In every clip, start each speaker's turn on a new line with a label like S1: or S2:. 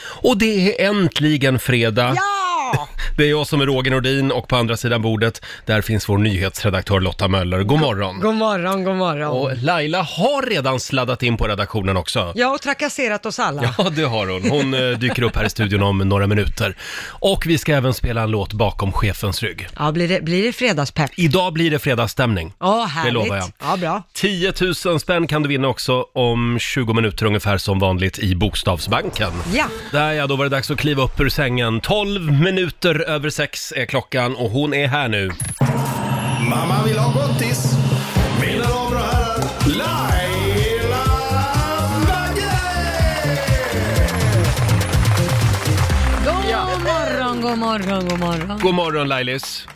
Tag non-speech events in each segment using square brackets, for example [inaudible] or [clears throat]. S1: Och det är äntligen fredag.
S2: Ja!
S1: [laughs] Det är jag som är Roger Nordin och på andra sidan bordet, där finns vår nyhetsredaktör Lotta Möller. God morgon!
S2: God morgon, god morgon.
S1: Och Laila har redan sladdat in på redaktionen också.
S2: Ja, och trakasserat oss alla.
S1: Ja, det har hon. Hon eh, dyker upp här i studion om några minuter. Och vi ska även spela en låt bakom chefens rygg.
S2: Ja, blir, det, blir det fredagspepp?
S1: Idag blir det fredagsstämning.
S2: Ja, härligt.
S1: lovar jag.
S2: Ja, bra.
S1: 10 000 spänn kan du vinna också om 20 minuter ungefär som vanligt i Bokstavsbanken.
S2: Ja.
S1: Där ja, då var det dags att kliva upp ur sängen. 12 minuter över sex är klockan och hon är här nu.
S3: Mamma vill ha gottis. Mina damer och herrar, Laila Bagge!
S2: God morgon, god morgon, god morgon.
S1: God morgon Lailis!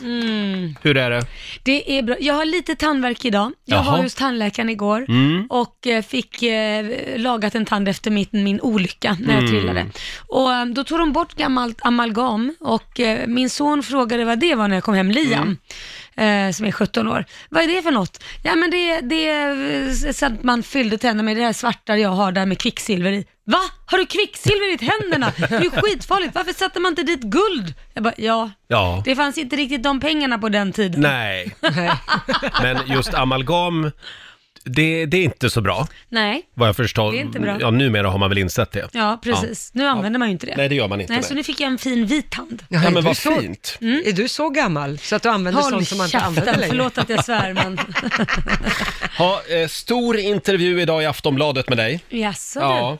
S1: Hur är det?
S4: Det är bra. Jag har lite tandvärk idag. Jag
S1: Jaha. Mm.
S4: var hos tandläkaren igår och eh, fick eh, lagat en tand efter min, min olycka när jag
S5: Mm.
S1: Mm.
S4: trillade. Och eh, då tog de bort gammalt amalgam och eh, min son frågade vad det var när jag kom hem, Liam.
S1: Mm.
S4: Eh, som är 17 år. Vad är det för något? Ja men det, det är eh, så att man fyllde tänderna med det här svarta jag har där med kvicksilver i. Va? Har du kvicksilver i tänderna? Det är ju skitfarligt. Varför satte man inte dit guld? Jag bara, ja.
S1: Ja.
S4: Det fanns inte riktigt de pengarna på den tiden.
S1: Nej, men just amalgam, det, det är inte så bra
S4: Nej,
S1: vad jag förstår.
S4: Det är inte bra.
S1: Ja, numera har man väl insett det.
S4: ja precis. Nu använder man ju inte det.
S1: Nej, det gör man inte.
S4: Nej,
S1: nej.
S4: så nu fick jag en fin vit hand.
S1: Ja,
S2: är
S1: men
S2: du
S1: vad
S2: så,
S1: fint.
S2: Mm. Är du så gammal så att du använder
S4: Håll
S2: sånt som man inte använder längre?
S4: förlåt att jag svär men...
S1: Ha, eh, stor intervju idag i Aftonbladet med dig.
S4: Jaså
S1: Ja.
S4: ja.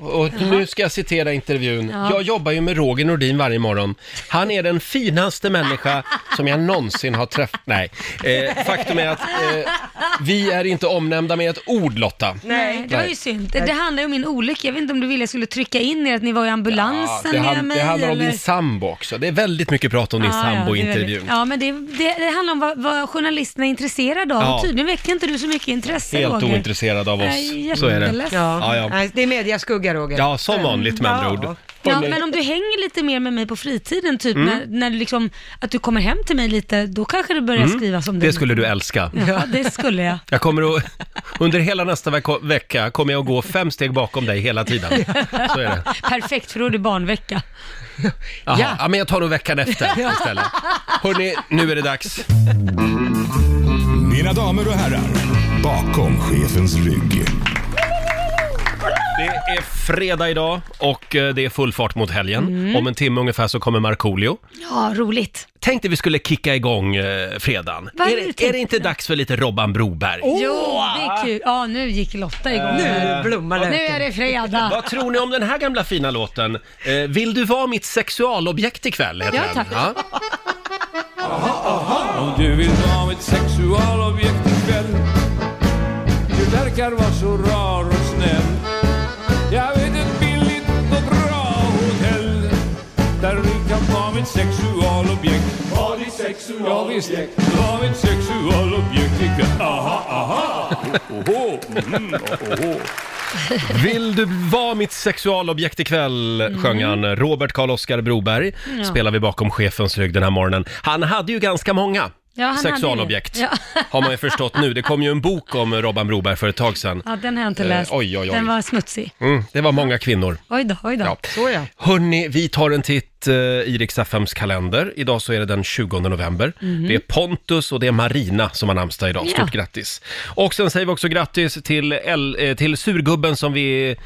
S1: Och och nu ska jag citera intervjun.
S4: Ja.
S1: Jag jobbar ju med Roger Nordin varje morgon. Han är den finaste människa som jag någonsin har träffat. Nej, eh, faktum är att
S2: [laughs]
S1: eh, vi är inte omnämnda med ett ord Lotta.
S4: du. Nej, det var ju synd. Det, det handlar ju om min olycka. Jag vet inte om du ville jag skulle trycka in er att ni var i
S1: Ja,
S4: ambulansen
S1: det,
S4: med
S1: han,
S4: mig
S1: det handlar om
S4: eller?
S1: din sambo också. Det är väldigt mycket prat om din
S4: Ja,
S1: sambo i
S4: ja, det är väldigt-
S1: intervjun.
S4: Ja, men det, det, det handlar om vad, vad journalisterna är intresserade av.
S1: Ja.
S4: Och Tydligen väckte inte du så mycket intresse,
S1: Helt
S4: Roger.
S1: ointresserad av
S4: Nej,
S1: oss. Så är det.
S4: jätteledsen.
S2: Ja,
S1: Ja, ja.
S2: Nej, det är mediaskugga, Roger. Mm.
S1: Ja, som vanligt med andra
S2: Ja.
S1: ord.
S4: Ja, men om du hänger lite mer med mig på fritiden, typ
S1: Mm.
S4: när, när du liksom, att du kommer hem till mig lite, då kanske du börjar skriva som
S1: Mm. Det
S4: du.
S1: skulle du älska.
S4: Ja, det skulle jag.
S1: Jag kommer att, [laughs] under hela nästa veck- vecka kommer jag att gå fem steg bakom dig hela tiden. Så är det.
S4: [laughs] Perfekt, för då är det barnvecka.
S1: Jaha, ja.
S2: Ja.
S1: men jag tar nog
S4: [laughs]
S1: veckan efter istället. Hörni, nu är det dags.
S3: Mina damer och herrar, bakom chefens rygg.
S1: Det är fredag idag och eh, det är full fart mot helgen.
S4: Mm.
S1: Om en timme ungefär så kommer Markoolio.
S4: Ja, roligt.
S1: Tänkte vi skulle kicka igång eh, fredagen.
S4: Vad
S1: Är
S4: är det du
S1: det, är
S4: tänkte?
S1: det inte dags för lite Robban Broberg?
S4: Jo, det är kul. Ja, nu gick Lotta igång.
S1: Eh,
S2: Nu blommar
S4: nu
S2: löken.
S4: är det fredag.
S1: Vad tror ni om den här gamla fina låten? Eh, Vill du vara mitt sexualobjekt ikväll? Heter
S4: Ja,
S1: den.
S4: tack.
S6: Om du vill vara mitt sexualobjekt ikväll Du verkar vara så rar och snäll Jag vet ett billigt och bra hotell Där du kan vara mitt sexualobjekt Var ditt sexualobjekt Ja, visst, var mitt sexualobjekt ikväll Aha, aha, oho, mm, oho
S1: Vill du vara mitt sexualobjekt ikväll,
S4: Mm.
S1: sjöng han. Robert Karl-Oskar Broberg spelar vi bakom chefens rygg den här morgonen. Han hade ju ganska många
S4: Ja, han hade
S1: sexualobjekt,
S4: det. Ja.
S1: har man ju förstått nu. Det kom ju en bok om Robban Broberg för ett tag sedan.
S4: Ja, den har jag inte
S1: Eh,
S4: läst.
S1: oj, oj, oj.
S4: Den var smutsig.
S1: Mm, det var många kvinnor.
S4: Oj då, oj då.
S1: Ja.
S2: Så ja.
S1: Hörni, vi tar en titt eh, i Rix FMs kalender. Idag så är det den 20 november. Det är Pontus och det är Marina som har namnsdag idag. Stort
S4: Mhm. Ja.
S1: grattis! Och sen säger vi också grattis till, el, eh, till surgubben som vi, eh,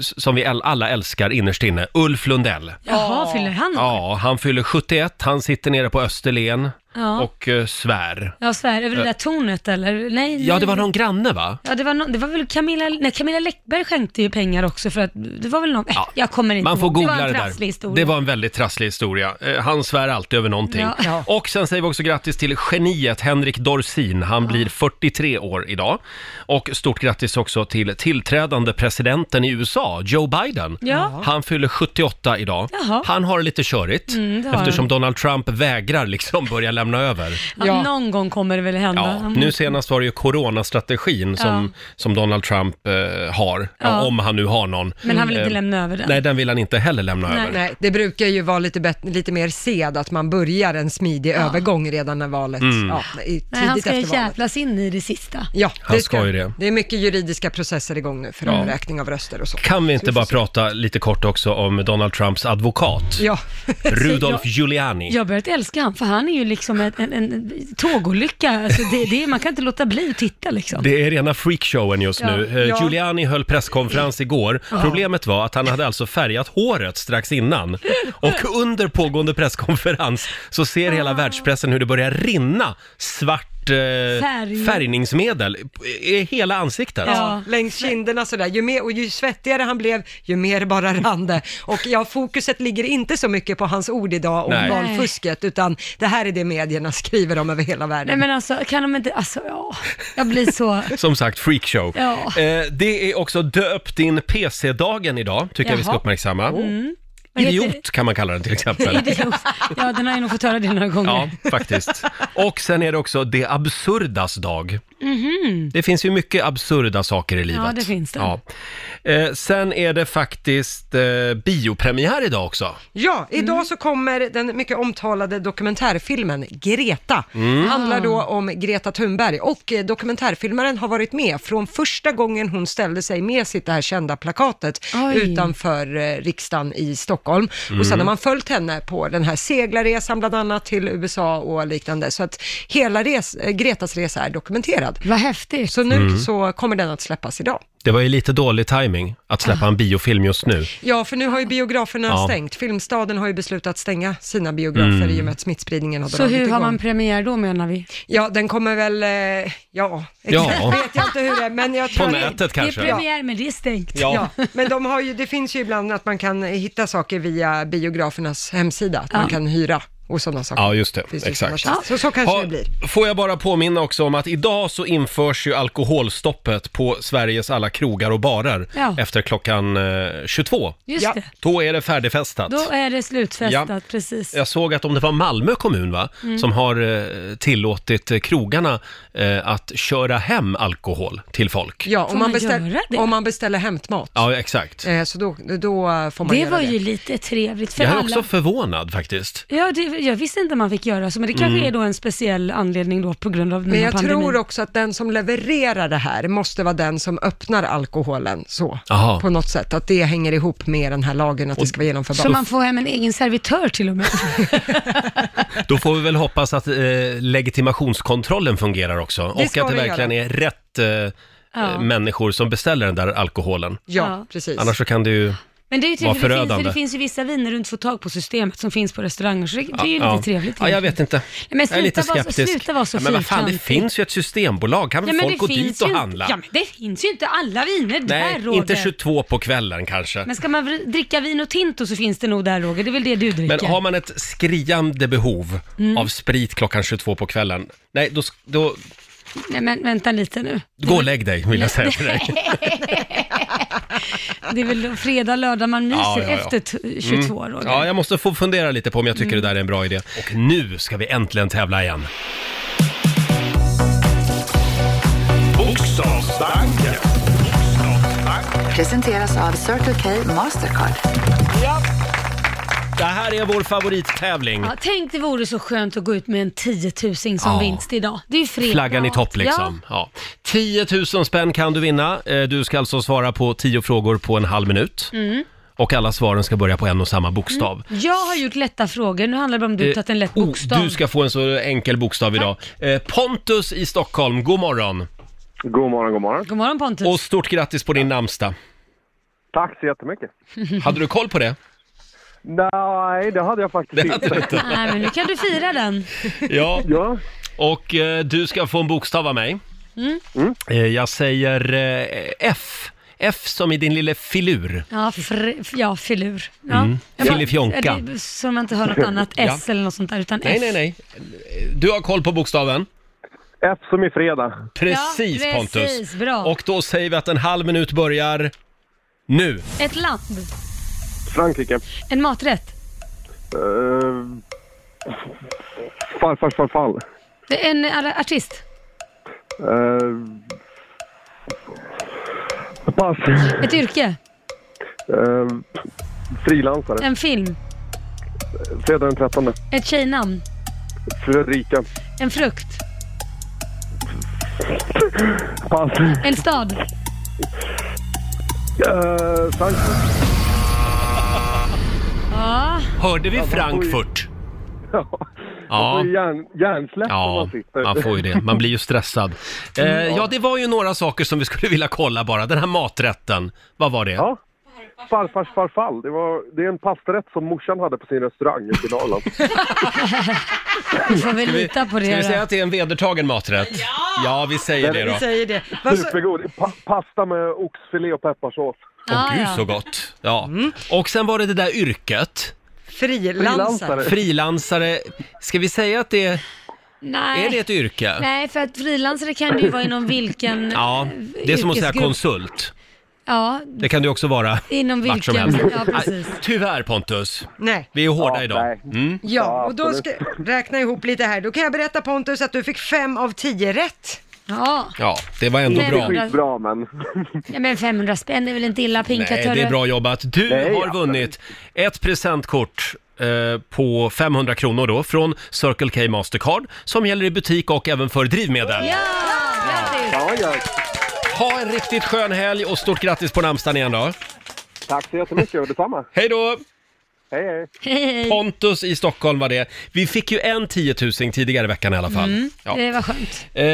S1: som vi el, alla älskar innerst inne, Ulf Lundell.
S4: Jaha, fyller han ja.
S1: Ja, han fyller 71, han sitter nere på Österlen
S4: Ja.
S1: och eh, svär.
S4: Jag svär, över det där tornet eller? Nej,
S1: Eh. Ja, det
S4: nej.
S1: var någon granne va?
S4: Ja, det var, no- det var väl Camilla, nej, Camilla Läckberg skänkte ju pengar också för att det var väl någon, äh, jag kommer inte
S1: Man får
S4: ihåg.
S1: googla
S4: det var
S1: det,
S4: en trasslig
S1: där.
S4: historia.
S1: Det var en väldigt trasslig historia. Eh, Han svär alltid över någonting.
S4: Ja.
S2: Ja.
S1: Och sen säger vi också grattis till geniet Henrik Dorsin. Han blir 43 år idag. Och stort grattis också till tillträdande presidenten i USA, Joe Biden.
S4: Ja.
S1: Han fyller 78 idag.
S4: Jaha. Mm,
S1: Han har det lite körigt
S4: det har
S1: eftersom Donald Trump vägrar liksom börja lämna över.
S4: Ja,
S2: Ja.
S4: Någon gång kommer det väl hända.
S1: Ja, nu senast var det ju coronastrategin som, som Donald Trump eh, har,
S4: Ja.
S1: om han nu har någon.
S4: Men han vill inte
S1: Eh,
S4: lämna över den.
S1: Nej, den vill han inte heller lämna
S4: Nej.
S1: över.
S2: Nej, det brukar ju vara lite, bet- lite mer sed att man börjar en smidig övergång redan när valet,
S1: Mm.
S2: ja, i, tidigt
S4: Nej, han ska ju
S2: efter valet.
S4: jävlas in i det sista.
S2: Ja,
S1: Han ska ju det.
S2: Det är mycket juridiska processer igång nu för omräkning av röster och så.
S1: Kan vi inte
S2: Så
S1: bara
S2: får se.
S1: prata lite kort också om Donald
S4: [laughs]
S1: Trumps advokat?
S2: Ja,
S1: Rudolf Giuliani.
S4: Jag har börjat älska han för han är ju liksom en, en, en tågolycka. Alltså det, det, man kan inte låta bli att titta liksom.
S1: Det är rena freakshowen just
S4: Ja.
S1: nu. Eh,
S2: Ja.
S1: Giuliani höll presskonferens igår. Problemet var att han hade alltså färgat håret strax innan. Och under pågående presskonferens så ser hela världspressen hur det börjar rinna svart eh,
S4: Färg.
S1: färgningsmedel i i hela ansiktet.
S4: Ja.
S2: längs kinderna sådär. Ju mer, och ju svettigare han blev, ju mer bara rann det. Och ja, fokuset ligger inte så mycket på hans ord idag om
S1: Nej.
S2: valfusket, utan det här är det medierna skriver om över hela världen.
S4: Nej men alltså, kan de inte, alltså ja, jag blir
S1: [laughs]
S4: så... Mm.
S1: Som sagt, freakshow.
S4: Ja.
S1: Eh, det är också döpt in PC-dagen idag, tycker jag vi ska
S4: Jaha.
S1: uppmärksamma.
S4: Mm. Vad heter-
S1: Idiot kan man kalla den till exempel.
S4: [laughs] Idiot. Ja, den har jag nog fått höra det några
S1: Ja,
S4: gånger.
S1: faktiskt. Och sen är det också det absurdas dag.
S4: Mhm.
S1: Det finns ju mycket absurda saker i livet.
S4: Ja, det finns det.
S1: Ja. Eh, sen är det faktiskt eh, biopremiär idag också.
S2: Ja, idag
S4: Mm.
S2: så kommer den mycket omtalade dokumentärfilmen Greta.
S4: Mm.
S2: Det handlar då om Greta Thunberg och eh, dokumentärfilmaren har varit med från första gången hon ställde sig med sitt det här kända plakatet
S4: Oj. Mm.
S2: utanför eh, riksdagen i Stockholm. Och sen har man följt henne på den här seglarresan bland annat till USA och liknande. Så att hela res- eh, Gretas resa är dokumenterad.
S4: Vad häftigt. Mm.
S2: Så nu så kommer den att släppas idag.
S1: Det var ju lite dålig timing att
S4: Ah.
S1: släppa en biofilm just nu.
S2: Ja, för nu har ju biograferna
S1: Ja. Mm.
S2: stängt. Filmstaden har ju beslutat stänga sina biografer i och med att smittspridningen har
S4: Så
S2: dragit
S4: hur har
S2: igång.
S4: man premiär då menar vi?
S2: Ja, den kommer väl, eh, ja, exakt
S1: Ja.
S2: vet jag inte hur det är, men jag
S1: På
S2: tror...
S1: nätet
S4: Det är
S1: kanske.
S4: premiär men det är stängt.
S1: Ja.
S2: Ja, men de har ju, det finns ju ibland att man kan hitta saker via biografernas hemsida, att man kan hyra och sådana saker.
S1: Ja, just det.
S2: Finns ju sådana
S1: Exakt.
S2: tjänster. Så så kanske det blir.
S1: Ha, får jag bara påminna också om att idag så införs ju alkoholstoppet på Sveriges alla krogar och barer
S4: Ja.
S1: efter klockan eh, 22.
S4: Just
S2: Ja.
S4: det.
S1: Då är det färdigfestat.
S4: Då är det slutfestat,
S1: Ja.
S4: precis.
S1: Jag såg att om det var Malmö kommun va, som har eh, tillåtit eh, krogarna eh, att köra hem alkohol till folk.
S2: Ja,
S4: Får
S2: om man,
S4: man göra
S2: beställer,
S4: det?
S2: om man beställer hämtmat,
S1: Ja, exakt.
S2: eh, så då, då eh, får man
S4: Det
S2: göra
S4: var
S2: det.
S4: ju lite trevligt för
S1: Jag är
S4: alla.
S1: också förvånad faktiskt.
S4: Ja, det, jag visste inte man fick göra så, men det kanske
S1: Mm.
S4: är då en speciell anledning då på grund av den
S2: Men
S4: här
S2: jag
S4: pandemin.
S2: tror också att den som levererar det här måste vara den som öppnar alkoholen så,
S1: Aha.
S2: på något sätt. Att det hänger ihop med den här lagen, att det ska vara genomförbart.
S4: Så man får hem en egen servitör till
S1: [laughs]
S4: och med.
S1: Då får vi väl hoppas att eh, legitimationskontrollen fungerar också och
S2: ska
S1: att det
S2: den
S1: verkligen är rätt eh, eh, människor som beställer den där alkoholen.
S2: Ja,
S4: Ja.
S2: precis.
S1: Annars så kan det ju...
S4: Men det är ju trevligt,
S1: Vad
S4: för det, finns, för
S1: förödande.
S4: det finns ju vissa viner du inte får tag på systemet som finns på restauranger, så det, det är ju lite
S1: ja.
S4: trevligt.
S1: Ja, jag
S4: egentligen.
S1: vet inte.
S4: men
S1: jag är lite
S4: sluta vara så-
S1: skeptisk.
S4: sluta vara så
S1: ja, men vad fan, det
S4: fyrkantig.
S1: finns ju ett systembolag. Kan väl
S4: men
S1: folk
S4: det
S1: gå
S4: finns
S1: dit
S4: ju
S1: och
S4: inte-
S1: handla?
S4: Ja, men det finns ju inte alla viner där,
S1: Nej,
S4: Roger.
S1: inte 22 på kvällen kanske.
S4: Men ska man vri- dricka vin och tinto så finns det nog där, Roger. Det är väl det du Mm. dricker?
S1: Men har man ett skriande behov av sprit klockan 22 på kvällen, nej då, sk- då
S4: Nej, men vänta lite nu.
S1: gå och lägg dig vill jag säga till dig.
S4: [laughs] Det är väl då fredag, lördag man myser
S1: Ja, ja, ja.
S4: efter t- 22, Roger. Mm.
S1: Ja, jag måste få fundera lite på om jag tycker det där är en bra idé. Och nu ska vi äntligen tävla igen.
S7: Bokstavsbanken.
S6: Presenteras av Circle K Mastercard.
S1: Det här är vår favorittävling.
S4: Ja, tänk det vore så skönt att gå ut med en 10 000 som
S1: mm. Ja.
S4: vinst idag. Det är ju fredag.
S1: Flaggan i topp liksom. Ja. 10 000 spänn kan du vinna. Eh, Du ska alltså svara på 10 frågor på en halv minut.
S4: Mm.
S1: Och alla svaren ska börja på en och samma bokstav.
S4: Ja. Mm. Jag har gjort lätta frågor, nu handlar det bara om du tagit en lätt
S1: Oh,
S4: bokstav.
S1: Du ska få en så enkel bokstav idag. Eh, Pontus i Stockholm, god morgon.
S8: God morgon, god morgon.
S4: God morgon Pontus.
S1: Och stort grattis på din namnsdag.
S8: Tack så
S1: [laughs]
S8: jättemycket.
S1: Hade du koll på det?
S8: Nej, det hade jag faktiskt inte.
S4: [laughs] Nej, men nu kan du fira den.
S1: Ja.
S8: Ja,
S1: Och eh, du ska få en bokstav av mig.
S4: Mm.
S8: Mm.
S1: Eh, jag säger eh, F. F som i din lille filur.
S4: Ja, fr, f- ja filur. Ja. Ja,
S1: Mm. Filifjonka.
S4: ja, det är Så man inte hör något annat S eller något sånt där, utan
S1: Nej,
S4: F.
S1: nej, nej. Du har koll på bokstaven.
S8: F som i fredag.
S1: Precis,
S4: Ja, precis,
S1: Pontus.
S4: bra.
S1: Och då säger vi att en halv minut börjar nu.
S4: Ett land,
S8: Frankrike.
S4: en maträtt,
S8: Uh, Farfars förfall.
S4: Det är en ar- artist.
S8: Eh, pass.
S4: Ett yrke.
S8: Eh, frilansare.
S4: En film.
S8: Fredag den 13.
S4: Ett tjejnamn.
S8: Fredrika.
S4: En frukt.
S8: Pass.
S4: En stad.
S8: Eh, tack.
S4: Ja.
S1: Hörde vi Frankfurt?
S8: [laughs] Ja. Man får ju Hjärn, hjärnsläpp om
S1: Ja,
S8: man sitter.
S1: man får ju det. Man blir ju
S8: [laughs]
S1: stressad. Eh, ja, det var ju några saker som vi skulle vilja kolla bara. Den här maträtten, vad var det?
S8: Ja. Farfars farfall. Det, var, det är en pastarätt som morsan hade på sin restaurang ute i Dalarna.
S4: Vi får väl
S1: Ska vi-
S4: lita på
S1: Ska
S4: det
S1: vi säga
S4: då.
S1: att det är en vedertagen maträtt? Ja! Ja, vi säger det då.
S2: Vi säger det. Vad så-
S8: Supergod. Pa pasta med oxfilé och
S1: Åh
S8: pepparsås.
S4: Ja,
S1: gud
S4: ja. Mm.
S1: så gott! Ja. Och sen var det det där yrket,
S2: Frilansare.
S1: frilansare. Ska vi säga att det
S4: Nej.
S1: är det ett yrke?
S4: Nej, för att frilansare kan det ju vara inom vilken
S1: [laughs] Ja, det är som att säga
S4: yrkesgrupp.
S1: konsult.
S4: Ja,
S1: Det kan du också vara.
S4: inom
S1: Vart som
S4: vilken.
S1: helst.
S4: Ja, precis.
S1: Nej, Tyvärr Pontus,
S2: Nej.
S1: vi är hårda
S8: Ja,
S1: idag.
S8: nej.
S1: Mm.
S2: Ja, och då ska räkna ihop lite här. Då kan jag berätta Pontus att du fick fem av tio rätt.
S4: Ja,
S1: Ja, det var ändå
S4: Nej,
S1: bra.
S4: men-
S8: Skitbra men.
S4: Nej, men 500 spänn är väl inte illa pinkat
S1: Nej, det
S4: hörru?
S1: är bra jobbat. Du
S8: Nej,
S1: har
S8: ja.
S1: vunnit ett presentkort eh, på 500 kronor då från Circle K Mastercard som gäller i butik och även för drivmedel.
S4: Ja, grattis!
S8: Ja, ja.
S1: Ha en riktigt skön helg och stort grattis på namnsdagen igen då.
S8: Tack så jättemycket och detsamma.
S1: [laughs] Hej då!
S8: Hej hej.
S4: Hej, hej.
S1: Pontus i Stockholm var det. Vi fick ju en 10 000 tidigare i veckan i alla fall.
S4: Mm.
S1: Ja.
S4: Det var skönt.
S1: Eh,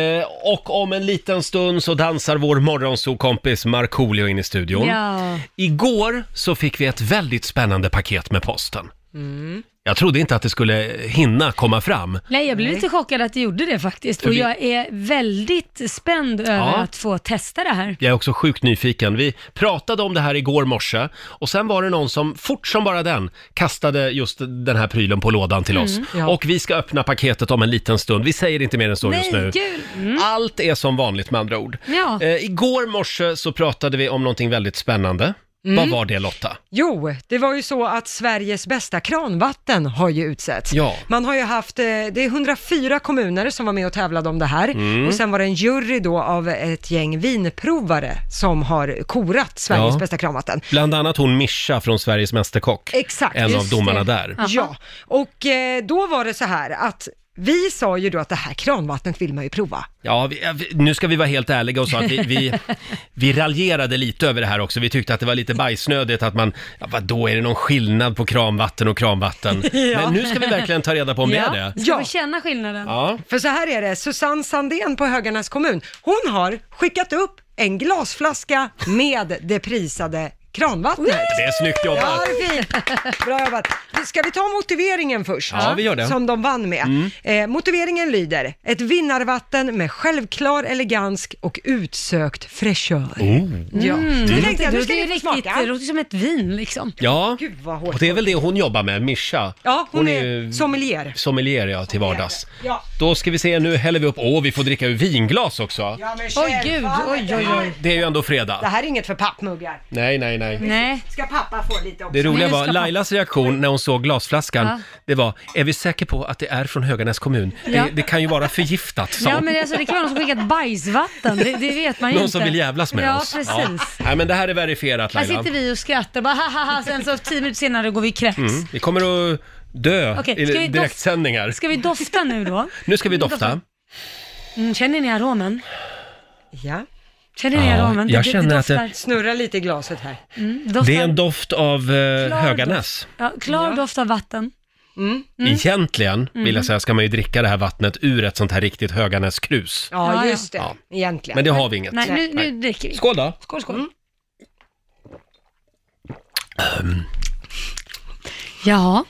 S1: och om en liten stund så dansar vår morgonsokompis Markoolio in i studion.
S4: Ja.
S1: Igår så fick vi ett väldigt spännande paket med posten.
S2: Mm.
S1: Jag trodde inte att det skulle hinna komma fram.
S4: Nej, jag blev lite chockad att du gjorde det faktiskt.
S1: För
S4: Och
S1: vi-
S4: jag är väldigt spänd över
S1: Ja.
S4: att få testa det här.
S1: Jag är också sjukt nyfiken. Vi pratade om det här igår morse och sen var det någon som fort som bara den kastade just den här prylen på lådan till
S4: Mm,
S1: oss. Och vi ska öppna paketet om en liten stund. Vi säger inte mer än så just nu.
S4: Nej, Mm. kul!
S1: Allt är som vanligt med andra ord.
S4: Ja.
S1: Eh, igår morse så pratade vi om någonting väldigt spännande.
S2: Mm.
S1: Vad var det Lotta?
S2: Jo, det var ju så att Sveriges bästa kranvatten har ju utsetts.
S1: Ja.
S2: Man har ju haft, eh, det är 104 kommuner som var med och tävlade om det här
S1: Mm.
S2: och sen var det en jury då av ett gäng vinprovare som har korat Sveriges
S1: Ja.
S2: bästa kranvatten.
S1: Bland annat hon Mischa från Sveriges Mästerkock.
S2: Exakt.
S1: En av
S2: Just
S1: domarna
S2: det.
S1: där.
S2: Ja, och eh, då var det så här att vi sa ju då att det här kranvattnet vill man ju prova.
S1: Ja, vi, ja, vi, nu ska vi vara helt ärliga och säga att vi,
S2: [laughs]
S1: vi, vi raljerade lite över det här också. Vi tyckte att det var lite bajsnödigt att man, ja, vadå, är det någon skillnad på kranvatten och
S2: [laughs]
S1: kranvatten? Men nu ska vi verkligen ta reda på om det är det.
S4: Ska ja.
S2: Ja.
S4: vi känna skillnaden?
S1: Ja,
S2: För så här är det, Susanne Sandén på Höganäs kommun, hon har skickat upp en glasflaska med det prisade kranvattnet.
S1: det är snyggt jobbat.
S2: Ja, det är fint. Bra jobbat. Ska vi ta motiveringen först?
S1: Ja, vi gör det. Mm.
S2: Som de vann med. Eh, motiveringen lyder, ett vinnarvatten med självklar elegans och utsökt fräschör.
S1: Oh.
S2: Ja.
S1: Mm.
S2: Då tänkte jag,
S4: Det
S2: nu
S4: är
S2: ska ni få
S4: riktigt,
S2: smaka.
S4: det låter som ett vin liksom.
S1: Ja,
S2: Gud, vad hårt.
S1: och det är väl det hon jobbar med, Mischa.
S2: Ja, hon, är,
S1: ju
S2: sommelier.
S1: sommelier ja, till vardags.
S2: Ja.
S1: Då ska vi se, nu häller vi upp, åh, vi får dricka ur vinglas också.
S2: Ja, men
S4: Oj, gud, oj, oj, oj.
S1: Det är ju ändå
S2: Det
S1: fredag.
S2: här är inget för pappmuggar.
S1: Nej, nej, nej.
S4: Nej,
S2: Ska pappa få lite också?
S1: Det roliga
S4: Nej, nu
S1: var,
S4: ska pappa-
S1: Lailas reaktion när hon såg glasflaskan,
S4: Ja.
S1: det var “Är vi säkra på att det är från Höganäs kommun?
S4: Ja.
S1: Det, det kan ju vara förgiftat”, sa
S4: ja,
S1: hon.
S4: men alltså, det kan vara någon som skickat bajsvatten, det, det vet man ju
S1: Någon
S4: inte.
S1: som vill jävlas med
S4: ja,
S1: oss.
S4: Precis.
S1: Ja, Nej, men det här är verifierat
S4: Här
S1: Laila.
S4: sitter vi och skrattar bara hahaha, sen så tio minuter senare går vi i kräks.
S1: Mm. Vi kommer att dö
S4: Okej, ska vi
S1: i
S4: doft-
S1: direktsändningar.
S4: Ska vi dofta nu då?
S1: Nu ska vi dofta.
S4: Mm, känner ni aromen?
S2: Ja.
S4: Känner ni
S1: Ja,
S4: aromen?
S1: jag
S4: det,
S1: känner att det-
S4: doftar-
S2: Snurra lite i glaset här.
S4: mm, doftar,
S1: Det är en doft av eh,
S4: Klar
S1: Höganäs.
S4: ja, klar doft av vatten.
S2: Mm.
S4: Mm.
S1: Egentligen, vill jag säga, ska man ju dricka det här vattnet ur ett sånt här riktigt Höganäskrus.
S2: Ja,
S4: Ja, ja.
S2: just det. Egentligen.
S1: Men det har vi inget.
S4: Nej, nu, nu dricker vi.
S1: Skål då!
S4: Skål, skål. Ja,
S1: Ja,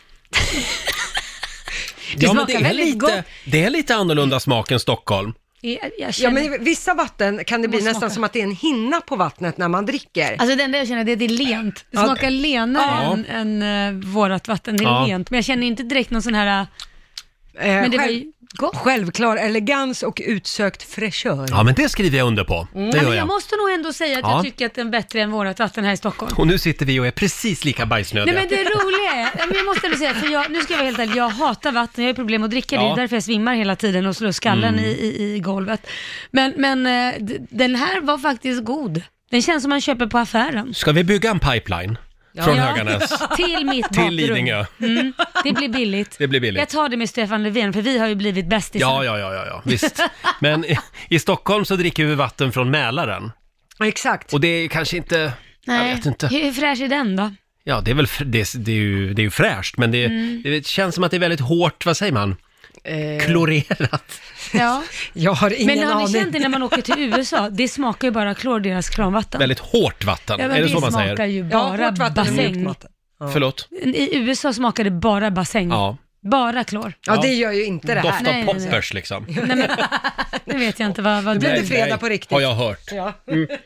S1: men det,
S4: smakar
S1: är
S4: väldigt
S1: lite,
S4: gott.
S1: det är lite annorlunda smak än Stockholm.
S4: jag, jag
S2: Ja,
S4: känner...
S2: men vissa vatten kan det bli nästan som att det är en hinna på vattnet när man dricker.
S4: [laughs] Alltså det enda jag känner det är att det är lent. Det smakar lenare
S1: Ja.
S4: än, än eh, vårat vatten. Det är
S1: Ja.
S4: lent. Men jag känner ju inte direkt någon sån här... eh,
S2: Eh,
S4: Men det var
S2: själv,
S4: ju- Gott.
S2: Självklar elegans och utsökt fräschör.
S1: Ja, men det skriver jag under på.
S4: Mm.
S1: Mm. Det
S4: Ja,
S1: gör
S4: men jag
S1: jag.
S4: måste nog ändå säga att
S1: Ja.
S4: jag tycker att den är bättre än vårat vatten här i Stockholm.
S1: Och nu sitter vi och är precis lika
S4: Nej
S1: bajsnödiga.
S4: men det roliga är, ja, men jag måste ändå säga, för jag, nu ska jag vara helt ärlig, jag hatar vatten, jag har ju problem att dricka, det
S1: Ja. Mm.
S4: är därför jag svimmar hela tiden och slår skallen i, i, i golvet. Men, men eh, d- den här var faktiskt god. Den känns som man köper på affären.
S1: Ska vi bygga en pipeline? Från
S4: Ja. [laughs]
S1: Höganäs
S4: Till mitt
S1: till
S4: bakrum.
S1: Lidingö.
S4: Mm, det blir billigt.
S1: Det blir billigt.
S4: Jag tar det med Stefan Löfven, för vi har ju blivit bästisar.
S1: Ja, ja, ja, ja, ja,
S4: [laughs]
S1: visst. Men i, i Stockholm så dricker vi vatten från Mälaren.
S2: Exakt.
S1: Och det är kanske inte...
S4: Nej.
S1: Jag vet inte.
S4: Hur fräsch är den då?
S1: Ja, det är väl fr- det, är- det är ju, det är ju fräscht, men det,
S4: Mm.
S1: det känns som att det är väldigt hårt, vad säger man? Klorerat.
S4: Ja.
S2: [laughs] Jag Eh, har
S4: Men
S2: ingen
S4: har ni
S2: aning.
S4: känt det när man åker till USA?
S2: [laughs]
S4: Det smakar ju bara klor, deras kranvatten.
S1: Väldigt hårt vatten.
S4: Ja, men
S1: är det,
S4: det,
S1: så man
S4: smakar
S1: säger?
S4: ju
S2: Ja,
S4: bara
S2: hårt vatten är mjukt
S4: bassäng.
S2: vatten.
S1: Förlåt?
S4: I USA smakar det bara bassäng.
S1: Ja.
S4: Bara klor.
S2: Ja, det gör ju inte det här.
S1: Doft
S4: Nej,
S1: av
S4: nej, nej.
S1: poppers liksom.
S4: Nej, men, nu vet jag inte vad... vad
S2: blir
S4: det
S2: det fredag på riktigt.
S1: Har jag hört. Mm.
S2: Ja.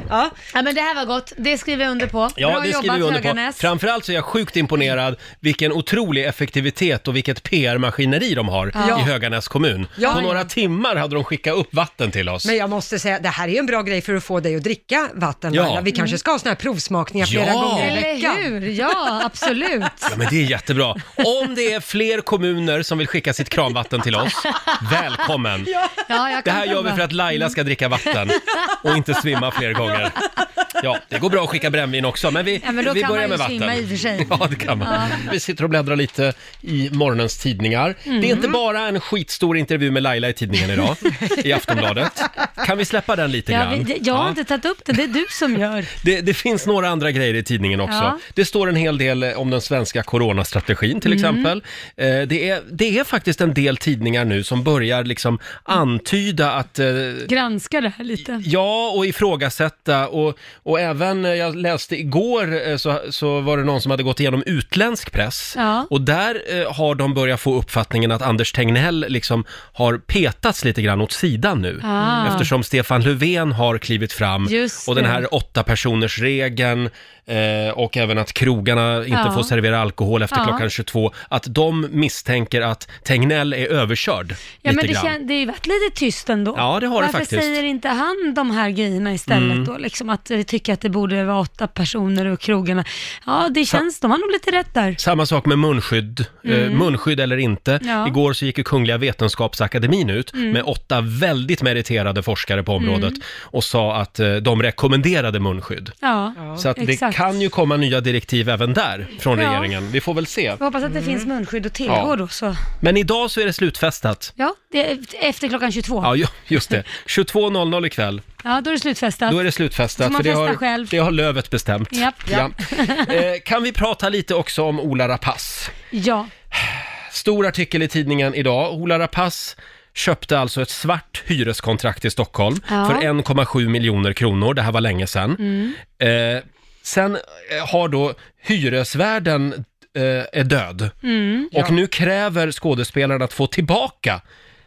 S2: [laughs] ja.
S4: ja, men det här var gott. Det skriver jag under på.
S1: Ja,
S4: Bra
S1: det skriver
S4: jobbat,
S1: vi under på.
S4: Höganäs.
S1: Framförallt så är jag sjukt imponerad vilken otrolig effektivitet och vilket PR-maskineri de har i Höganäs kommun.
S2: Ja.
S1: På några timmar hade de skickat upp vatten till oss.
S2: Men jag måste säga, det här är ju en bra grej för att få dig att dricka vatten,
S1: Ja.
S2: Laila. Vi kanske ska ha såna här provsmakningar
S1: Ja.
S2: flera gånger i
S4: Mm. Eller
S2: veckan.
S4: hur? Ja, absolut.
S1: Ja, men det är jättebra. Om det är fler kommuner som vill skicka sitt kranvatten till
S4: [laughs]
S1: oss, [laughs] välkommen!
S4: Ja, jag
S1: Det
S4: kan
S1: här gör vi
S4: prova. Mm.
S1: för att Laila ska dricka vatten och inte svimma fler gånger. Ja, det går bra att skicka brännvin också, men vi,
S4: Ja, men då
S1: vi
S4: kan
S1: börjar
S4: man ju
S1: med vatten.
S4: svimma i och för sig.
S1: [laughs] Ja, det kan man. Vi sitter och bläddrar lite i morgonens tidningar. Det är inte
S4: Mm.
S1: bara en skitstor intervju med Laila i tidningen idag, i Aftonbladet. Kan vi släppa den lite
S4: Jag,
S1: grann?
S4: vet- jag har inte tagit upp den, det är du som gör.
S1: Det, det finns några andra grejer i tidningen också.
S4: Ja.
S1: Det står en hel del eh, om den svenska coronastrategin
S4: Mm.
S1: till exempel. Eh, det, är, det är faktiskt en del tidningar nu som börjar liksom antyda att eh,
S4: Granska det här lite.
S1: Ja, och ifrågasätta och, och även, eh, jag läste igår eh, så, så var det någon som hade gått igenom utländsk press
S4: Ja.
S1: och där eh, har de börjat få uppfattningen att Anders Tegnell liksom har petats lite grann åt sidan nu
S4: Ah.
S1: eftersom Stefan Löfven har klivit fram
S4: Just
S1: och den
S4: det.
S1: här åtta personers regeln eh, och även att krogarna inte
S4: Ja.
S1: får servera alkohol efter
S4: Ja.
S1: klockan 22, att de misstänker att Tegnell är överkörd
S4: Ja, men
S1: lite
S4: det,
S1: grann.
S4: kän- det har ju varit lite tyst ändå.
S1: Ja, det har det
S4: Varför
S1: faktiskt. Mm.
S4: säger inte han de här grejerna istället då? Liksom att vi tycker att det borde vara åtta personer och krogarna. Ja, det känns, de har nog lite rätt där.
S1: Samma sak med munskydd, eh, munskydd eller inte.
S4: Mm. Ja. Mm.
S1: Igår så gick ju Kungliga Vetenskapsakademin ut med åtta väldigt meriterade forskare på området och sa att eh, de rekommenderade munskydd.
S4: Ja,
S1: Så att det
S4: exakt.
S1: kan ju komma nya direktiv även där från
S4: Ja.
S1: regeringen. Vi får väl se.
S4: Jag hoppas att det finns munskydd att tillgå
S1: Mm. Ja.
S4: då. Så.
S1: Men idag så är det slutfestat.
S4: Ja, det är efter klockan 22.
S1: Ja,
S4: Ja,
S1: ju-
S4: [laughs]
S1: just det. 22.00 ikväll,
S4: då är det slutfestat.
S1: då är det slutfestat.
S4: Får man
S1: för det,
S4: festa
S1: har,
S4: själv.
S1: det har lövet bestämt.
S4: Japp. [laughs]
S1: Ja. Eh, kan vi prata lite också om Ola Rapace?
S4: Ja,
S1: Stor artikel i tidningen idag. Ola Rapace köpte alltså ett svart hyreskontrakt i Stockholm
S4: Ja.
S1: för 1,7 miljoner kronor. Det här var länge sedan.
S4: Mm.
S1: Eh, sen eh, har då hyresvärden eh, är död
S4: Mm.
S1: och nu kräver skådespelaren att få tillbaka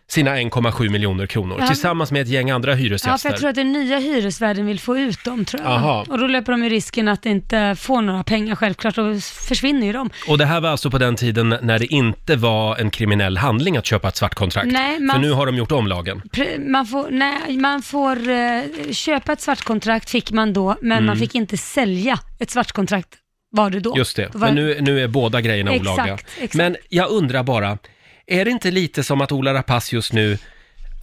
S1: sina 1,7 miljoner kronor
S4: Ja.
S1: tillsammans med ett gäng andra
S4: ja för
S1: hyresgäster.
S4: jag tror att den nya hyresvärden vill få ut dem tror jag.
S1: Aha.
S4: Och då löper de ju risken att inte få några pengar självklart, då försvinner ju de.
S1: Och det här var alltså på den tiden när det inte var en kriminell handling att köpa ett svart kontrakt.
S4: Nej, man-
S1: För nu har de gjort om lagen.
S4: Pre- Man får, nej, man får eh, köpa ett svartkontrakt fick man då, men man fick inte sälja ett svartkontrakt var det då.
S1: Mm. Just det,
S4: Då var-
S1: men nu, nu är båda grejerna
S4: Exakt,
S1: olagliga.
S4: exakt.
S1: Men jag undrar bara, är det inte lite som att Ola Rapace just nu,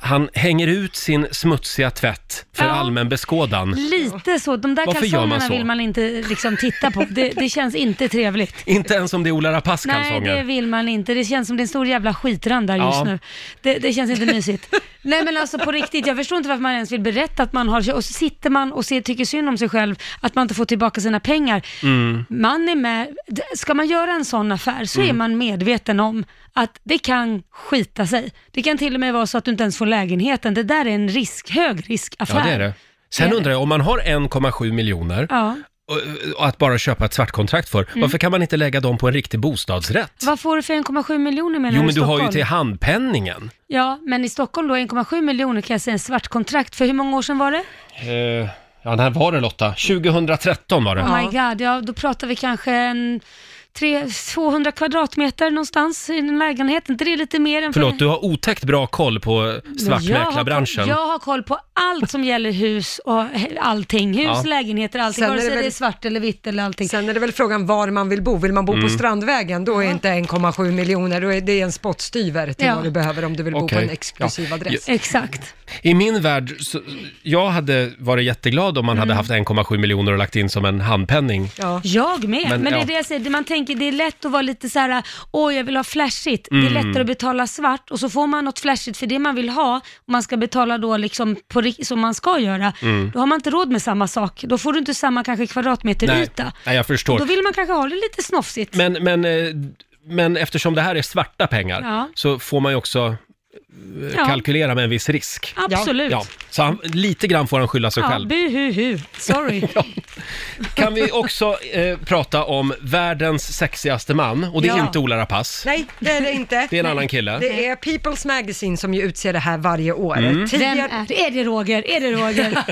S1: han hänger ut sin smutsiga tvätt för
S4: Ja.
S1: allmän beskådan?
S4: Lite så, de där
S1: Varför gör man
S4: kalsongerna
S1: så?
S4: vill man inte liksom titta på. Det, det känns inte trevligt.
S1: Inte ens om det är Ola Rapace
S4: Nej,
S1: kalsonger.
S4: det vill man inte. Det känns som det är en stor jävla skitrand där
S1: Ja.
S4: just nu. Det, det känns inte
S1: [laughs]
S4: mysigt. Nej men alltså på riktigt, jag förstår inte varför man ens vill berätta att man har, och så sitter man och ser, tycker synd om sig själv, att man inte får tillbaka sina pengar.
S1: Mm.
S4: Man är med, d- ska man göra en sån affär så är man medveten om att det kan skita sig. Det kan till och med vara så att du inte ens får lägenheten. Det där är en risk, hög riskaffär.
S1: Ja, det är det. Sen
S4: Det är
S1: undrar jag, om man har 1,7 miljoner
S4: Ja. Mm.
S1: och, och att bara köpa ett svartkontrakt för, varför kan man inte lägga dem på en riktig bostadsrätt?
S4: Vad får du för 1,7 miljoner menar
S1: Jo,
S4: i
S1: men du har ju
S4: Stockholm?
S1: till handpenningen.
S4: Ja, men i Stockholm då 1,7 miljoner kan jag säga en svart kontrakt. För hur många år sedan var det?
S1: Eh, ja, när var det Lotta? 2013 var det.
S4: Oh my god, ja då pratar vi kanske en tre, 200 kvadratmeter någonstans i en lägenhet. Inte det är lite mer än...
S1: Förlåt, du har otäckt bra koll på
S4: Jag
S1: svartmäklarbranschen.
S4: har, jag har koll på allt som gäller hus och he- allting. Hus,
S1: Ja.
S4: lägenheter, allting.
S2: Sen
S4: Vare
S2: är det
S4: sig det
S2: väl-
S4: är svart eller vitt eller allting.
S2: Sen är det väl frågan var man vill bo. Vill man
S1: Mm.
S2: bo på Strandvägen, då är inte 1,7 miljoner, då är det en spottstyver till
S4: Ja.
S2: vad du behöver om du vill bo på
S1: Okej.
S2: en exklusiv
S1: Ja.
S2: adress.
S4: Exakt.
S1: I min värld, så, jag hade varit jätteglad om man
S4: Mm.
S1: hade haft 1,7 miljoner och lagt in som en handpenning.
S2: Ja.
S4: Jag med.
S1: Men,
S4: Men, det
S1: ja.
S4: är det jag säger, Det- man tänker det är lätt att vara lite så här, åh jag vill ha flashigt.
S1: Mm.
S4: Det är lättare att betala svart och så får man något flashigt för det man vill ha och man ska betala då liksom på, ri- som man ska göra.
S1: Mm.
S4: Då har man inte råd med samma sak. Då får du inte samma kanske
S1: Nej,
S4: kvadratmeteryta.
S1: nej, jag förstår.
S4: Då vill man kanske ha det lite snofsigt.
S1: Men, men, eh, men eftersom det här är svarta pengar
S4: Ja.
S1: så får man ju också eh,
S4: Ja.
S1: kalkylera med en viss risk.
S4: Absolut.
S1: Ja, så han, lite grann får han skylla sig
S4: Ja,
S1: själv.
S4: buhuhu.
S1: [laughs]
S4: Sorry.
S1: Kan vi också eh, prata om världens sexigaste man? Och det är
S2: Ja.
S1: inte Ola Rapace.
S2: Nej, det är det inte.
S1: Det är en annan kille. Mm.
S2: Det är People's Magazine som ju utser det här varje år.
S4: Vem
S2: Tidigare,
S4: är det? Är det Roger? Är det Roger?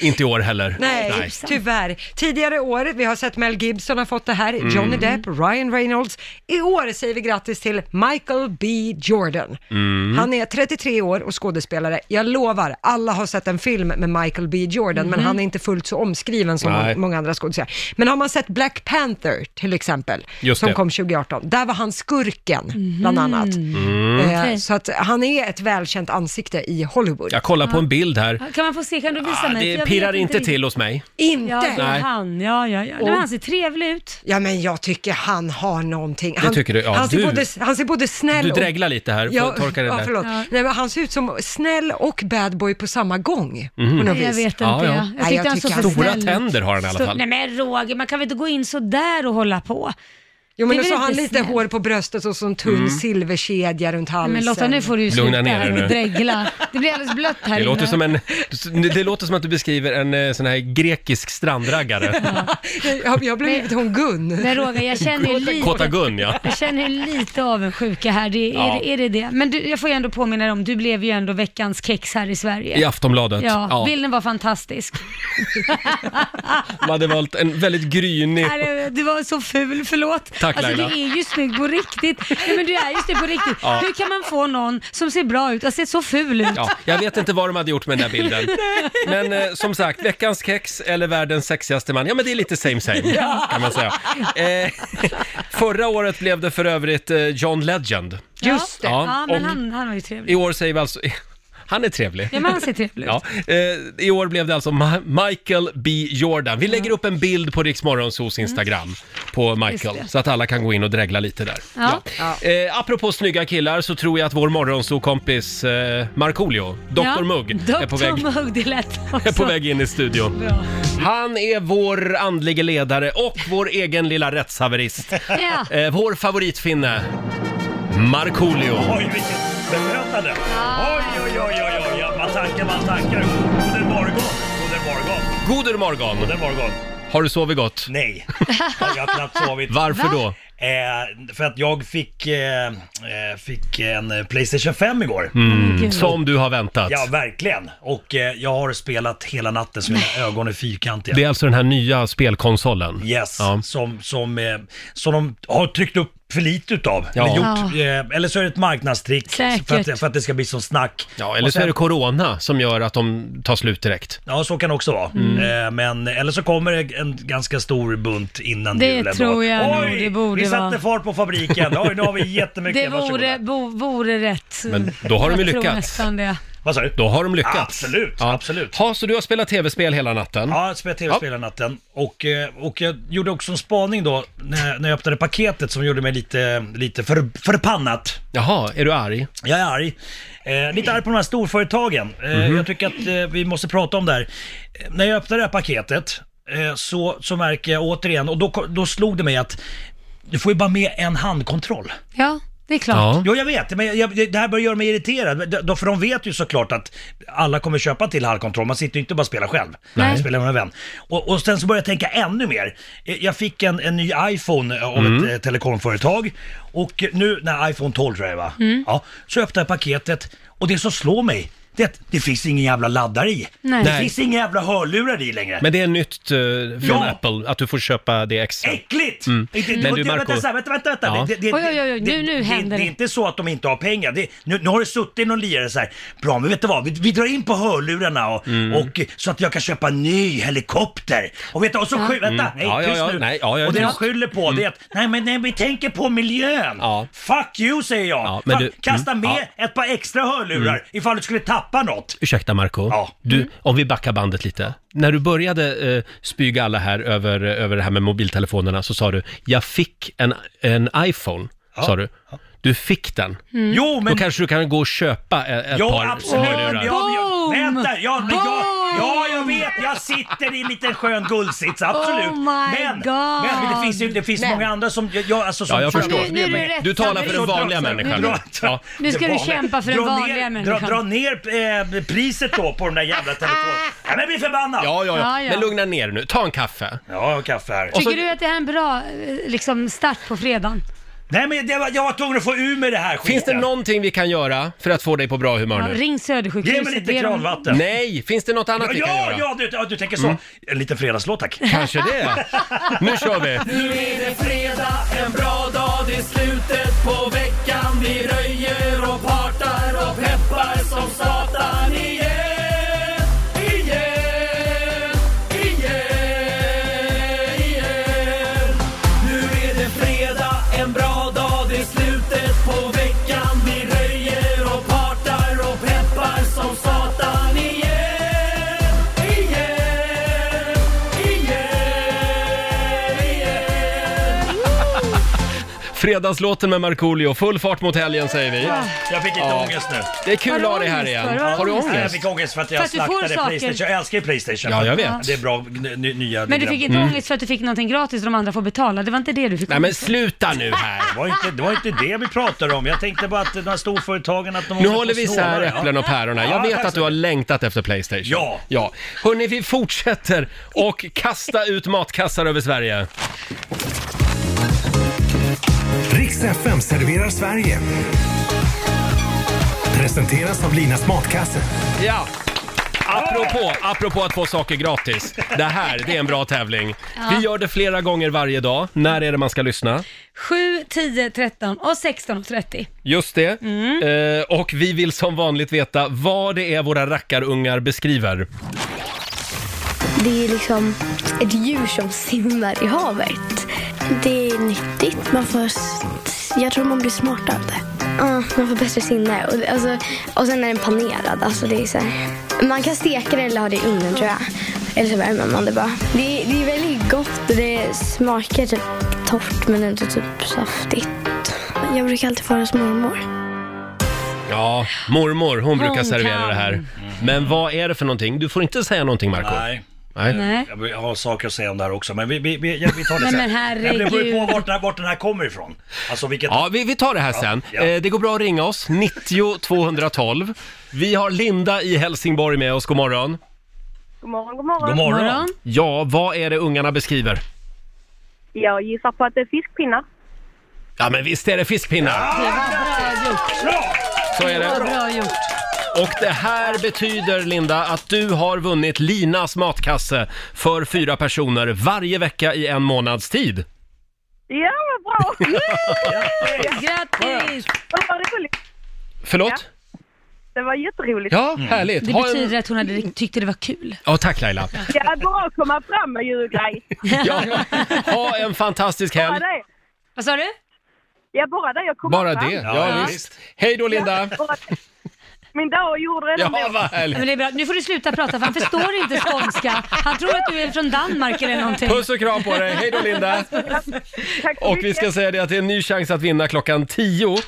S1: Inte i år heller.
S2: [laughs] Nej, tyvärr. Tidigare år, vi har sett Mel Gibson har fått det här,
S1: Mm.
S2: Johnny Depp, Ryan Reynolds. I år säger vi grattis till Michael B Jordan.
S1: Mm.
S2: Han är 33 år och skådespelare. Jag lovar, alla har sett en film med Michael B Jordan, men han är inte fullt så omskriven som
S1: Mhm. Nej.
S2: många andra skådespelare. Men har man sett Black Panther till exempel,
S1: Just
S2: som
S1: det.
S2: kom 2018, där var han skurken bland annat.
S1: Mm.
S2: Eh,
S4: Mhm. Okej.
S2: Så att han är ett välkänt ansikte i Hollywood.
S1: Jag kollar på en bild här.
S4: kan man få se? Kan du visa
S1: Ah,
S4: mig?
S1: det
S4: Jag
S1: pirrar
S4: vet
S1: inte
S4: riktigt.
S1: till hos mig.
S2: Inte!
S4: Ja, det
S1: Nej.
S4: är han. Ja, ja, ja. Nej, men han ser trevlig ut.
S2: Ja, men jag tycker han har någonting. Han,
S1: tycker du? Ja,
S2: han, ser
S1: du-
S2: både, han ser både snäll
S1: Du
S2: och...
S1: dreglar lite här. Får
S2: Ja,
S1: torka det
S2: ja,
S1: där.
S2: förlåt. Nej, men han ser ut som snäll och bad boy på samma gång. På något
S4: Nej, jag
S2: vis.
S4: vet inte.
S1: Mhm. Ja,
S4: Jag,
S1: ja. Nej,
S4: jag
S2: jag
S4: tyckte han såg för
S2: tycker han-
S1: Stora
S4: snäll ut.
S1: tänder har han i alla
S4: Stor-
S1: fall.
S4: Nej men Roger, man kan väl inte gå in så där och hålla på?
S2: Jo, men
S4: Det är
S2: så
S4: väl
S2: har han
S4: inte
S2: lite
S4: snällt.
S2: hår på bröstet och så en tunn silverkedja runt halsen.
S4: Nej, men Lotta, nu får du ju
S1: Lugna
S4: sluta
S1: ner dig
S4: här
S1: nu.
S4: och dregla. Det blir alldeles blött här
S1: Det låter,
S4: inne.
S1: som en, det låter som att du beskriver en eh, sån här
S4: [laughs]
S1: grekisk strandraggare.
S2: Jag, jag blev lite hon Gun.
S4: Men Roger, jag känner ju
S1: Kåta
S4: lite,
S1: Gun, ja.
S4: jag känner ju lite avundsjuka här. Det, är,
S1: Ja.
S4: det, är det det? Men du, jag får ju ändå påminna dig om, du blev ju ändå veckans kex här i Sverige.
S1: I Aftonbladet.
S4: Ja,
S1: Ja.
S4: bilden var fantastisk.
S1: De hade valt en väldigt grynig...
S4: Nej, det- Du var så ful, förlåt.
S1: Tack,
S4: alltså, du
S1: Laila.
S4: är ju snygg på riktigt. Nej, men du är ju snygg på riktigt. Hur kan man få någon som ser bra ut att se så ful ut?
S1: Ja, jag vet inte vad de hade gjort med den
S4: [laughs]
S1: där bilden. Men eh, som sagt, veckans kex eller världens sexigaste man, ja men det är lite same same kan man säga. Eh, [laughs] förra året blev det för övrigt eh, John Legend.
S2: Just det.
S1: Ja,
S4: Ja, men
S1: och-
S4: han, han var ju trevlig.
S1: I år säger vi alltså, [laughs] han är trevlig.
S4: Ja, men han ser trevlig ut.
S1: Ja, eh, I år blev det alltså Ma- Michael B Jordan. Vi lägger upp en bild på Rix Morgonzos Instagram på
S4: Mm. Just
S1: Michael,
S4: det.
S1: så att alla kan gå in och dregla lite där.
S4: Ja.
S1: Eh, apropå snygga killar så tror jag att vår morgonsokompis eh, Markoolio, Dr
S4: Ja.
S1: Mugg, är
S4: Dr.
S1: på väg
S4: Mugg, det lät
S1: [laughs] är på
S4: också.
S1: väg in i studion. Han är vår andlige ledare och vår egen lilla rättshaverist.
S4: [laughs] Ja.
S1: Eh, vår favoritfinne, Markoolio.
S9: Oj, vilket bemötande! Oj, oj, oj, oj, oj, ja, man tackar, man tackar. Goden morgon, goden morgon,
S1: God morgon!
S9: goden morgon.
S1: Har du sovit gott?
S9: Nej, jag har knappt sovit.
S1: [laughs] Varför
S4: Va?
S1: då?
S9: Eh, för att jag fick, eh, eh, fick en eh, Playstation 5 igår.
S4: Gud.
S1: Mm. Som du har väntat.
S9: Ja, verkligen. Och eh, jag har spelat hela natten så mina ögon är fyrkantiga.
S1: Det är alltså den här nya spelkonsolen.
S9: Yes,
S1: Ja.
S9: som, som, eh, som de har tryckt upp för lite utav.
S1: Ja.
S9: Eller, gjort, eh, eller så är det ett marknadstrick
S4: Säkert.
S9: för att, för att det ska bli sån snack.
S1: Ja, eller
S9: Och
S1: så
S9: sen-
S1: är det corona som gör att de tar slut direkt.
S9: Ja, så kan det också vara. Eh, men, eller så kommer det en ganska stor bunt innan
S4: Det
S9: julen. då.
S4: tror jag nog, det borde
S9: vi satte
S4: vara.
S9: fart på fabriken. Oj, nu har vi jättemycket.
S4: Det vore,
S9: Varsågoda.
S4: bo, vore rätt.
S1: Men då har de ju
S4: Jag tror
S1: lyckats.
S4: nästan det.
S9: Vad sa du?
S1: Då har de lyckats.
S9: Absolut, absolut.
S1: Ha, så du har spelat tv-spel hela natten?
S9: Ja, jag spelade tv-spel hela natten och, eh, och jag gjorde också en spaning då när, när jag öppnade paketet som gjorde mig lite, lite för, förbannat.
S1: Jaha, är du arg?
S9: Jag är arg. Eh, lite arg på de här storföretagen. Eh,
S1: Mhm.
S9: Jag tycker att eh, vi måste prata om det här. Eh, När jag öppnar det här paketet eh, så, så märker jag återigen, och då, ko- då slog det mig att du får ju bara med en handkontroll.
S4: Ja, det är klart.
S1: Ja.
S9: Jo, jag vet, men jag, jag, det här börjar göra mig irriterad. Men de- de- För de vet ju såklart att alla kommer köpa till handkontroll. Man sitter ju inte och bara och spelar själv.
S4: Nej.
S9: Man spelar med en vän. Och, och sen så började jag tänka ännu mer. Eh, Jag fick en, en ny iPhone av ett eh, telekomföretag. eh, Och nu, när iPhone 12 tror jag det var. Ja, så öppnar jag paketet och det som slår mig, det, det finns ingen jävla laddare i.
S4: Nej.
S9: Det
S1: Nej.
S9: finns inga jävla hörlurar i längre.
S1: Men det är nytt eh, från
S9: Ja.
S1: Apple, att du får köpa det extra.
S9: Äckligt! Inte,
S1: Men
S9: det,
S1: du,
S9: det,
S1: Marco-
S9: vänta, vänta, vänta, vänta, vänta.
S1: Ja.
S9: Det, det, det,
S4: Oj, oj, oj, oj, nu-
S9: det-
S4: nu
S9: det,
S4: händer
S9: det.
S4: det.
S9: är inte så att de inte har pengar. Det, nu, nu har det suttit någon lirare så här, bra men vet du vad, vi, vi drar in på hörlurarna och,
S1: Mm.
S9: och, så att jag kan köpa en ny helikopter. Och vet du, och så skyller, vänta, nej
S1: Mm. Ja, ja,
S9: tyst
S1: ja,
S9: nu.
S1: nej, ja, jag är
S9: och det de
S1: tyst. Mm.
S9: skyller på det är att, nej men nej, vi tänker på miljön.
S1: Ja.
S9: Fuck you säger jag.
S1: Ja, men
S9: Fan,
S1: du-
S9: Kasta
S1: mm,
S9: med ett par extra hörlurar ifall du skulle tappa något.
S1: Ursäkta Marco,
S9: Ja.
S1: du, om vi backar bandet lite. När du började eh, spyga alla här över, eh, över det här med mobiltelefonerna så sa du, jag fick en, en iPhone, sa du. Du fick den.
S9: Jo men
S1: Då kanske du kan gå och köpa e- ett
S9: Ja,
S1: par
S9: absolut.
S1: hörlurar.
S9: Ja, jag,
S4: Boom!
S9: vänta, ja, men jag,
S4: Boom!
S9: ja, jag vet. Jag sitter i en liten skön guldsits, absolut.
S4: Oh my
S9: men,
S4: God.
S9: men det finns ju det finns många andra som... Jag, jag, alltså, som
S1: Ja, jag
S9: som-
S1: förstår.
S4: Nu- nu är du rätt.
S1: Du talar för den
S4: Så
S1: vanliga
S9: dra-
S1: människan.
S9: dra-
S1: Ja.
S4: Nu ska
S9: det
S4: du
S9: vanliga-
S4: kämpa för den
S9: dra
S4: vanliga
S9: ner, dra,
S4: människan. Ah!
S9: dra ner eh, priset då på den där jävla telefonen. Ja, men jag blir förbannad. Ja,
S1: Ja, ja, ja.
S4: Ja, ja.
S1: Men lugna ner nu. Ta en kaffe.
S9: jag har kaffe här.
S4: Tycker du att det här är en bra eh, liksom, start på fredagen?
S9: Nej, men det var, jag var tvungen att få ur med det här skiten.
S1: Finns det någonting vi göra för att få dig på bra humör
S4: Ja,
S1: nu?
S4: ring
S9: Ge
S4: Södersjukhuset.
S9: mig lite
S4: Be dem-
S9: kranvatten.
S1: Nej, finns det något annat vi kan
S9: Ja,
S1: göra?
S9: ja, du, ja, du tänker så. En liten fredagslåt tack.
S1: Mm. Kanske det.
S9: [laughs]
S1: Nu kör vi.
S6: Nu är det fredag, en bra dag, det är slutet på veckan. Vi röjer och partar och peppar som satan igen. Igen, igen, igen. Nu är det fredag, en bra dag, det är slutet på veckan. Vi röjer och partar och peppar som satan igen. Igen, igen, igen.
S1: Fredagslåten med Markoolio. Full fart mot helgen säger vi.
S9: Jag fick lite ångest nu.
S1: Det är kul
S4: Har
S1: att
S4: du
S1: ha dig här
S4: ångest
S1: igen.
S4: för? Har du
S1: Har du
S4: ångest?
S9: Nej, jag
S1: ångest?
S9: fick ångest för att jag
S4: För att du får
S9: slaktade
S4: saker.
S9: Playstation. Jag älskar ju Playstation.
S1: Ja, jag vet. Mm.
S9: Det är bra n- ny- nya
S4: Men du
S9: nya-
S4: fick inte ångest för att du fick någonting gratis och de andra får betala. Det var inte det du fick
S1: Nej men
S4: ångest
S1: sluta nu här.
S9: Det var, inte, det var inte det vi pratade om. Jag tänkte bara att de här storföretagen att de
S1: Nu
S9: åker på
S1: håller vi isär
S9: snålar, ja.
S1: äpplen och päron här. Jag
S9: Ja,
S1: vet
S9: tack
S1: att du
S9: så
S1: har längtat efter Playstation.
S9: Ja.
S1: ja. Hörni, vi fortsätter och kasta ut matkassar över Sverige.
S10: Riks FM serverar Sverige. Presenteras av Linas Matkasse.
S1: Ja. Apropå, apropå att få saker gratis. Det här, det är en bra tävling. Vi gör det flera gånger varje dag. När är det man ska lyssna?
S4: för. 7, 10, 13 och 16 och 30.
S1: Just det.
S4: Mm.
S1: Eh, och vi vill som vanligt veta vad det är våra rackarungar beskriver.
S6: Det är liksom ett djur som simmar i havet. Det är nyttigt. Man får, s- jag tror man blir smart av det. Ja, man får bättre sinne. Och, det- alltså, och sen är den panerad. Alltså, det är så här. Man kan steka det eller ha det i ugnen tror jag. Eller så värmer man det bara. Det, är- det är väldigt gott och det smakar typ torrt men inte typ saftigt. Jag brukar alltid få det hos mormor.
S1: Ja, mormor, hon brukar
S4: Hon
S1: servera
S4: kan. Mm.
S1: det här. Men vad är det för någonting? Du får inte säga någonting, Marco.
S9: Nej.
S1: Nej.
S4: Nej.
S9: Jag vill- Jag har saker att säga om det här också, men vi, vi, vi, ja, vi tar det
S4: Nej,
S9: sen.
S4: men herregud.
S9: Det beror ju på vart, den här- vart den här kommer ifrån. Alltså vilket...
S1: Ja, vi, vi tar det här sen.
S9: ja.
S1: Eh, det går bra att ringa oss, 90 212. Vi har Linda i Helsingborg med oss, god morgon.
S6: God morgon, god morgon.
S9: God morgon.
S4: Morgon.
S1: Ja, vad är det ungarna beskriver?
S6: Jag gissar på att det är fiskpinnar.
S1: Ja, men visst är det fiskpinnar!
S4: Det var bra gjort.
S9: Bra!
S1: Så är
S4: Det var
S1: det.
S4: bra gjort.
S1: Och det här betyder, Linda, att du har vunnit Linas matkasse för fyra personer varje vecka i en månads tid.
S6: Ja, vad bra!
S9: Grattis!
S4: Grattis!
S6: Det var roligt.
S1: Förlåt?
S6: Det var jätteroligt.
S1: Ja, härligt.
S4: Det
S1: Ha en-
S4: betyder att hon hade tyckte det var kul.
S1: Ja, tack Laila.
S6: Ja, bra att komma fram med djurgrej.
S1: [laughs] Ja, ha en fantastisk
S6: Bara
S1: helg.
S6: det.
S4: Vad sa du?
S6: Ja, bara det. Jag kom
S1: Bara
S6: fram.
S1: det,
S9: Ja,
S1: ja visst.
S9: visst.
S1: Hej då Linda!
S6: Bara det. Min dag gjorde redan
S1: Ja, vad
S4: Ja,
S1: härligt.
S4: men det är bra. Nu får du sluta prata för han förstår inte skånska. Han tror att du är från Danmark eller någonting.
S1: Puss och kram på dig, hej då Linda!
S6: [laughs] Tack så
S1: Och vi
S6: mycket.
S1: ska säga det att det är en ny chans att vinna klockan 10.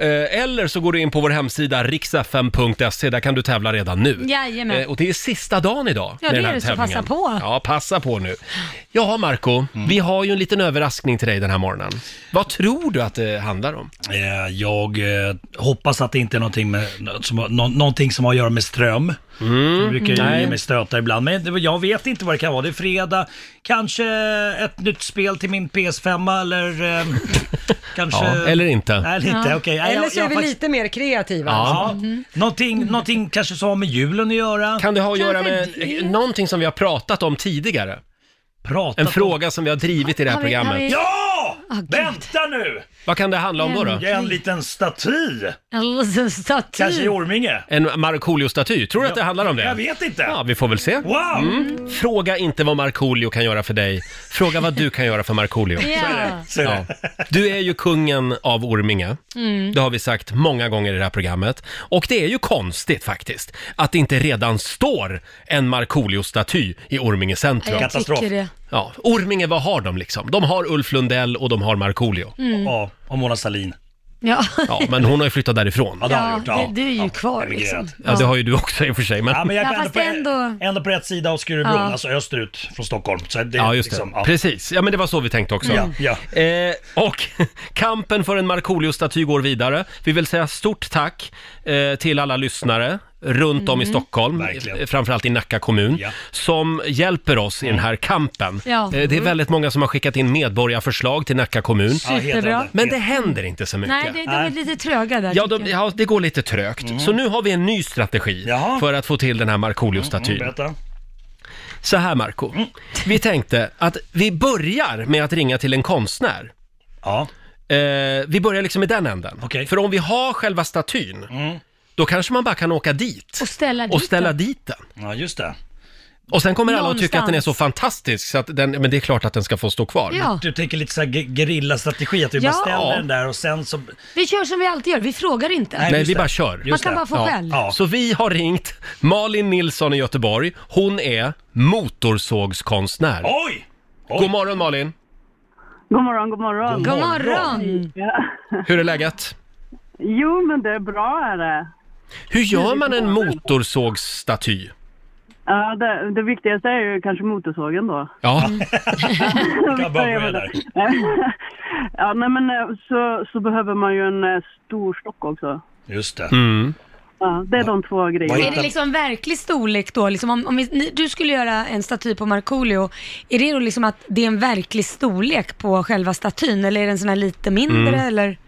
S1: Eh, Eller så går du in på vår hemsida riksfm.se, E. där kan du tävla redan nu.
S4: Jajamän.
S1: Eh, Och det är sista dagen idag
S4: Ja,
S1: med
S4: det
S1: den
S4: är
S1: här
S4: det, så
S1: tävlingen.
S4: passa på.
S1: Ja, passa på nu. Ja, Marco,
S9: Mm.
S1: vi har ju en liten överraskning till dig den här morgonen. Vad tror du att det handlar om?
S9: Eh, Jag eh, hoppas att det inte är någonting med, som, har- nå- någonting som har att göra med ström. De brukar ju
S1: Mm. Nej.
S9: ge mig stötar ibland, men det, jag vet inte vad det kan vara. Det är fredag, kanske ett nytt spel till min PS5
S1: [laughs]
S9: eller eh, kanske...
S1: Ja, eller inte.
S9: Nej, eller inte, okej. Nej,
S2: Eller
S9: jag-
S2: så är
S9: jag
S2: vi
S9: faktiskt-
S2: lite mer kreativa.
S9: Ja, någonting, någonting kanske som har med julen att göra.
S1: Kan det ha att göra med eh,
S4: Kanske det.
S1: någonting som vi har pratat om tidigare?
S9: Prata
S1: En
S9: på-
S1: fråga som vi har drivit i det här
S4: Har vi- har
S1: programmet.
S4: vi- Ah,
S9: Ja!
S4: Gud.
S9: Vänta nu!
S1: Vad kan det handla om då? då?
S9: Jag är en liten staty,
S4: En liten staty.
S9: kanske i Orminge.
S1: Typ. En Markoolio-staty? Tror du att det handlar om det?
S9: Jag vet inte.
S1: Ja, vi får väl se. Mm.
S9: Wow!
S1: Fråga inte vad Markoolio kan göra för dig. Fråga vad du kan göra för Markoolio.
S4: Ja.
S9: Så,
S1: Ja. Du är ju kungen av Orminge.
S4: Mm.
S1: Det har vi sagt många gånger i det här programmet. Och det är ju konstigt faktiskt att det inte redan står en Markoolio-staty i Orminge centrum.
S4: Jag
S9: Katastrof.
S4: tycker det.
S1: Ja, Orminge, vad har de liksom? De har Ulf Lundell och de har Markoolio.
S9: Mm. Ja, och Mona Sahlin.
S4: Ja,
S1: Ja, men hon har ju flyttat därifrån.
S9: Ja, det har jag
S4: ja
S9: gjort. Ja.
S4: det, du är ju kvar
S9: emigrerat.
S4: liksom.
S1: Ja, det har ju du också i och för sig. Men...
S9: Ja, men jag
S4: Ja,
S9: är ändå,
S4: fast
S9: på, e-
S4: ändå-
S9: ändå... på rätt sida av Skurubron,
S4: Ja.
S9: alltså österut från Stockholm. Så det,
S1: Ja, just det.
S9: liksom, ja.
S1: Precis. Ja, men det var så vi tänkte också.
S9: Ja, ja.
S1: Eh, och [laughs] kampen för en Markoolio-staty går vidare. Vi vill säga stort tack eh, till alla lyssnare runt om i
S4: Mm.
S1: Stockholm,
S9: Verkligen.
S1: eh, framförallt i Nacka kommun,
S9: Ja. Mm.
S1: som hjälper oss i den här kampen.
S4: Ja.
S1: Eh, det är väldigt många som har skickat in medborgarförslag till Nacka kommun.
S9: Ja, hedrande.
S4: Superbra.
S1: Men det händer inte så mycket.
S4: Nej, det, de är lite tröga där
S1: Ja,
S4: tycker
S1: de,
S4: jag.
S1: ja, det går lite trögt.
S9: Mhm.
S1: Så nu har vi en ny strategi
S9: Jaha.
S1: för att få till den här Markoolio-statyn.
S9: Mm, Berätta. Mm.
S1: Så här Marco, vi tänkte att vi börjar med att ringa till en konstnär.
S9: Ja,
S1: Eh, vi börjar liksom i den änden.
S9: Okej. Mm.
S1: För om vi har själva statyn, då kanske man bara kan åka dit
S4: Och ställa dit
S1: och ställa
S4: dem.
S1: dit den.
S9: ja just det.
S1: Och sen kommer alla att tycka att den är så
S4: Någonstans.
S1: fantastisk så att den, men det är klart att den ska få stå kvar.
S4: Ja,
S9: Du tänker lite så här ge- gerillastrategi, att vi
S4: Ja.
S9: bara ställer den där och sen så...
S4: vi kör som vi alltid gör, vi frågar inte.
S9: Nej,
S1: Nej,
S9: just
S1: vi
S9: det.
S1: bara kör.
S4: Man
S9: just
S4: kan
S9: det.
S4: bara få
S1: Ja.
S4: själv.
S9: Ja.
S1: Så vi har ringt Malin Nilsson i Göteborg. Hon är motorsågskonstnär.
S9: Oj! Oj.
S1: God morgon Malin!
S11: God morgon, god morgon.
S4: God morgon!
S1: Hur är läget?
S11: Jo, men det är bra är det.
S1: Hur gör man en motorsågsstaty?
S11: Ja, det, det viktigaste är ju kanske motorsågen
S9: [laughs]
S11: då.
S1: Ja,
S9: Jag bara börja där.
S11: [laughs] ja, nej men eh, så, så behöver man ju en eh, stor stock också.
S9: Just det.
S1: Mm.
S11: Ja, det är de två
S9: Vad
S11: grejerna.
S4: Är det liksom verklig storlek då? Liksom om, om vi, ni, du skulle göra en staty på Markoolio, är det då liksom att det är en verklig storlek på själva statyn eller är den sån här lite mindre
S1: Mm.
S4: eller?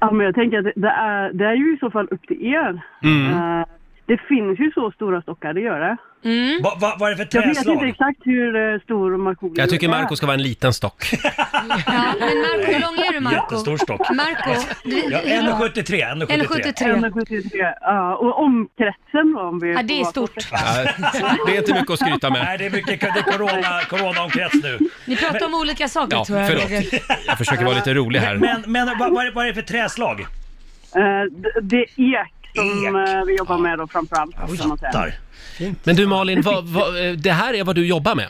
S11: Ja, men jag tänker att det- det är, det är ju i så fall upp till er.
S9: Mm.
S11: Eh, Det finns ju så stora stockar, det gör det.
S4: Mm.
S9: Va, va, vad är det för
S11: Jag vet inte
S9: träslag?
S11: exakt hur eh, stor Markoolio
S1: jag tycker
S11: är.
S1: Marco ska vara en liten stock.
S4: Ja, men Marco, hur lång är du Marco?
S9: Jättestor stock.
S4: Marco, du-
S9: Ja, 1,73. 1,73.
S4: 1,73.
S11: 173, ja. Och omkretsen då om vi...
S4: Ja, det är
S11: får-
S4: stort.
S1: Ja, det är inte mycket att skryta med.
S9: Nej, det är mycket det är corona, coronaomkrets nu.
S4: Ni pratar om olika saker
S1: Ja,
S4: tror jag.
S1: förlåt.
S4: Roger.
S1: Jag försöker vara lite rolig här.
S9: Men, men vad, vad, är, vad är det för träslag?
S11: Eh, det- Det är ek som
S9: Ek.
S11: eh, vi jobbar med då framförallt. kan man säga.
S9: Där.
S1: Men du Malin, vad, vad, eh, det här är vad du jobbar med?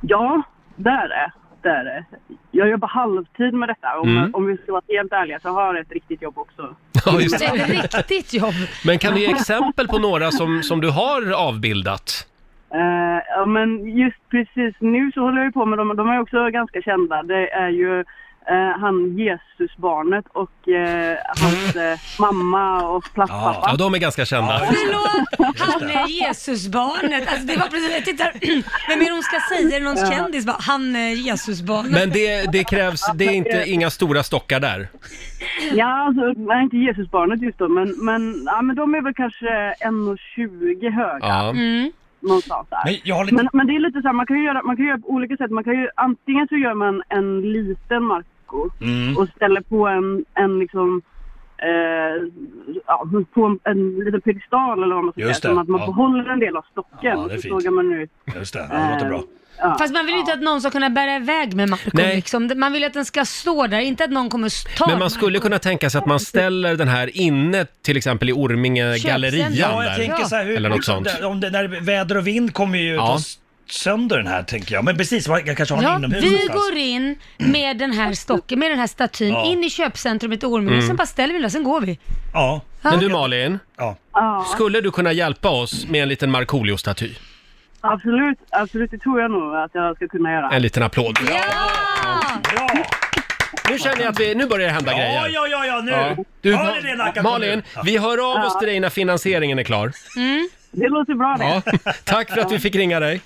S11: Ja, det är det. det, är det. Jag jobbar halvtid med detta. Om, om vi ska vara helt ärliga så har jag ett riktigt jobb också.
S1: Mm. Ja,
S4: Det
S1: just det.
S4: är ett riktigt jobb.
S1: Men kan du
S11: [laughs]
S1: ge exempel på några som, som du har avbildat?
S11: Eh, ja, men just precis nu så håller jag ju på med dem. De är också ganska kända. Det är ju eh, han Jesusbarnet och eh, hans eh, mamma och plastpappa.
S1: Ja, de är ganska kända.
S4: Förlåt, han är Jesusbarnet. Alltså det var precis, jag tittar, [clears throat] vem är det hon ska säga? Är det någon kändis? Bara, Han är Jesusbarnet.
S1: Men det, det krävs, det är inte, inga stora stockar där.
S11: Ja, alltså, nej, inte Jesusbarnet just då, men, men, ja, men de är väl kanske 1,20 höga
S1: Ja.
S11: någonstans där.
S9: Men jag har lite...
S11: Men, men det är lite så här, man kan ju göra, man kan göra på olika sätt. Man kan ju, antingen så gör man en liten Marco
S9: Mm.
S11: och ställer på en, en liksom eh, ja, på en, en liten piedestal eller vad man ska
S9: Just
S11: säga. Som
S9: det,
S11: att man
S9: ja.
S11: behåller en del av stocken
S9: Ja,
S11: och
S9: det är
S11: så
S9: fint.
S11: sågar man ut. Eh,
S9: Just det, ja, det låter bra.
S4: Fast man vill ju inte att någon ska kunna bära iväg med Marco.
S1: Nej.
S4: Liksom. Man vill ju att den ska stå där, inte att någon kommer att ta
S1: Men man skulle kunna tänka sig att man ställer den här inne, till exempel i Orminge
S4: Köpcentrum.
S1: gallerian
S9: Ja, jag
S1: där.
S9: tänker så här, hur,
S1: Eller något sånt.
S9: Om det, när väder och vind kommer ju
S1: Ja.
S9: ta s- sönder den här, tänker jag. Men precis, man jag kanske har den
S4: Ja,
S9: inomhus
S4: vi
S9: någonstans.
S4: går in med den här stocken, med den här statyn,
S9: Ja.
S4: in i köpcentrumet i Orminge,
S1: Mm.
S4: sen bara ställer vi den, sen går vi.
S9: Ja,
S1: Men du Malin,
S9: ja.
S11: Ja,
S1: skulle du kunna hjälpa oss med en liten Markoolio-staty?
S11: absolut, absolut. Det tror jag nog att jag ska kunna göra.
S1: En liten applåd.
S4: Ja!
S9: Bra!
S1: nu känner jag att vi, nu börjar det hända
S9: Ja,
S1: grejer.
S9: ja, ja, ja, nu!
S1: Du,
S9: Hör ni det Nacka kommun?
S1: Malin,
S9: Ja.
S1: vi hör av oss till dig när finansieringen är klar.
S4: Mm.
S11: Det låter bra det.
S1: Ja.
S11: Ja,
S1: Tack för att vi fick ringa dig.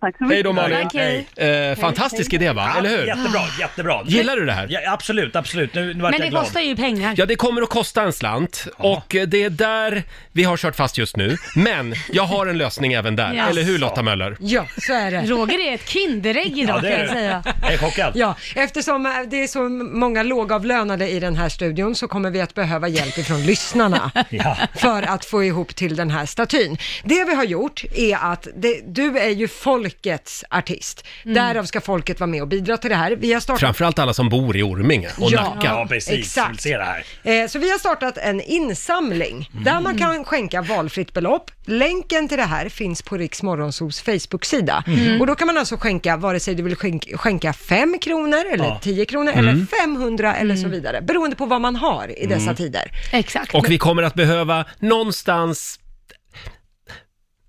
S11: tack så mycket.
S1: Hej då Malin.
S4: Tack, hej.
S1: Eh, fantastisk idé va,
S9: Ja,
S1: eller hur? Ah.
S9: Jättebra, jättebra.
S1: Gillar du det här?
S9: Ja, absolut, absolut. Nu, nu vart
S4: Men
S9: jag
S4: det
S9: glad.
S4: kostar ju pengar.
S1: Ja, det kommer att kosta en slant och eh, det är där vi har kört fast just nu. Men jag har en lösning även där,
S4: Jaså.
S1: eller hur Lotta Möller?
S2: Alltså. Ja, så är det.
S4: Roger är ett kinderägg idag
S9: det
S4: kan
S9: är
S4: jag
S9: det.
S4: säga.
S9: Jag är chockad.
S2: Ja, eftersom eh, det är så många lågavlönade i den här studion så kommer vi att behöva hjälp ifrån lyssnarna
S4: [laughs]
S9: Ja.
S2: för att få ihop till den här statyn. Det vi har gjort är att det, du är ju folkets artist.
S4: Mm.
S2: Därav ska folket vara med och bidra till det här. Vi har startat
S1: Framförallt alla som bor i Orminge och
S2: Ja.
S1: Nacka.
S9: Ja, precis.
S2: Exakt.
S9: Vill se det här.
S2: Eh, Så vi har startat en insamling där man
S1: Mm.
S2: kan skänka valfritt belopp. Länken till det här finns på Riks Morgonzos Facebook-sida.
S1: Mm.
S2: Och då kan man alltså skänka, vare sig du vill skänk- skänka 5 kronor eller
S9: Ja.
S2: 10 kronor
S1: Mm.
S2: eller 500 eller så vidare. Beroende på vad man har i dessa tider.
S4: Exakt.
S1: Och vi kommer att behöva någonstans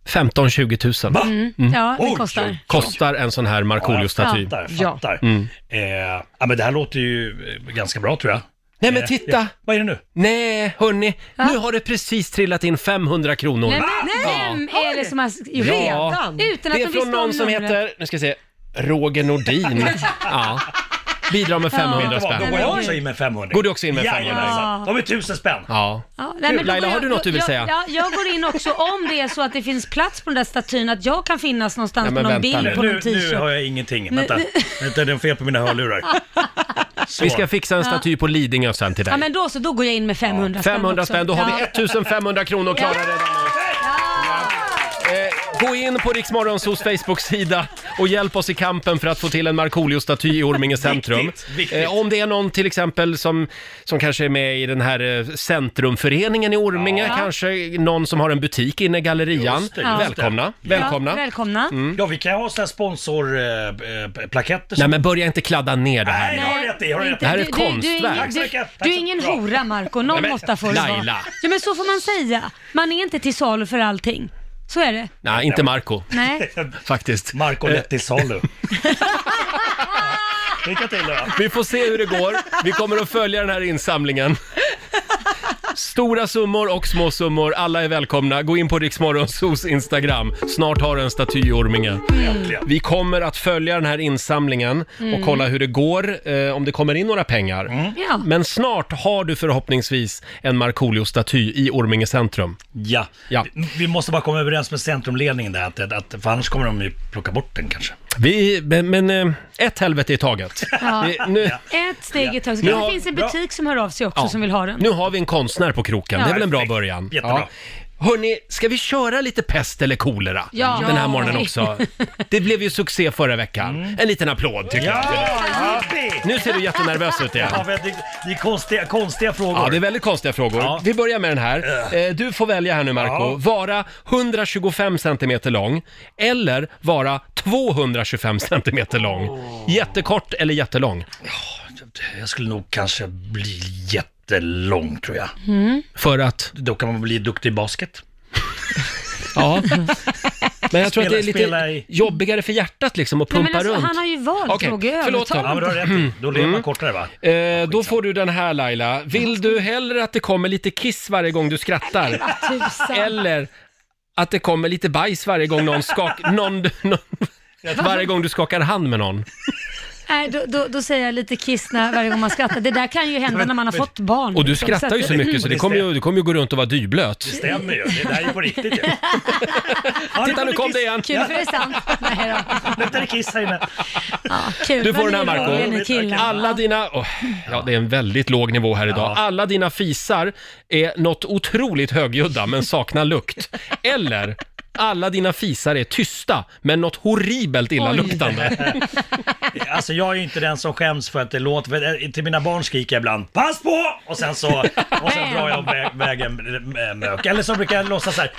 S1: 15-20 000.
S9: Va?
S1: Mm.
S4: Ja, det
S9: Oj,
S4: kostar.
S9: oj.
S1: Kostar en sån här Markoolio-staty. Mm.
S9: Fattar, fattar. Eh, ja, men det här låter ju eh, ganska bra tror jag.
S1: Nej
S9: Eh,
S1: men
S9: ja.
S1: titta!
S9: Vad är det nu?
S1: Nej, hörni, nu har det precis trillat in 500 kronor.
S4: Nej,
S9: Ah!
S4: men vem är det som har gjort det?
S1: Ja.
S4: Utan att de
S1: Det är
S4: visste
S1: från
S4: om
S1: någon som
S4: numret.
S1: heter, nu ska vi se,
S4: [laughs]
S1: Roger Nordin. Ja. Bidrar med 500
S9: Vet du vad, Då
S1: spänn.
S9: går jag också in med 500.
S1: Går du också in med 500?
S9: Jajamensan. De är tusen spänn.
S1: Ja.
S4: Ja, nej,
S1: Kul.
S4: då
S1: Laila,
S4: går
S1: har du något du vill
S4: jag,
S1: säga?
S4: Ja, jag går in också om det är så att det finns plats på den där statyn, att jag kan finnas någonstans
S1: Nej, men
S4: på någon
S1: vänta
S4: bild på
S9: Nu,
S4: någon
S9: nu har
S4: t-shirt.
S9: jag
S4: [laughs]
S9: ingenting. Vänta, Vänta, det är fel på mina hörlurar. Så.
S1: Vi ska fixa en staty på Lidingö sen till
S4: Ja,
S1: dig.
S4: men då så, då går jag in med 500 spänn
S1: 500
S4: också.
S1: spänn, då har
S4: Ja.
S1: vi 1500 kronor klara redan nu. Eh, Gå in på Riksmorgonsos Facebook-sida och hjälp oss i kampen för att få till en Markoolio-staty i Orminge centrum.
S9: Viktigt, viktigt.
S1: Eh, Om det är någon till exempel som, som kanske är med i den här eh, centrumföreningen i Orminge, kanske någon som har en butik inne i gallerian.
S9: Just det, just det.
S1: välkomna,
S4: Ja,
S1: välkomna. Mm.
S4: välkomna.
S9: Ja, vi kan ha sådana eh, sponsorplaketter.
S1: Nej men börja inte kladda ner det här
S9: Nej,
S1: nu.
S9: har rätt i, har rätt i.
S4: inte-
S1: Det här är
S4: du-
S1: ett
S4: du- du är
S1: konstverk.
S4: ingen-
S9: Tack så mycket, tack
S4: Du, du är
S9: så-
S4: ingen
S9: bra.
S4: hora Marco någon
S1: Nej, men
S4: måtta får det
S1: Laila.
S4: vara. Ja, men så får man säga. Man är inte till salu för allting. Så är det.
S1: Nej, inte Marco
S4: Nej.
S9: [laughs]
S1: faktiskt. Eh,
S9: Marko lätt till salu. Lycka till då.
S1: Vi får se hur det går. Vi kommer att följa den här insamlingen. Stora summor och små summor, alla är välkomna. Gå in på Riksmorgonsos Instagram. Snart har du en staty i Orminge.
S9: Äntligen.
S1: Vi kommer att följa den här insamlingen och kolla hur det går, eh, om det kommer in några pengar.
S4: Ja.
S1: Men snart har du förhoppningsvis en Markoolio-staty i Orminge centrum.
S9: Ja.
S1: Ja.
S9: Vi- Vi måste bara komma överens med centrumledningen där, att, att, för annars kommer de ju plocka bort den kanske.
S1: Vi, men, men eh, ett helvete i taget. Vi, nu,
S4: Ett steg i taget.
S1: Nu
S4: Det
S1: har-
S4: finns en
S9: bra.
S4: butik som hör av sig också
S1: Ja.
S4: som vill ha den.
S1: Nu har vi en konstnär på kroken, det är väl en bra
S9: Perfekt.
S1: början.
S9: Jättebra.
S1: Hörni, ska vi köra lite pest eller kolera
S4: Ja.
S1: den här
S4: Ja.
S1: morgonen också? Det blev ju succé förra veckan.
S9: Mm.
S1: En liten applåd tycker jag.
S9: Jippi!
S1: Nu ser du jättenervös ut igen.
S9: Ja, men det, det är konstiga, konstiga frågor.
S1: Ja, det är väldigt konstiga frågor.
S9: Ja. Äh.
S1: Vi börjar med den här. Eh, Du får välja här nu Marco.
S9: Ja.
S1: Vara 125 centimeter lång eller vara 225 centimeter lång. Jättekort eller jättelång?
S9: Jag skulle nog kanske bli jättelång tror jag.
S4: Mm.
S1: För att...
S9: Då kan man bli duktig i basket. [laughs]
S1: Ja.
S4: [laughs]
S1: Men jag tror att det är
S9: Spela- spela
S1: lite
S9: i-
S1: jobbigare för hjärtat liksom att
S4: Nej,
S1: pumpa
S4: men alltså,
S1: runt.
S4: han har ju valt Mm.
S1: Okej,
S4: Roger.
S1: förlåt då. Mm.
S4: Övertala
S9: Ja, men du har rätt i. Då lever man kortare va?
S1: Eh, då får du den här Laila. Vill du hellre att det kommer lite kiss varje gång du skrattar?
S4: [laughs] tusan.
S1: Eller att det kommer lite bajs varje gång
S4: [laughs]
S1: någon skak... Någon, någon, varje gång du skakar hand med någon?
S4: Nej, då, då, då säger jag lite kiss när, varje gång man skrattar. Det där kan ju hända när man har fått barn.
S1: Och du
S4: liksom.
S1: skrattar
S4: att-
S1: ju så mycket så det kommer ju, du kommer ju gå runt och vara dyblöt.
S9: Mm. Det stämmer ju. Det där är ju på riktigt ju.
S1: Titta, nu kom det igen!
S4: Kul för det är sant. Nej då.
S9: [laughs] Luktade kiss här inne.
S4: Ja, kul.
S1: Du får
S4: Men
S1: den här,
S4: det är
S1: Marco.
S4: roligt, ni killar.
S1: Alla dina... åh, ja, det är en väldigt låg nivå här idag.
S9: Ja.
S1: Alla dina fisar är något otroligt högljudda men saknar lukt. Eller alla dina fisar är tysta men något horribelt illaluktande.
S9: Alltså jag är ju inte den som skäms för att det låter, för, eh, till mina barn skriker jag ibland ”Pass på!” och sen så, och sen drar jag vä vägen eh, mök. Eller så brukar jag låtsas så här,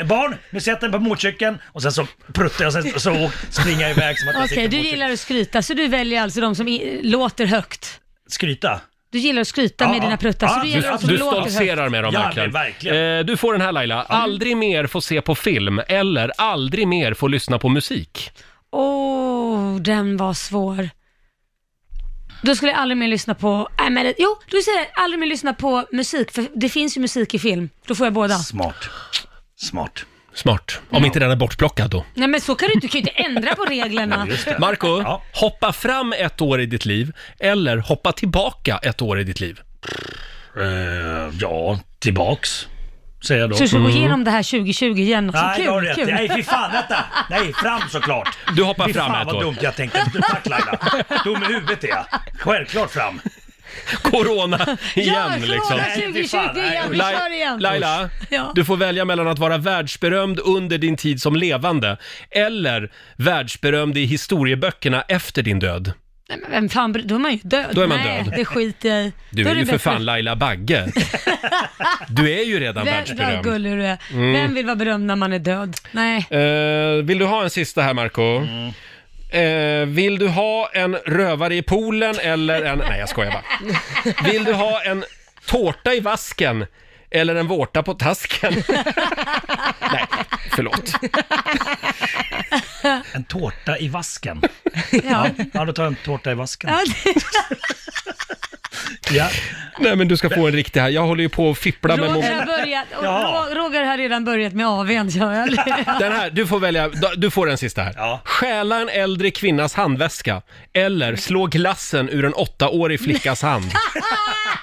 S9: eh, ”Barn, nu sätter jag på motorcykeln” och sen så pruttar jag och sen så springer jag iväg som att jag
S4: Okej,
S9: sitter på
S4: du
S9: motorcykeln.
S4: gillar att skryta, så du väljer alltså de som i, låter högt.
S9: Skryta?
S4: Du gillar att skryta med
S9: Ja,
S4: dina pruttar,
S9: ja.
S4: så du
S9: Du-
S4: gillar alltså de som
S1: Du alltså
S4: låter högt.
S1: stoltserar med dem
S9: Ja,
S1: verkligen.
S9: men verkligen.
S1: Eh, du får den här Laila. Aldrig mer få se på film eller aldrig mer få lyssna på musik.
S4: Åh, oh, den var svår. Då skulle jag aldrig mer lyssna på, nej men det- jo, då säger jag aldrig mer lyssna på musik, för det finns ju musik i film. Då får jag båda.
S9: Smart. Smart.
S1: Smart. Om inte den är bortplockad då.
S4: Nej men så kan du inte, du kan ju inte ändra på reglerna.
S9: Just det.
S1: Marco,
S9: Ja.
S1: hoppa fram ett år i ditt liv eller hoppa tillbaka ett år i ditt liv.
S9: Eh, ja, tillbaks. Säger jag då. Mm.
S4: Så du ska
S1: Mm.
S4: gå igenom det här 2020 igen också.
S9: Nej, du har
S4: kul,
S9: rätt.
S4: kul.
S9: Nej, fy fan, vänta. Nej, fram såklart.
S1: Du hoppar
S9: fy
S1: fram
S9: fan
S1: ett
S9: vad
S1: år.
S9: dumt jag tänkte. Tack Laila. Dum i huvudet är jag. Självklart fram.
S1: Corona igen
S4: ja,
S1: liksom.
S4: Corona
S9: Nej, fy
S4: 2020
S9: fan, nej.
S4: igen, vi
S1: Lai-
S4: kör igen.
S1: Laila,
S4: Ja.
S1: du får välja mellan att vara världsberömd under din tid som levande eller världsberömd i historieböckerna efter din död.
S4: Nej, men vem fan, bry- då är man ju död.
S1: Då är man
S4: Nej,
S1: död.
S4: det skiter jag i.
S1: Du
S4: Då
S1: är
S4: det
S1: ju för
S4: bättre-
S1: fan Laila Bagge.
S4: [laughs]
S1: Du är ju redan
S4: Vem, vad
S1: världsberömd.
S4: gullig du är.
S1: Mm.
S4: Vem vill vara berömd när man är död? Nej.
S1: Eh, vill du ha en sista här, Marco? Eh, vill du ha en rövare i poolen eller en... Nej, jag skojar bara. Vill du ha en tårta i vasken eller en vårta på tasken? Nej, förlåt.
S9: En tårta i vasken.
S4: Ja.
S9: Ja, då tar jag en tårta i vasken.
S4: Ja, det-
S9: Ja.
S1: Nej, men du ska få en riktig här. Jag håller ju på att fippla med...
S4: Roger,
S1: Mom-
S4: har börjat, och
S9: Ja.
S4: Ro- Roger har redan börjat med AWn, så jag.
S1: den här, du får välja. Du får den sista här.
S9: Ja.
S1: Stjäla en äldre kvinnas handväska eller slå glassen ur en åttaårig flickas hand.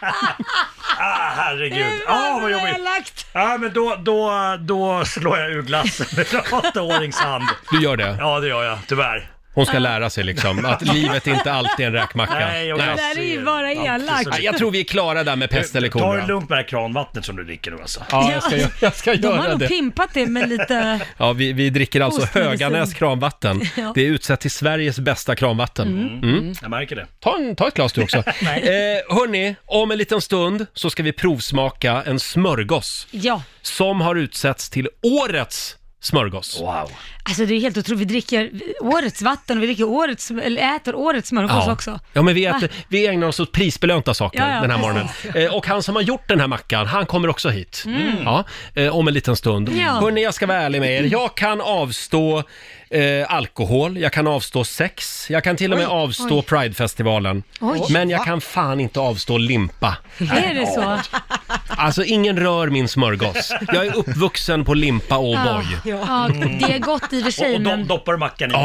S9: Ah, herregud. Ja, vad jobbigt.
S4: elakt.
S9: Ja, men då, då, då slår jag ur glassen med en åttaårings hand.
S1: Du gör det.
S9: Ja, det gör jag. Tyvärr.
S1: Hon ska lära sig liksom att livet inte alltid är en räkmacka.
S9: Nej, och
S4: Det där är ju bara
S9: Ja, precis.
S4: elakt.
S1: Nej, Jag tror vi är klara där med pest eller
S9: Eh, Ta det
S1: kolera.
S9: lugnt med det här kranvattnet som du dricker nu alltså.
S1: Ja, jag ska, gö- jag ska
S4: De har
S1: göra
S4: nog
S1: det.
S4: pimpat det med lite...
S1: Ja, vi, vi dricker alltså
S4: Ostmedicin.
S1: Höganäs kranvatten.
S4: [laughs] Ja. Mm.
S1: Det är utsett till Sveriges bästa kranvatten.
S9: Mm.
S1: Mm.
S9: Jag märker det.
S1: Ta, en, ta ett
S9: [laughs]
S1: glas du också. eh,
S9: Nej.
S1: hörni, om en liten stund så ska vi provsmaka en smörgås
S4: Ja,
S1: som har utsetts till årets smörgås.
S9: Wow.
S4: alltså det är helt otroligt. Vi dricker årets vatten och vi dricker årets, eller äter årets smörgås också.
S1: ja, men vi, äter, vi ägnar oss åt prisbelönta saker
S4: Ja, ja,
S1: den här morgonen.
S4: precis.
S1: Eh, och han som har gjort den här mackan, han kommer också hit. Ja, eh, om en liten stund.
S4: Mm. Ja.
S1: Hörni, jag ska vara ärlig med er. Jag kan avstå eh, alkohol, jag kan avstå sex, jag kan till och med avstå Pridefestivalen.
S4: Oj.
S1: Men jag kan fan inte avstå limpa.
S4: Är det så?
S1: Alltså, ingen rör min smörgås. Jag är uppvuxen på limpa och oh boy.
S4: Ja,
S5: Mm.
S4: det är gott i och för
S9: Och,
S4: sig,
S9: och de
S4: men...
S9: doppar mackan i.
S1: Åh,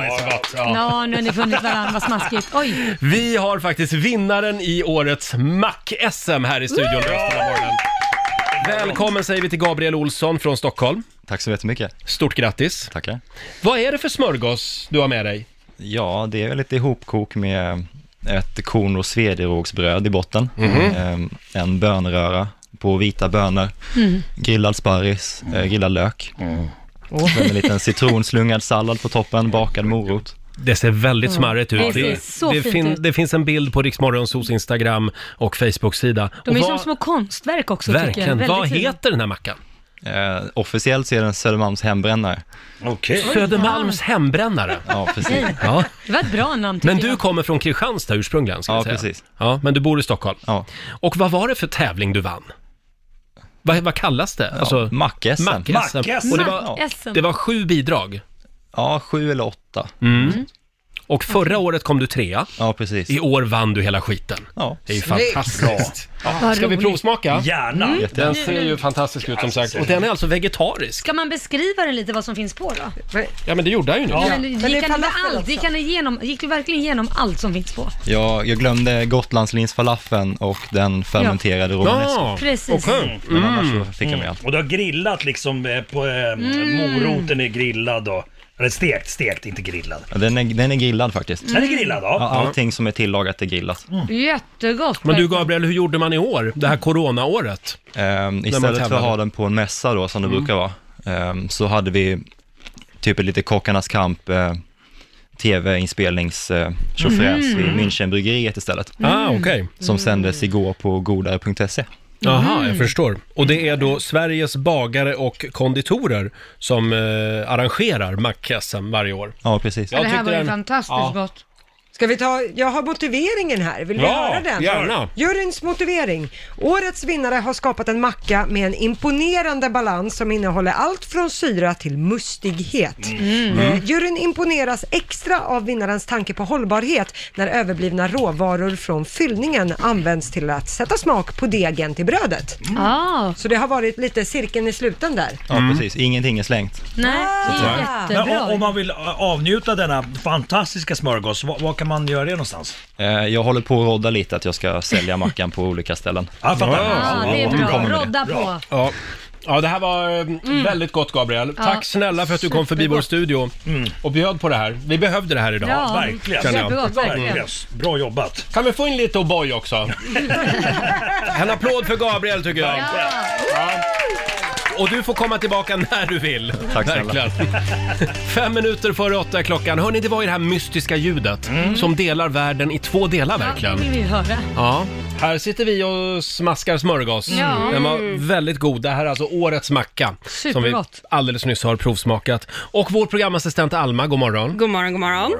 S1: det är så gott. Ja.
S4: Ja, nu har ni funnit varandra, vad smaskigt. Oj.
S1: Vi har faktiskt vinnaren i årets Mac-SM här i studion resten av morgonen. Välkommen säger vi till Gabriel Olsson från Stockholm.
S3: Tack så jättemycket.
S1: Stort grattis!
S3: Tackar.
S1: Vad är det för smörgås du har med dig?
S3: Ja, det är väl lite ihopkok med ett korn och svederogsbröd i botten. Ehm, En bönröra på vita bönor,
S4: Mm.
S3: grillad sparris, eh, grillad lök. Sen en liten citronslungad sallad på toppen, bakad morot.
S1: Det ser väldigt smarrigt ut.
S4: Mm. Det ser så
S1: det,
S4: fint
S1: fin-
S4: ut.
S1: det finns en bild på Riksmorgonsos Instagram och Facebook-sida.
S4: De är
S1: Och
S4: som
S1: vad-
S4: små konstverk också tycker jag.
S1: Verkligen.
S4: Väldigt
S1: Vad
S4: fina.
S1: heter den här mackan?
S3: Eh, Officiellt så är den Södermalms hembrännare.
S9: Okej.
S1: Södermalms hembrännare.
S3: Ja, precis.
S1: Ja.
S4: Det var ett bra namn tycker
S1: Men du
S4: jag.
S1: kommer från Kristianstad ursprungligen, ska
S3: Ja,
S1: jag säga.
S3: precis.
S1: Ja, men du bor i Stockholm.
S3: Ja.
S1: Och vad var det för tävling du vann? Vad, vad kallas det? Alltså,
S3: Mack-SM.
S1: Mack-SM.
S9: Mack-SM.
S1: Och det var,
S4: Mack-SM.
S1: det var sju bidrag. Mm.
S3: Ja, sju eller åtta.
S1: Och förra året kom du trea.
S3: Ja, precis.
S1: I år vann du hela skiten.
S3: Ja.
S1: Det är ju fantastiskt.
S4: Vad
S1: Ska vi
S4: roligt.
S1: provsmaka? Mm.
S9: Gärna.
S1: Den ser ju fantastisk ut som sagt. Och den är alltså vegetarisk.
S4: Ska man beskriva den lite vad som finns på då?
S1: Ja men det gjorde jag ju nu.
S4: Ja. Men, gick,
S5: Men det är
S4: han igenom
S5: falafel
S4: allt? Gick, han igenom, gick du verkligen igenom allt som finns på?
S3: Jag, jag glömde gotlandslinsfalafeln och den fermenterade romanesco.
S1: Ja,
S4: Precis.
S9: Mm.
S1: okej.
S3: Men annars
S1: Mm.
S3: så fick jag med allt.
S9: Och du har grillat liksom eh, på eh,
S4: Mm.
S9: moroten är grillad och eller stekt, stekt, inte grillad.
S3: Ja, Den är, den är grillad faktiskt.
S9: Den är grillad ja.
S3: Ja, allting som är tillagat är grillat.
S5: Mm.
S4: Jättegott.
S1: Men du Gabriel, hur gjorde man i år? Det här coronaåret?
S3: Ehm, istället för att
S1: tävlade.
S3: ha den på en mässa då, som det
S1: Mm.
S3: brukar vara, ehm, så hade vi typ ett lite Kockarnas kamp, eh, tv-inspelningstjofräs vid Münchenbryggeriet istället,
S1: Ah, okej.
S3: som sändes igår på godare.se.
S1: Jaha,
S4: Mm.
S1: jag förstår. Och det är då Sveriges bagare och konditorer som eh, arrangerar mack varje år.
S3: Ja, precis.
S1: Ja.
S4: det här
S1: tyckte
S4: var ju
S1: den-
S4: fantastiskt
S1: ja.
S4: gott.
S2: Ska vi ta, jag har motiveringen här, vill vi
S1: Ja,
S2: höra den?
S1: gärna.
S2: Juryns motivering. Årets vinnare har skapat en macka med en imponerande balans som innehåller allt från syra till mustighet.
S1: Mm.
S2: Eh, juryn imponeras extra av vinnarens tanke på hållbarhet när överblivna råvaror från fyllningen används till att sätta smak på degen till brödet.
S4: Ah,
S2: Så det har varit lite cirkeln i sluten där.
S3: Ja,
S1: Mm.
S3: precis. Ingenting är slängt.
S4: nej, det är
S2: Ah.
S9: Men
S4: jättebra.
S9: om, om man vill eh, avnjuta denna fantastiska smörgås, vad, vad kan man göra det någonstans?
S3: Eh, Jag håller på att rodda lite att jag ska sälja mackan på olika ställen.
S9: Ja, jag fattar.
S4: Ja, det är
S3: Nu
S4: bra.
S3: kommer det.
S4: Rodda på.
S1: Ja. Ja, det här var eh, väldigt gott Gabriel. Tack snälla för att du kom förbi vår
S4: Mm. supergott.
S1: studio och bjöd på det här. Vi behövde det här idag.
S4: Ja,
S9: verkligen.
S4: Supergott, verkligen.
S9: Verkligen. Bra jobbat.
S1: Kan vi få in lite
S4: [laughs]
S1: O'boy också? en applåd för Gabriel tycker jag. Ja. Och du får komma tillbaka när du vill.
S3: Tack snälla.
S1: Verkligen. Fem minuter före åtta är klockan. Hörni, det var ju det här mystiska ljudet som delar världen i två delar
S4: Ja, det
S1: verkligen.
S4: vill vi höra.
S1: Ja, här sitter vi och smaskar smörgås. Mm.
S4: Ja.
S1: Den var väldigt god. Det här är alltså årets macka. Som vi
S4: Supergott.
S1: alldeles nyss har provsmakat. Och vår programassistent Alma, god morgon.
S5: God morgon, god morgon.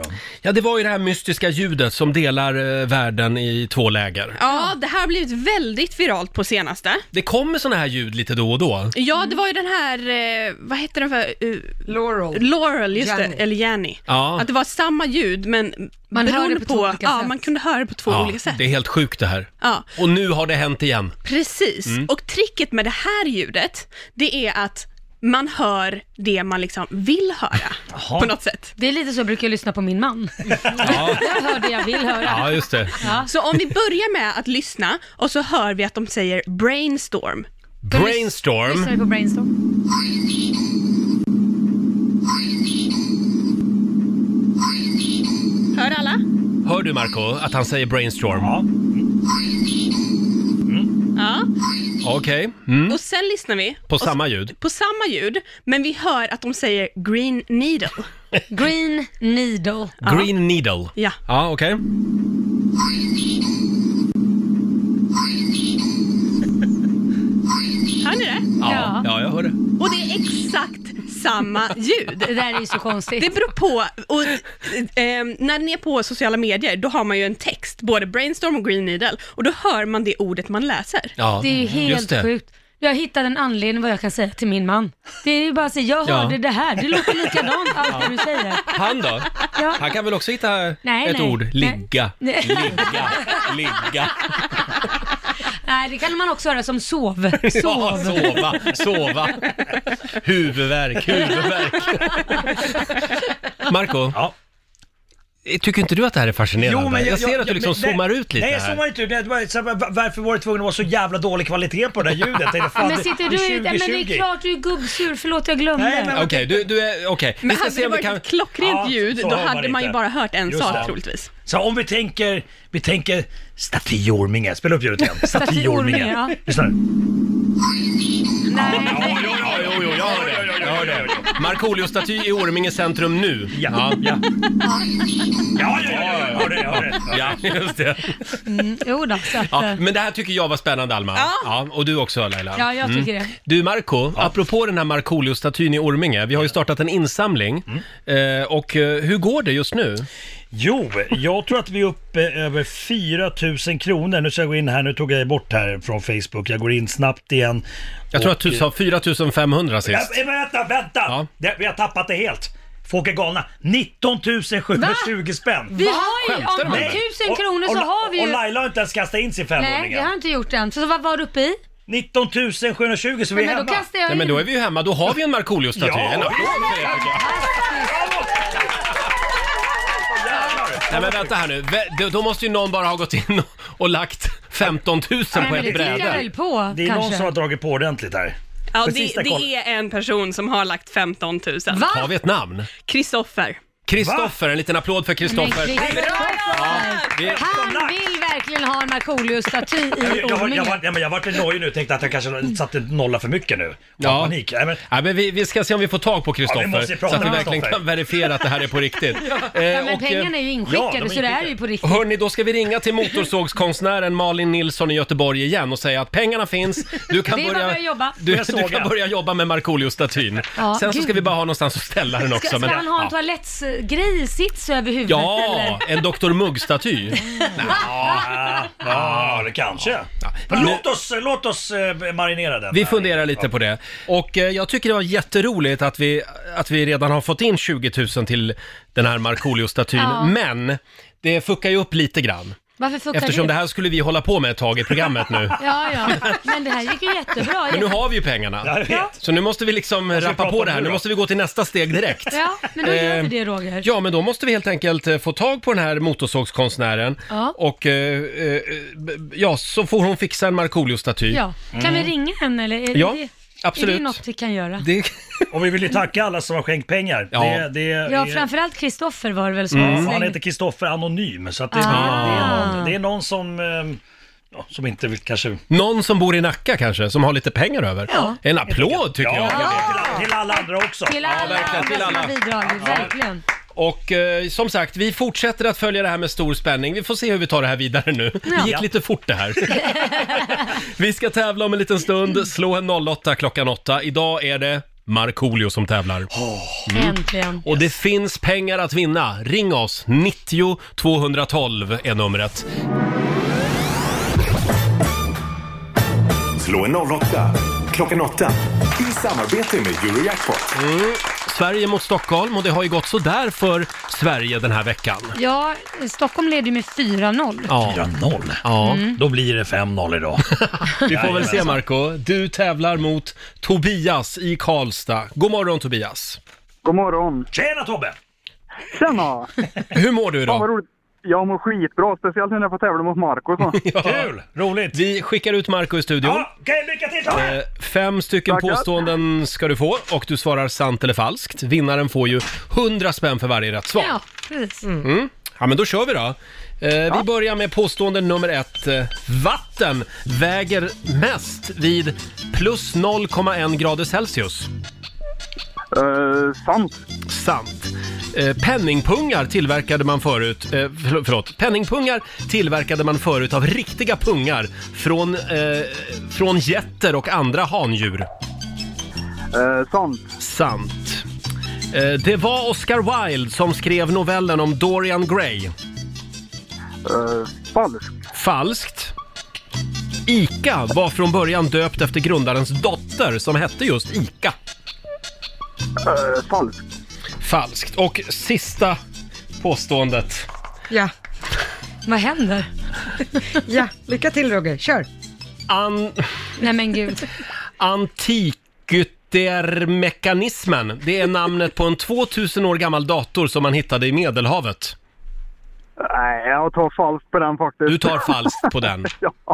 S1: Ja, det var ju det här mystiska ljudet som delar eh, världen i två läger.
S5: Ja, det här har blivit väldigt viralt på senaste.
S1: Det kommer såna här ljud lite då och då.
S5: Ja,
S4: Mm.
S5: det var ju den här, eh, vad hette den för, eh,
S2: Laurel.
S5: Laurel, just
S2: Jenny.
S5: det, eller Jenny.
S1: Ja.
S5: Att det var samma ljud, men
S4: Man hör
S5: beroende
S4: det på två olika
S5: ja,
S4: sätt.
S5: man kunde höra det på två olika sätt.
S1: det är helt sjukt det här.
S5: Ja.
S1: Och nu har det hänt igen.
S5: Precis,
S1: Mm.
S5: och tricket med det här ljudet, det är att man hör det man liksom vill höra, på något sätt.
S4: Det är lite så jag brukar lyssna på min man. Jag hör det jag vill höra.
S1: Ja, just det.
S5: Så om vi börjar med att lyssna, och så hör vi att de säger brainstorm.
S1: Brainstorm.
S4: Lyssnar vi på Brainstorm?
S5: Hör alla?
S1: Hör du Marco att han säger brainstorm?
S9: Ja.
S5: Ja.
S1: Okej. Mm.
S5: Och sen lyssnar vi.
S1: På
S5: och
S1: samma ljud.
S5: på samma ljud, men vi hör att de säger green needle.
S1: [laughs]
S4: Green Needle.
S1: Green needle.
S5: Ja.
S1: Ja, okej.
S5: Hör ni det?
S1: Ja. ja, jag hör det.
S5: Och det är exakt samma ljud.
S4: Det där är ju så konstigt.
S5: Det beror på, och, eh, när ni är på sociala medier, då har man ju en text, både brainstorm och green needle, och då hör man det ordet man läser.
S1: Ja,
S4: Det är ju
S1: just
S4: helt
S1: det.
S4: sjukt. Jag hittade en anledning vad jag kan säga till min man. Det är ju bara att säga, jag
S1: Ja.
S4: hörde det här, det låter likadant allt det du säger.
S1: Han då?
S4: Ja.
S1: Han kan väl också hitta
S4: Nej,
S1: ett
S4: nej.
S1: ord?
S4: Nej.
S1: Ligga,
S4: Nej.
S1: ligga, ligga.
S4: Nej, det kan man också höra som sov.
S1: [laughs] Ja,
S4: Sov.
S1: sova, sova. Huvudvärk, huvudvärk. Marco,
S9: Ja.
S1: tycker inte du att det här är fascinerande? jag, ser att du
S9: men
S1: liksom
S9: det-
S1: zoomar ut lite
S9: Nej, jag
S1: här.
S9: zoomar inte ut. Det var, så, här, va- varför var det tvungen att vara så jävla dålig kvalitet på det där ljudet? Jag tänkte, fan,
S4: Men sitter
S9: det-
S4: du i... Nej, men det är
S9: 2020.
S4: klart du är gubbsur, förlåt jag glömde.
S9: Nej, men-
S1: Okej, du, du är... Okej.
S5: Men
S1: Vi ska
S5: hade
S1: se
S5: det
S1: om vi
S5: varit
S1: kan...
S5: ett klockrent
S9: Ja,
S5: ljud,
S9: så
S5: då
S9: hör man
S5: hade man ju
S9: inte.
S5: bara hört en
S9: Just
S5: sak
S9: det.
S5: troligtvis.
S9: Så om vi tänker, vi tänker Staffy Orminge, spela upp
S5: [laughs]
S9: ljudet igen. Staffy
S4: Staffy Orminge,
S9: Orminge.
S4: ja.
S9: Lyssna nu.
S4: Nej.
S1: Jo, jo, jo, jo, jag hör det. Jag hör det. Markoolio-staty i Orminge centrum nu.
S9: Ja, ja. Ja, ja, ja, ja, jag hörde det, jag hörde det.
S1: Ja, just det.
S4: Mm, Jo då, så att,
S1: Ja,
S4: ja.
S1: men det här tycker jag var spännande, Alma. Ja. och du också, Laila. Mm.
S4: ja, jag tycker
S9: Mm.
S4: det.
S1: Du Marco, apropå den här Markoolio-statyn i Orminge, vi har ju startat en insamling.
S9: Mm.
S1: Eh, och eh, hur går det just nu?
S9: Jo, jag tror att vi är uppe över 4 000 kronor. Nu ska jag gå in här, nu tog jag bort här från Facebook. Jag går in snabbt igen.
S1: Jag tror att
S9: Och, eh,
S1: du sa 4500
S9: Ja,
S1: sist.
S9: Äh, men vänta, vänta!
S1: Ja.
S9: Det, vi har tappat det helt. Folk är galna. 19 720 spänn.
S4: Vi har ju,
S1: Skämtar du
S4: om
S1: med mig?
S4: tusen
S9: Och-
S4: kronor så
S9: och,
S4: har vi
S9: Och
S4: ju...
S9: Laila har inte ens kastat in sin
S4: Nej, det har
S9: femhundring.
S4: jag inte gjort än. Så vad var du uppe i?
S9: 19 720 så vi är
S4: Men då
S9: hemma.
S4: kastar jag
S1: Nej, men
S4: in.
S1: då är vi ju hemma, då har vi en Markoolio-staty.
S9: Ja.
S1: En applåd för det, tycker jag. Nej men vänta här nu, Vä- då- då måste ju någon bara ha gått in och lagt 15 000 på
S4: Nej, men
S1: ett
S4: det tittar jag väl
S1: bräde.
S4: på
S9: Det är någon
S4: kanske.
S9: som har dragit på ordentligt här.
S5: Ja,
S9: För
S5: det,
S9: sista koll-
S5: det är en person som har lagt 15 000.
S1: Har
S4: Va?
S1: vi ett namn?
S5: Kristoffer.
S1: Kristoffer, en liten applåd för
S4: Men
S1: Kristoffer.
S4: Kristoffer!
S1: Vi-
S4: Han vill verkligen ha en Markoolio-staty i
S9: Jag, jag, jag,
S4: Orminge.
S9: var- nej, men jag vart lite nojig nu tänkte att jag kanske satte en nolla för mycket nu. Ja. Panik. Nej, men,
S1: Ja, men vi, vi ska se om vi får tag på
S9: Ja, vi
S1: Kristoffer
S9: måste ju
S1: så
S9: prata
S1: att vi
S9: med
S1: verkligen
S9: Christopher.
S1: kan verifiera att det här är på riktigt. Eh,
S4: [laughs] Ja, men
S1: och, eh,
S4: pengarna är ju
S9: ja, de är
S4: inskickade så det är
S9: inskickade.
S4: ju på riktigt.
S1: Hörni, då ska vi ringa till motorsågskonstnären Malin Nilsson i Göteborg igen och säga att pengarna finns. Du kan
S4: Det är bara att börja jobba.
S1: Du,
S9: Börja
S1: du
S9: såga.
S1: kan börja jobba med Markoolio-statyn.
S4: Ja,
S1: Sen så ska
S4: gud.
S1: vi bara ha någonstans att ställa den också.
S4: Ska, ska
S1: men-
S4: han ha en
S1: ja.
S4: toaletts, grej i sits över huvudet
S1: Ja,
S4: eller?
S1: en
S4: [laughs]
S1: Dr. Mugg-staty.
S9: Ja, ja, det kanske. Men låt oss, låt oss eh, marinera den.
S1: Vi funderar lite på det. Och eh, jag tycker det var jätteroligt att vi, att vi redan har fått in 20 000 till den här Markoolio-statyn.
S4: Ja.
S1: Men det fuckar ju upp lite grann.
S4: [laughs] Varför fuckar
S1: Eftersom
S4: du?
S1: det här skulle vi hålla på med ett tag i programmet nu.
S4: [laughs] Ja, ja. Men det här gick ju jättebra.
S1: Men nu har vi ju pengarna.
S9: jag vet.
S1: Så nu måste vi liksom
S9: vi
S1: rappa
S9: prata
S1: på
S9: om
S1: det här.
S9: nu
S1: Nu
S9: då?
S1: måste vi gå till nästa steg direkt.
S4: Ja, men då gör vi
S1: Eh,
S4: det Roger.
S1: Ja, men då måste vi helt enkelt eh, få tag på den här motorsågskonstnären
S4: Ja.
S1: och eh, eh, b- ja, så får hon fixa en Markoolio-staty.
S4: Ja. Kan
S9: Mm.
S4: vi ringa henne eller? Är
S1: Mm. Ja,
S4: det,
S1: absolut.
S4: Är det något vi kan göra?
S1: Det,
S9: Och vi vill ju tacka alla som har skänkt pengar.
S1: Ja.
S9: Det, det,
S4: Ja,
S9: är-
S4: framförallt Kristoffer var det väl som Ah.
S9: Mm. Han
S4: slängde-
S9: heter Kristoffer Anonym, så att det, det, är någon, det är någon som, eh, ja, som inte vill kanske...
S1: någon som bor i Nacka kanske, som har lite pengar över.
S4: Ja.
S1: En applåd tycker jag.
S9: Till, till alla andra också.
S4: Till alla
S1: verkligen, till
S4: andra som
S1: alla.
S4: har bidragit, verkligen.
S1: Och eh, som sagt, vi fortsätter att följa det här med stor spänning. Vi får se hur vi tar det här vidare nu. Det gick
S9: Ja.
S1: lite fort det här. vi ska tävla om en liten stund. Slå en 08 klockan 8. Idag är det Markoolio som tävlar. Mm.
S4: Äntligen.
S1: Och det finns pengar att vinna. Ring oss! 90 212 är numret.
S10: Slå en 08 klockan 8 i samarbete med Eurojackpot.
S1: Mm. Sverige mot Stockholm och det har ju gått sådär för Sverige den här veckan.
S4: Ja, Stockholm leder ju med 4-0.
S1: Ja.
S9: 4-0.
S1: ja.
S9: Då blir det 5-0 idag.
S1: [laughs] Vi får väl se Marco. Du tävlar mot Tobias i Karlstad. God morgon Tobias!
S6: God morgon.
S9: Tjena Tobbe!
S6: Tjena!
S1: Hur mår du
S6: Fan vad
S1: idag?
S6: roligt. Jag mår skitbra, speciellt nu när jag får tävla mot Marco.
S1: [laughs]
S6: och Så.
S9: Kul! [laughs] Roligt!
S1: Vi skickar ut Marco i studion.
S9: Ja, okej, lycka till Tobbe!
S1: Eh, Fem stycken
S6: Tackar.
S1: påståenden ska du få och du svarar sant eller falskt. Vinnaren får ju 100 spänn för varje rätt svar. Mm.
S4: Ja, precis.
S1: Ja, men då kör vi då. Eh, Vi börjar med påstående nummer ett. Eh, Vatten väger mest vid plus 0,1 grader Celsius.
S6: Eh, sant.
S1: Sant. Eh, Penningpungar tillverkade man förut, eh, förl- förlåt, penningpungar tillverkade man förut av riktiga pungar från, eh, från getter och andra handjur.
S6: Eh, sant.
S1: Sant. Eh, Det var Oscar Wilde som skrev novellen om Dorian Gray.
S6: Eh, falskt.
S1: Falskt. Ica var från början döpt efter grundarens dotter som hette just Ica.
S6: Eh, falskt.
S1: Falskt. Och sista påståendet.
S2: Ja,
S4: Vad händer?
S2: [laughs] ja. Lycka till Roger, kör!
S1: An
S4: Nej men gud.
S1: Antikyttermekanismen, det är namnet på en 2000 år gammal dator som man hittade i Medelhavet.
S6: Nej, jag tar falskt på den faktiskt.
S1: Du tar
S10: [laughs]
S1: falskt
S9: [laughs]
S1: på den.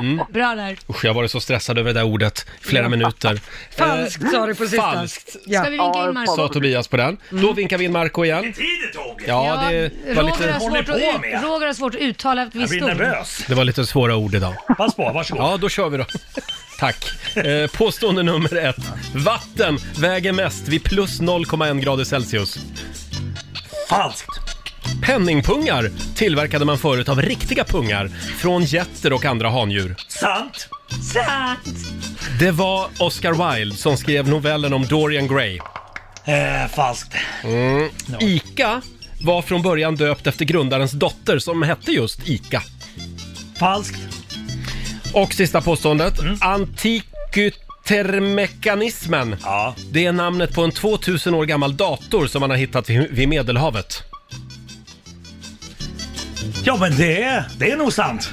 S1: Mm.
S4: Bra där.
S1: Usch, jag har varit så stressad över det där ordet i flera minuter. Eh,
S2: Falskt sa du på sista.
S1: Falskt,
S4: Ska
S2: Ja.
S4: vi vinka
S6: Ja,
S4: in
S1: sa
S4: Marco? Mm.
S1: Tobias på den. Då vinkar vi in Marco igen.
S9: Tidigt Tobbe!
S1: Ja, det var
S4: Roger,
S1: lite,
S4: har
S9: håller
S4: svårt
S9: på
S4: att,
S9: med.
S4: ut- Roger har svårt att uttala ett
S9: Jag
S4: visst
S9: blir
S4: ord.
S9: nervös.
S1: det var lite svåra ord idag.
S9: Pass på, varsågod.
S1: Ja, då kör vi då. Tack. Eh, påstående nummer ett. Vatten väger mest vid plus 0,1 grader Celsius.
S9: Falskt!
S1: Penningpungar tillverkade man förut av riktiga pungar från getter och andra handjur.
S9: Sant!
S4: Sant!
S1: Det var Oscar Wilde som skrev novellen om Dorian Gray. Mm.
S9: Eh, falskt.
S1: Ica var från början döpt efter grundarens dotter som hette just Ica.
S9: Falskt. Mm.
S1: Och sista påståendet. Antikyttermekanismen.
S9: Ja.
S1: Det är namnet på en 2000 år gammal dator som man har hittat vid vid Medelhavet.
S9: Ja men det är, det är nog sant.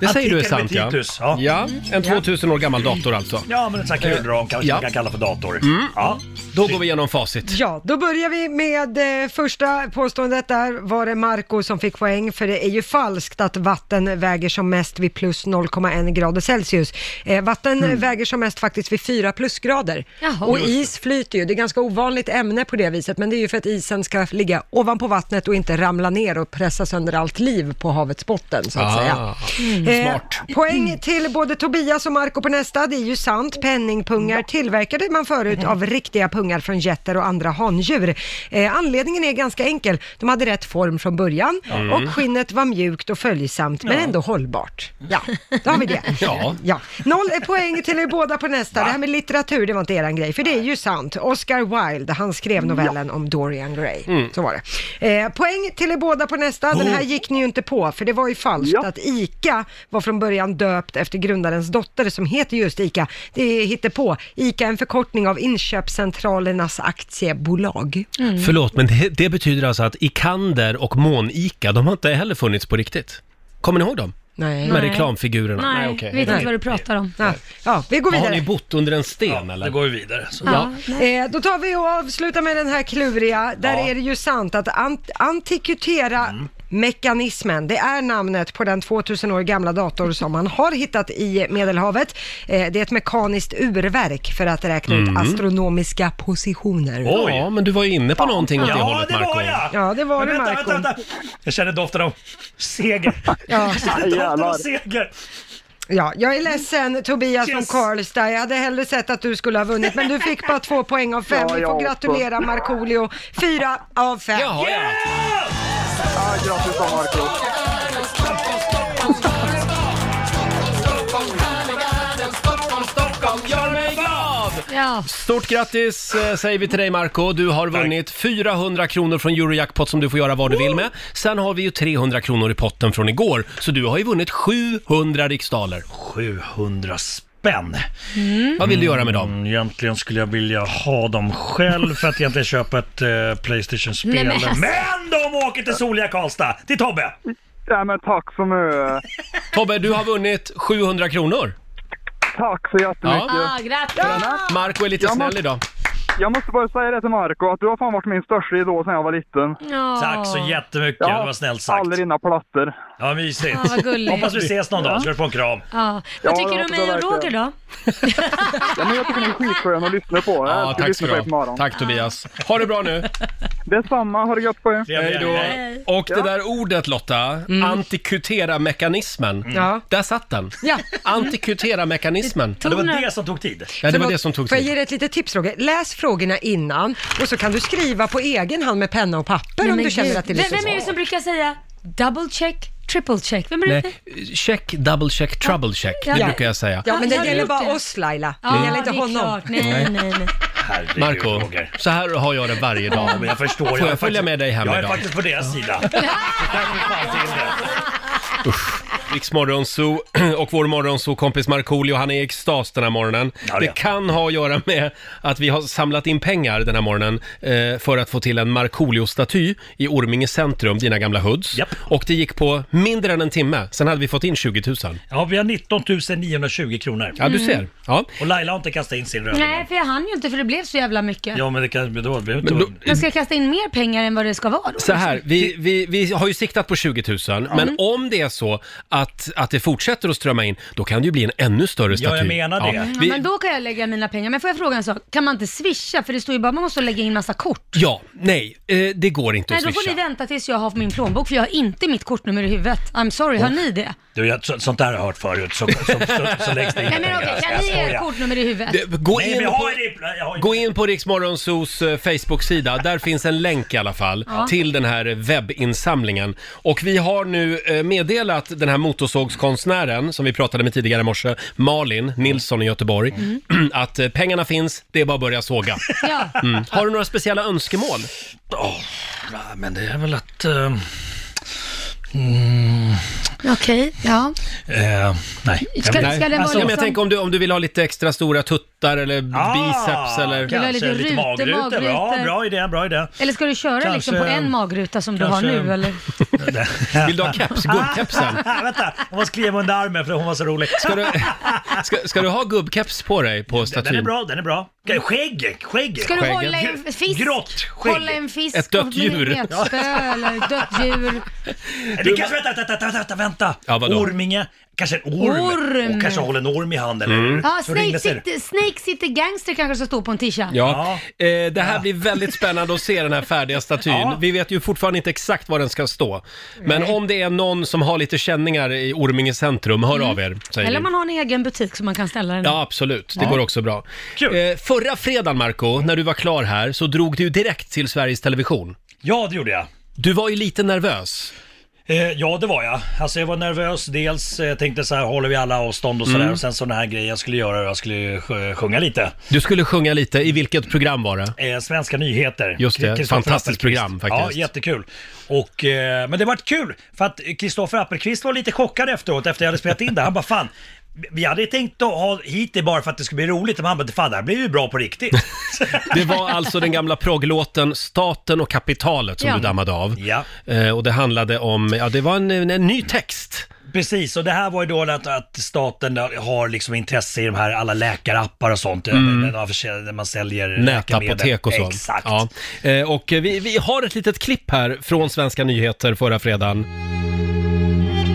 S1: Det säger du är sant
S9: Antiken
S1: ja.
S9: Vetitus, ja.
S1: ja. En 2000 år gammal dator alltså.
S9: Ja men en sån här kulram kanske
S1: ja. Mm.
S9: man kan kalla för dator. Ja.
S1: Då går vi igenom facit.
S2: Ja, då börjar vi med eh, första påståendet där. Var det Marco som fick poäng? För det är ju falskt att vatten väger som mest vid plus 0,1 grader Celsius. Eh, vatten väger som mest faktiskt vid 4 plusgrader.
S4: Jaha.
S2: Och is flyter ju. Det är ganska ovanligt ämne på det viset, men det är ju för att isen ska ligga ovanpå vattnet och inte ramla ner och pressa sönder allt liv på havets botten, så att
S1: Ah.
S2: säga.
S9: Smart.
S2: Eh, poäng till både Tobias och Marco på nästa. Det är ju sant. Penningpungar tillverkade man förut av riktiga pungar från getter och andra handjur. Eh, anledningen är ganska enkel. De hade rätt form från början
S1: Mm.
S2: och skinnet var mjukt och följsamt men
S1: Ja.
S2: ändå hållbart. Ja, då har vi det.
S1: Ja.
S2: Ja. Noll är poäng till er båda på nästa. Det här med litteratur, det var inte eran grej, för det är ju sant. Oscar Wilde, han skrev novellen om Dorian Gray.
S10: Mm.
S2: Så var det. Eh, poäng till er båda på nästa. Den här gick ni ju inte på, för det var ju falskt att ICA var från början döpt efter grundarens dotter som heter just ICA. Det är hittepå. ICA är en förkortning av inköpscentralernas aktiebolag.
S1: Förlåt, men det, det betyder alltså att Ikander och Månika, de har inte heller funnits på riktigt. Kommer ni ihåg dem?
S2: Nej.
S1: De här reklamfigurerna?
S4: Nej,
S1: okej.
S4: vet inte vad du pratar om.
S2: Ja, ja vi går
S1: Har
S2: vidare.
S1: ni bott under en sten eller?
S9: Då går vi vidare. Så.
S1: Ja.
S2: Eh, då tar vi och avslutar med den här kluriga. Där är det ju sant att ant- antikutera
S1: Mm.
S2: Mekanismen, det är namnet på den 2000 år gamla dator som man har hittat i Medelhavet. Eh, det är ett mekaniskt urverk för att räkna
S1: Mm.
S2: ut astronomiska positioner.
S1: Ja, men du var ju inne på någonting åt det
S9: Ja,
S1: hållet
S9: det var
S1: Marco.
S9: jag!
S2: Ja, det var
S9: Men
S2: det
S9: vänta,
S2: Marco.
S9: vänta, vänta! Jag känner doften av seger.
S1: [laughs]
S2: Ja.
S9: [laughs] Jag känner doften av
S2: Jävlar.
S9: seger.
S2: Ja, jag är ledsen Tobias från Karlstad. Jag hade hellre sett att du skulle ha vunnit, men du fick bara två poäng av fem.
S9: Ja,
S2: Vi
S9: jag
S2: får
S9: också.
S2: gratulera Markoolio. Fyra av fem.
S1: Jaha, ja.
S10: Ah, grattis då Marco.
S4: Ja.
S1: Stort grattis eh, säger vi till dig Marco. Du har vunnit 400 kronor från Eurojackpot som du får göra vad du vill med. Sen har vi ju 300 kronor i potten från igår, så du har ju vunnit 700 riksdaler.
S9: 700 spänn.
S1: Vad vill du göra med dem?
S9: Mm, egentligen skulle jag vilja ha dem själv för att egentligen köpa ett eh, Playstation-spel.
S10: Nej,
S9: Men,
S10: men alltså.
S9: de åker till soliga Karlstad! Till Tobbe!
S10: Ja, men tack så mycket.
S1: [laughs] Tobbe, du har vunnit 700 kronor.
S10: Tack så jättemycket.
S4: Ah, grattis!
S1: Marco är lite
S10: Jag
S1: snäll
S10: måste-
S1: idag.
S10: Jag måste bara säga det till Marco, att du har fan varit min största idol sedan jag var liten.
S4: Ja. Tack så
S9: jättemycket, det var snällt sagt.
S10: Alla dina plattor.
S9: Ja, mysigt.
S4: Ja, vad gulligt.
S9: Hoppas vi ses någon
S10: Ja.
S9: dag, så du får en kram.
S4: Ja.
S10: Ja,
S4: Vad tycker
S10: jag
S4: du om mig och
S10: hoppas
S4: Roger
S10: verkligen.
S4: då?
S10: Ja, men jag tycker ni är skitskön att lyssna på. Jag
S1: Ja,
S10: älskar att
S1: tack
S10: lyssna
S1: ska
S10: på
S1: du
S10: er på
S1: ha.
S10: morgonen.
S1: Tack Tobias. Ha det bra nu.
S10: Detsamma, ha det gött på er.
S1: Hej då. Och det där ordet Lotta, antikutera-mekanismen.
S2: Ja.
S1: Där satt den.
S2: Ja.
S1: Antikutera-mekanismen.
S2: Ja, det var det
S9: som tog tid.
S1: Ja, det var
S2: Förlåt,
S1: det som tog
S2: Får jag
S1: tid.
S2: ge dig ett litet tips Roger? Läs frågorna innan och så kan du skriva på egen hand med penna och papper om du känner att det är
S4: vem,
S2: liksom
S4: vem är det som brukar säga double check, triple check? Vem är det?
S1: Nej, check, double check, trouble check.
S4: Ja.
S1: Det brukar jag säga.
S2: Ja, men det
S4: Har du
S2: gäller
S4: gjort
S2: bara
S4: det?
S2: oss Laila. Det
S4: Ja,
S2: gäller inte
S4: det är
S2: honom.
S4: klart. Nej, nej, nej.
S1: Marco, så här har jag det varje dag.
S9: Ja, men jag förstår.
S1: Får
S9: Jag
S1: jag,
S9: är
S1: följa
S9: faktiskt-
S1: med dig hem
S9: jag är
S1: idag?
S9: faktiskt på deras sida.
S4: [laughs]
S1: Riks Morgonzoo [clears throat] och vår morgonzoo-kompis Markoolio, han är i extas den här morgonen. det, kan ha att göra med att vi har samlat in pengar den här morgonen eh, för att få till en Markoolio-staty i Orminge centrum, dina gamla hoods. Och det gick på mindre än en timme, sen hade vi fått in 20 000.
S9: Ja, vi har 19 920 kronor.
S1: Ja, du ser. Ja.
S9: Och Laila har inte kastat in sin röding.
S4: Nej, för jag hann ju inte för det blev så jävla mycket.
S9: Ja, men det kan... Då, det behöver inte-
S4: Men ska jag kasta in mer pengar än vad det ska vara då?
S1: Så här, vi, vi, vi har ju siktat på 20 000, men om det är så att, att det fortsätter att strömma in, då kan det ju bli en ännu större
S9: Ja,
S1: staty.
S9: jag menar det.
S4: Ja,
S1: Vi,
S4: men då kan jag lägga mina pengar. Men får jag fråga en sak? Kan man inte swisha? För det står ju bara man måste lägga in massa kort.
S1: ja, nej, eh, det går inte
S4: Nej,
S1: att
S4: då får
S1: swisha.
S4: ni vänta tills jag har min plånbok för jag har inte mitt kortnummer i huvudet. I'm sorry, har ni det?
S9: Du, jag, så, sånt där har jag hört förut, så, så, så, så läggs det in
S4: Nej men okej, kan ni ge ert kortnummer i huvudet?
S1: [laughs] Det- gå,
S9: Nej,
S1: in
S9: men jag
S1: på,
S9: har det. Jag har
S1: gå in på Riksmorgonsos eh, Facebook-sida. Där finns en länk i alla fall
S4: Ja.
S1: till den här webbinsamlingen. Och vi har nu eh, meddelat den här motorsågskonstnären som vi pratade med tidigare i morse, Malin Nilsson i Göteborg,
S9: Mm.
S1: [clears throat] att eh, pengarna finns, det är bara att börja såga.
S4: Ja.
S1: Mm. Har du några speciella önskemål?
S9: Ja, men det är väl att... eh, [laughs] mm,
S4: Okej, ja.
S9: eh, nej.
S4: Ska- ska den vara
S1: ja, men Alltså, jag
S4: liksom-
S1: tänker om du, om du vill ha lite extra stora tuttar eller
S9: Ah,
S1: biceps eller...
S4: Vill ha lite rutor, magrutor.
S9: Ja, bra idé, bra idé.
S4: Eller ska du köra
S9: Kanske-
S4: liksom på en magruta som du
S9: kanske-
S4: har nu
S1: [laughs]
S4: eller?
S1: Vill du ha keps? Gubbkepsen?
S9: Vänta, jag måste klia mig under armen för hon var så rolig.
S1: Ska du, Typ. ska, ska du ha gubbkeps på dig på statyn?
S9: Den är bra, den är bra. Skägg, skägg.
S4: Ska du
S1: Skägget.
S4: hålla en fisk?
S9: Grått skägg.
S4: Hålla en fisk?
S1: Ett dött
S4: och
S1: djur.
S4: Med ett spö eller ett dött djur.
S1: [laughs]
S9: Eh, Det kanske, vänta, vänta, vänta, vänta, vänta.
S1: Ja, vadå?
S9: Orminge kanske en orm,
S4: Orm.
S9: och kanske håller en orm i handen.
S1: Mm.
S9: eller
S4: Ja,
S9: så ringer
S4: Snake
S9: sig
S4: City,
S9: det.
S4: Snake City Gangster kanske ska stå på en t-shirt.
S1: Ja, Eh, det här blir väldigt spännande att se den här färdiga statyn. Vi vet ju fortfarande inte exakt var den ska stå. Men om det är någon som har lite känningar i Orminge centrum, hör av er. Säger
S4: Mm. Eller
S1: vi.
S4: om man har en egen butik som man kan ställa den i.
S1: Ja, absolut. Det
S4: Ja.
S1: går också bra. Eh, förra fredagen, Marco, när du var klar här, så drog du ju direkt till Sveriges Television.
S9: Ja, det gjorde jag.
S1: Du var ju lite nervös.
S9: Eh, ja, det var jag. Alltså jag var nervös. Dels eh, tänkte så här, håller vi alla avstånd och sådär.
S1: Mm.
S9: Och sen så den här grejen jag skulle göra, jag skulle ju sjö- sjunga lite.
S1: Du skulle sjunga lite. I vilket program var det?
S9: Eh, Svenska nyheter.
S1: Just det,
S9: Kristoffer
S1: fantastiskt
S9: Appelqvist.
S1: program faktiskt.
S9: Ja, jättekul. Och, eh, men det vart kul, för att Kristoffer Appelqvist var lite chockad efteråt, efter jag hade spelat in det. Han bara, fan, vi hade tänkt att ha hit det bara för att det skulle bli roligt, men han bara, fan det här blir ju bra på riktigt.
S1: Det var alltså den gamla progglåten Staten och kapitalet som
S9: Ja.
S1: du dammade av.
S9: Ja.
S1: Eh, och det [laughs] handlade om, ja det var en, en, en ny text.
S9: Precis, och det här var ju då att, att staten har liksom intresse i de här alla läkarappar och sånt.
S1: Mm.
S9: Där, man försäljer- där man säljer läkemedel.
S1: Nätapotek och så.
S9: Exakt.
S1: Ja. Eh, och vi, vi har ett litet klipp här från Svenska nyheter förra fredagen.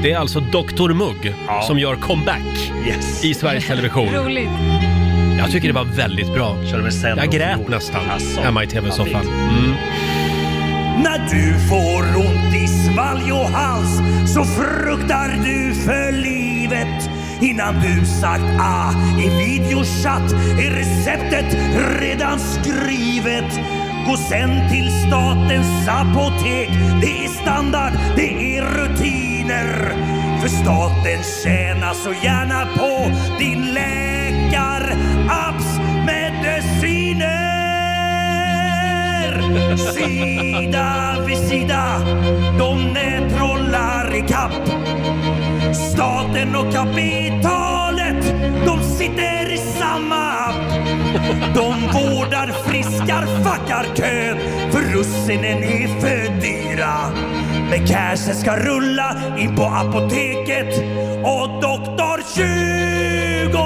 S1: Det är alltså Dr Mugg som gör comeback i Sveriges Television.
S4: Roligt.
S1: Jag tycker det var väldigt bra. Jag grät nästan hemma i tv-soffan. Mm.
S9: När du får ont i svalg och hals så fruktar du för livet. Innan du sagt ah i videochatt är receptet redan skrivet. Gå sen till statens apotek. Det är standard, det är rutiner. För staten tjänar så gärna på din läkarapps mediciner. Sida vid sida, de nätrollar ikapp. Staten och kapitalet, de sitter i samma app. De vårdar, friskar, fuckar kön, för russinen är för dyra. Men cashen ska rulla in på apoteket och doktor 24.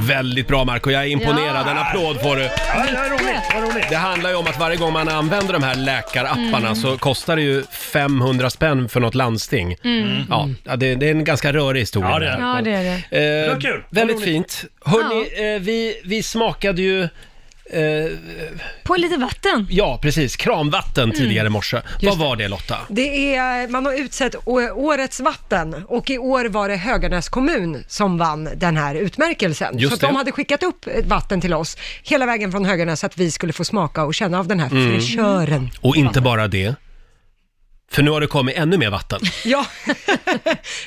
S1: Väldigt bra Marco, jag är imponerad.
S9: Ja.
S1: En applåd får du.
S9: Ja, det var roligt, det var roligt.
S1: Det handlar ju om att varje gång man använder de här läkarapparna
S9: Mm.
S1: så kostar det ju 500 spänn för något landsting.
S4: Mm.
S1: Ja, ja, det, det är en ganska rörig historia.
S9: Ja, det
S1: här.
S4: Ja, det är det.
S1: Eh,
S9: Det var kul.
S1: Väldigt
S9: Roligt.
S1: fint. Hörni, eh, vi, vi smakade ju... Eh,
S4: På lite vatten.
S1: ja, precis. Kranvatten tidigare i morse. Vad var det Lotta?
S2: Det är, man har utsett å- årets vatten och i år var det Höganäs kommun som vann den här utmärkelsen.
S1: Just
S2: så att de
S1: det.
S2: hade skickat upp ett vatten till oss hela vägen från Höganäs så att vi skulle få smaka och känna av den här
S1: Mm.
S2: fräschören.
S1: Och inte bara det. För nu har det kommit ännu mer
S2: [laughs]
S1: vatten.
S2: Ja,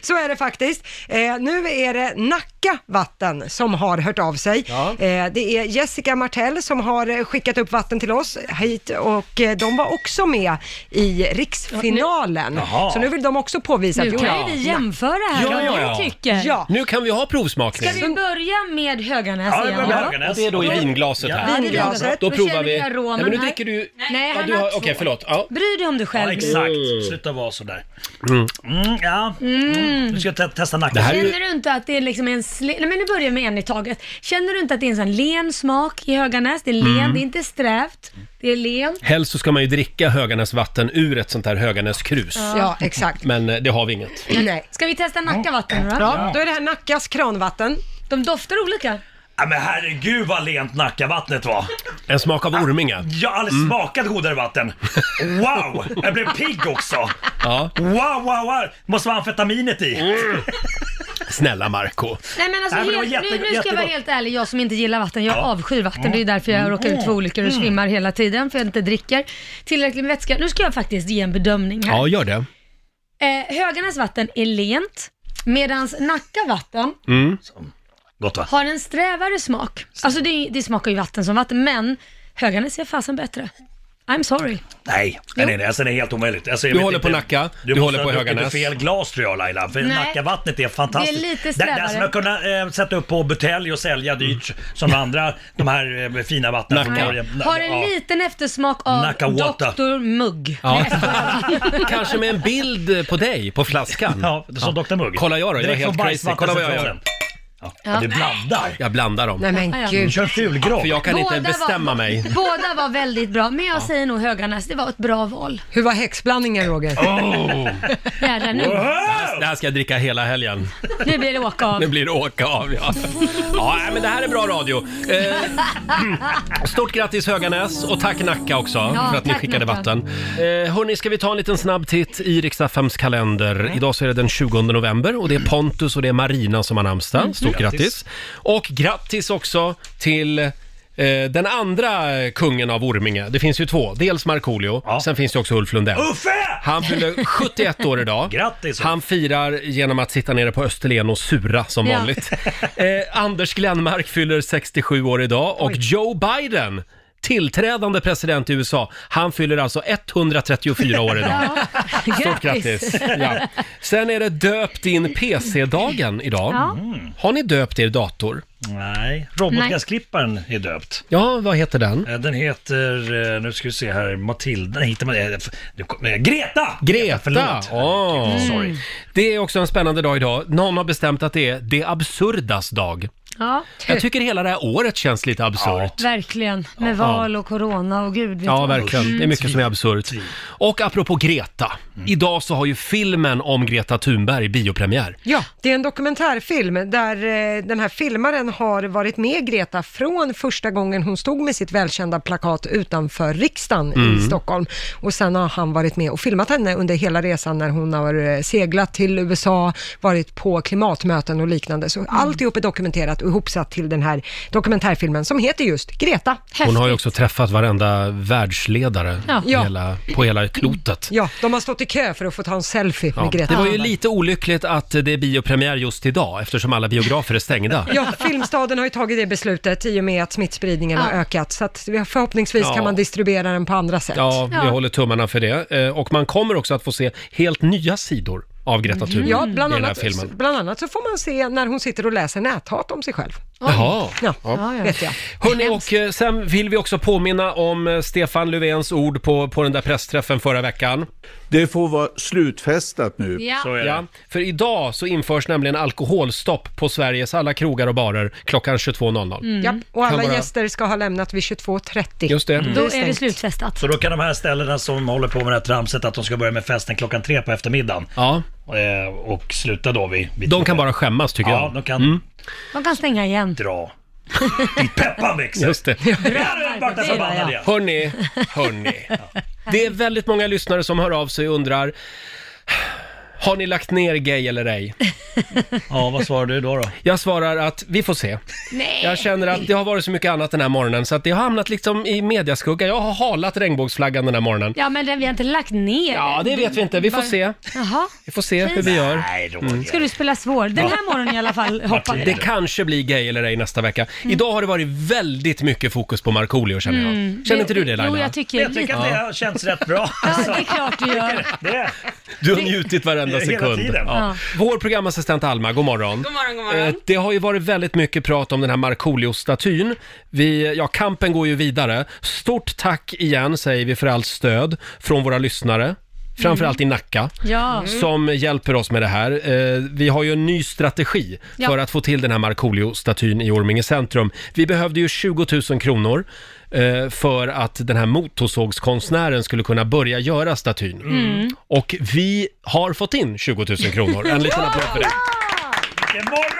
S2: så är det faktiskt. Eh, nu är det Nacka vatten som har hört av sig. Eh, det är Jessica Martell som har eh, skickat upp vatten till oss hit och eh, de var också med i riksfinalen.
S1: Jaha.
S2: Så nu vill de också påvisa
S4: Nu
S2: att
S4: kan ju vi jämföra här, vad vi tycker.
S2: Ja.
S1: Nu kan vi ha provsmakning.
S4: Ska vi börja med Höganäs
S1: Ja, det
S4: igen?
S1: börjar med Höganäs. Och det är då i vinglaset här.
S4: Ja, det är
S1: Vinglaset.
S4: vinglaset.
S1: Då
S4: Då
S1: provar
S4: känner
S1: vi-
S4: aromen
S1: Nej, men nu
S4: här.
S1: dricker du-
S4: Nej,
S1: Ja,
S4: han
S1: du har-
S4: har två.
S1: okej, förlåt. Ja.
S4: Bry dig om dig själv.
S9: Ja, exakt. Sluta vara sådär. Mm, ja. Mm. Nu ska jag te- testa nacken.
S4: Känner du inte att det är liksom en... Sle- Nej men nu börjar vi med en i taget. Känner du inte att det är en sån len smak i Höganäs? Det är len,
S1: Mm.
S4: det är inte strävt. Det är len.
S1: Helst så ska man ju dricka Höganäs vatten ur ett sånt här Höganäs krus.
S2: Ja, exakt.
S1: Men eh, det har vi inget.
S2: Nej.
S4: Ska vi testa Nackavatten då?
S2: Ja, då är det här Nackas kranvatten.
S4: De doftar olika.
S9: Ja, men herregud vad lent Nackavattnet var.
S1: En smak av orminge. Mm.
S9: Jag har aldrig smakat godare vatten. Wow! Jag blev pigg också.
S1: Ja. Mm.
S9: Wow, wow, wow! Måste vara amfetaminet i.
S1: Snälla Marco
S4: Nej men alltså
S9: Nej, men det var
S4: helt,
S9: jätte-
S4: nu, nu ska jag vara
S9: jättegott.
S4: helt ärlig, jag som inte gillar vatten, jag
S9: Ja.
S4: avskyr vatten. Det är ju därför jag råkar ut för olyckor och
S1: Mm.
S4: svimmar hela tiden för jag inte dricker tillräckligt med vätska. Nu ska jag faktiskt ge en bedömning här.
S1: Ja, gör det.
S4: Eh, Höganäs vatten är lent, medan Nacka vatten
S1: Mm.
S9: Gott va?
S4: har en strävare smak. Alltså det, det smakar ju vatten som vatten, men Höganäs är fasen bättre. I'm sorry.
S9: Nej, nej, nej, nej. Alltså, det är helt omöjligt. Alltså, jag
S1: Du
S9: vet
S1: håller på
S9: inte.
S1: Nacka,
S9: du,
S1: du håller på
S9: måste ha druckit
S1: Höganäs.
S9: fel glas tror jag Laila, för
S4: Nej.
S9: Nackavattnet är fantastiskt.
S4: Det är lite
S9: det, det
S4: strävare.
S9: som jag kunnat eh, sätta upp på butelj och sälja dyrt
S1: Mm.
S9: som de andra, de här eh, fina vattnen från
S4: Nej.
S9: Norge.
S4: Har en
S9: Ja.
S4: liten eftersmak av
S9: Nacka Water.
S4: Dr. Mugg.
S1: Ja. [laughs] Kanske med en bild på dig på flaskan.
S9: Ja, som Dr. Mugg.
S1: Kolla jag då, jag är
S9: Direkt
S1: helt
S9: från
S1: crazy. Kolla vad jag gör.
S9: Ja, du blandar.
S1: Jag blandar dem.
S2: Nej men
S4: Ja, ja.
S9: Du
S2: gud.
S9: kör fulgrogg.
S1: För jag kan inte bestämma
S4: var,
S1: mig.
S4: Båda var väldigt bra, men jag säger nog Höganäs. Det var ett bra val.
S2: Hur var häxblandningen Roger?
S9: Oh.
S4: Jädrar, nu,
S1: Det här ska jag dricka hela helgen.
S4: nu blir det åka av. [laughs]
S1: Nu blir det åka av, ja. Ja, nej, men det här är bra radio. Eh, stort grattis Höganäs och tack Nacka också för att ni
S4: tack,
S1: skickade
S4: Nacka.
S1: vatten. Eh, hörni, ska vi ta en liten snabb titt i Riks-FMs
S9: Mm.
S1: kalender. Idag så är det den 20 november och det är Pontus och det är Marina som har namnsdag. Stort
S9: Mm. Grattis.
S1: grattis! Och grattis också till eh, den andra kungen av Orminge. Det finns ju två. Dels Markoolio,
S9: Ja.
S1: sen finns det också Ulf Lundell.
S9: Uffe! [laughs]
S1: Han fyller 71 år idag.
S9: Grattis, Ulf.
S1: Han firar genom att sitta nere på Österlen och sura som
S4: Ja.
S1: vanligt. Eh, Anders Glenmark fyller 67 år idag och Joe Biden tillträdande president i USA. Han fyller alltså 134 år idag. Stort grattis! Ja. Sen är det döpt in PC-dagen idag.
S4: Ja.
S1: Har ni döpt er dator?
S9: Nej, robotgräsklipparen är döpt.
S1: Ja, vad heter den?
S9: Eh, Den heter, eh, nu ska vi se här, Matilda, nej hittar man det? Eh, f- nu kom- eh, Greta!
S1: Greta!
S9: förlåt.
S1: Åh.
S9: Sorry.
S1: Det är också en spännande dag idag. Någon har bestämt att det är det absurdas dag.
S4: Ja,
S1: Jag tycker hela det här året känns lite absurt.
S4: verkligen. Med val och corona och gud vet
S1: Ja,
S4: vad.
S1: verkligen. Det är mycket som är absurt. Och apropå Greta. Idag så har ju filmen om Greta Thunberg biopremiär.
S2: Ja, det är en dokumentärfilm där eh, den här filmaren har varit med Greta från första gången hon stod med sitt välkända plakat utanför riksdagen i
S1: Mm.
S2: Stockholm. Och sen har han varit med och filmat henne under hela resan när hon har eh, seglat till USA, varit på klimatmöten och liknande. Så
S4: Mm.
S2: alltihop är dokumenterat och ihopsatt till den här dokumentärfilmen som heter just Greta.
S1: Hon har ju också träffat varenda världsledare
S4: Ja.
S1: i hela, på hela klotet.
S2: Ja, de har stått i kö för att få ta en selfie
S1: Ja.
S2: med Greta.
S1: Det var ju lite olyckligt att det är biopremiär just idag eftersom alla biografer är stängda.
S2: Ja, Filmstaden har ju tagit det beslutet i och med att smittspridningen har ökat. Så att vi- förhoppningsvis
S1: Ja.
S2: kan man distribuera den på andra sätt.
S1: Ja, vi håller tummarna för det. Eh, Och man kommer också att få se helt nya sidor av Greta Thunberg
S2: Mm. Ja, bland
S1: i den här
S2: annat,
S1: filmen.
S2: bland annat så får man se när hon sitter och läser näthat om sig själv.
S1: Jaha.
S2: Ja,
S4: Ja, ja.
S2: vet jag.
S1: Hörrni, och eh, sen vill vi också påminna om eh, Stefan Löfvens ord på, på den där pressträffen förra veckan.
S10: Det får vara slutfestat nu.
S9: Så
S4: Ja.
S9: är
S1: Ja,
S9: det.
S1: för idag så införs nämligen alkoholstopp på Sveriges alla krogar och barer klockan 22.00.
S4: Mm.
S2: Ja, och
S1: Kan
S2: alla
S1: vara-
S2: gäster ska ha lämnat vid 22.30.
S1: Just det.
S4: Då är det
S2: stängt.
S4: slutfestat.
S9: Så då kan de här ställena som håller på med det här tramset att de ska börja med festen klockan tre på eftermiddagen
S1: Ja,
S9: eh, och sluta då vid... vid
S1: de kan bara skämmas tycker
S9: Ja,
S1: jag.
S9: de kan
S4: De kan stänga igen.
S9: dra. Ditt peppan växer!
S1: Just det.
S9: Där är Marta förbannad igen!
S1: Hörni,
S9: [laughs]
S1: hörni. Det är väldigt många lyssnare som hör av sig och undrar har ni lagt ner gay eller ej?
S9: [laughs] Ja, vad svarar du då? då?
S1: Jag svarar att vi får se.
S4: Nej.
S1: Jag känner att det har varit så mycket annat den här morgonen så att det har hamnat liksom i mediaskugga. Jag har halat regnbågsflaggan den här morgonen.
S4: Ja, men den, vi har inte lagt ner
S1: Ja,
S4: den.
S1: det vet vi inte. Vi får
S4: Bara-
S1: se.
S4: Jaha.
S1: Vi får se hur vi gör. Mm.
S9: Nej, Roger.
S4: Ska du spela svår? Den här morgonen i alla fall hoppar
S1: Det kanske blir gay eller ej nästa vecka. Idag har det varit väldigt mycket fokus på Markoolio känner jag. Känner inte du det
S4: Mm. Jo,
S1: Laila?
S4: jag tycker
S9: Mm. Jag
S4: lite.
S9: tycker att det har känts rätt bra.
S4: [laughs] Ja, det är klart du gör.
S9: [laughs] Det,
S1: Du har njutit varenda
S9: Hela
S1: sekund.
S9: tiden.
S1: Ja. Vår programassistent Alma, god morgon.
S5: God morgon, god morgon.
S1: Eh, Det har ju varit väldigt mycket prat om den här Markoolio-statyn. Vi, ja, kampen går ju vidare. Stort tack igen säger vi för allt stöd från våra lyssnare. Framförallt i Nacka,
S4: Mm. Ja.
S5: Mm.
S1: som hjälper oss med det här. Eh, Vi har ju en ny strategi
S4: Ja.
S1: för att få till den här Markoolio-statyn i Orminge centrum. Vi behövde ju 20 000 kronor eh, för att den här motorsågskonstnären skulle kunna börja göra statyn.
S4: Mm.
S1: Och vi har fått in 20 000 kronor. En liten applåd för det.
S9: vilken morgon!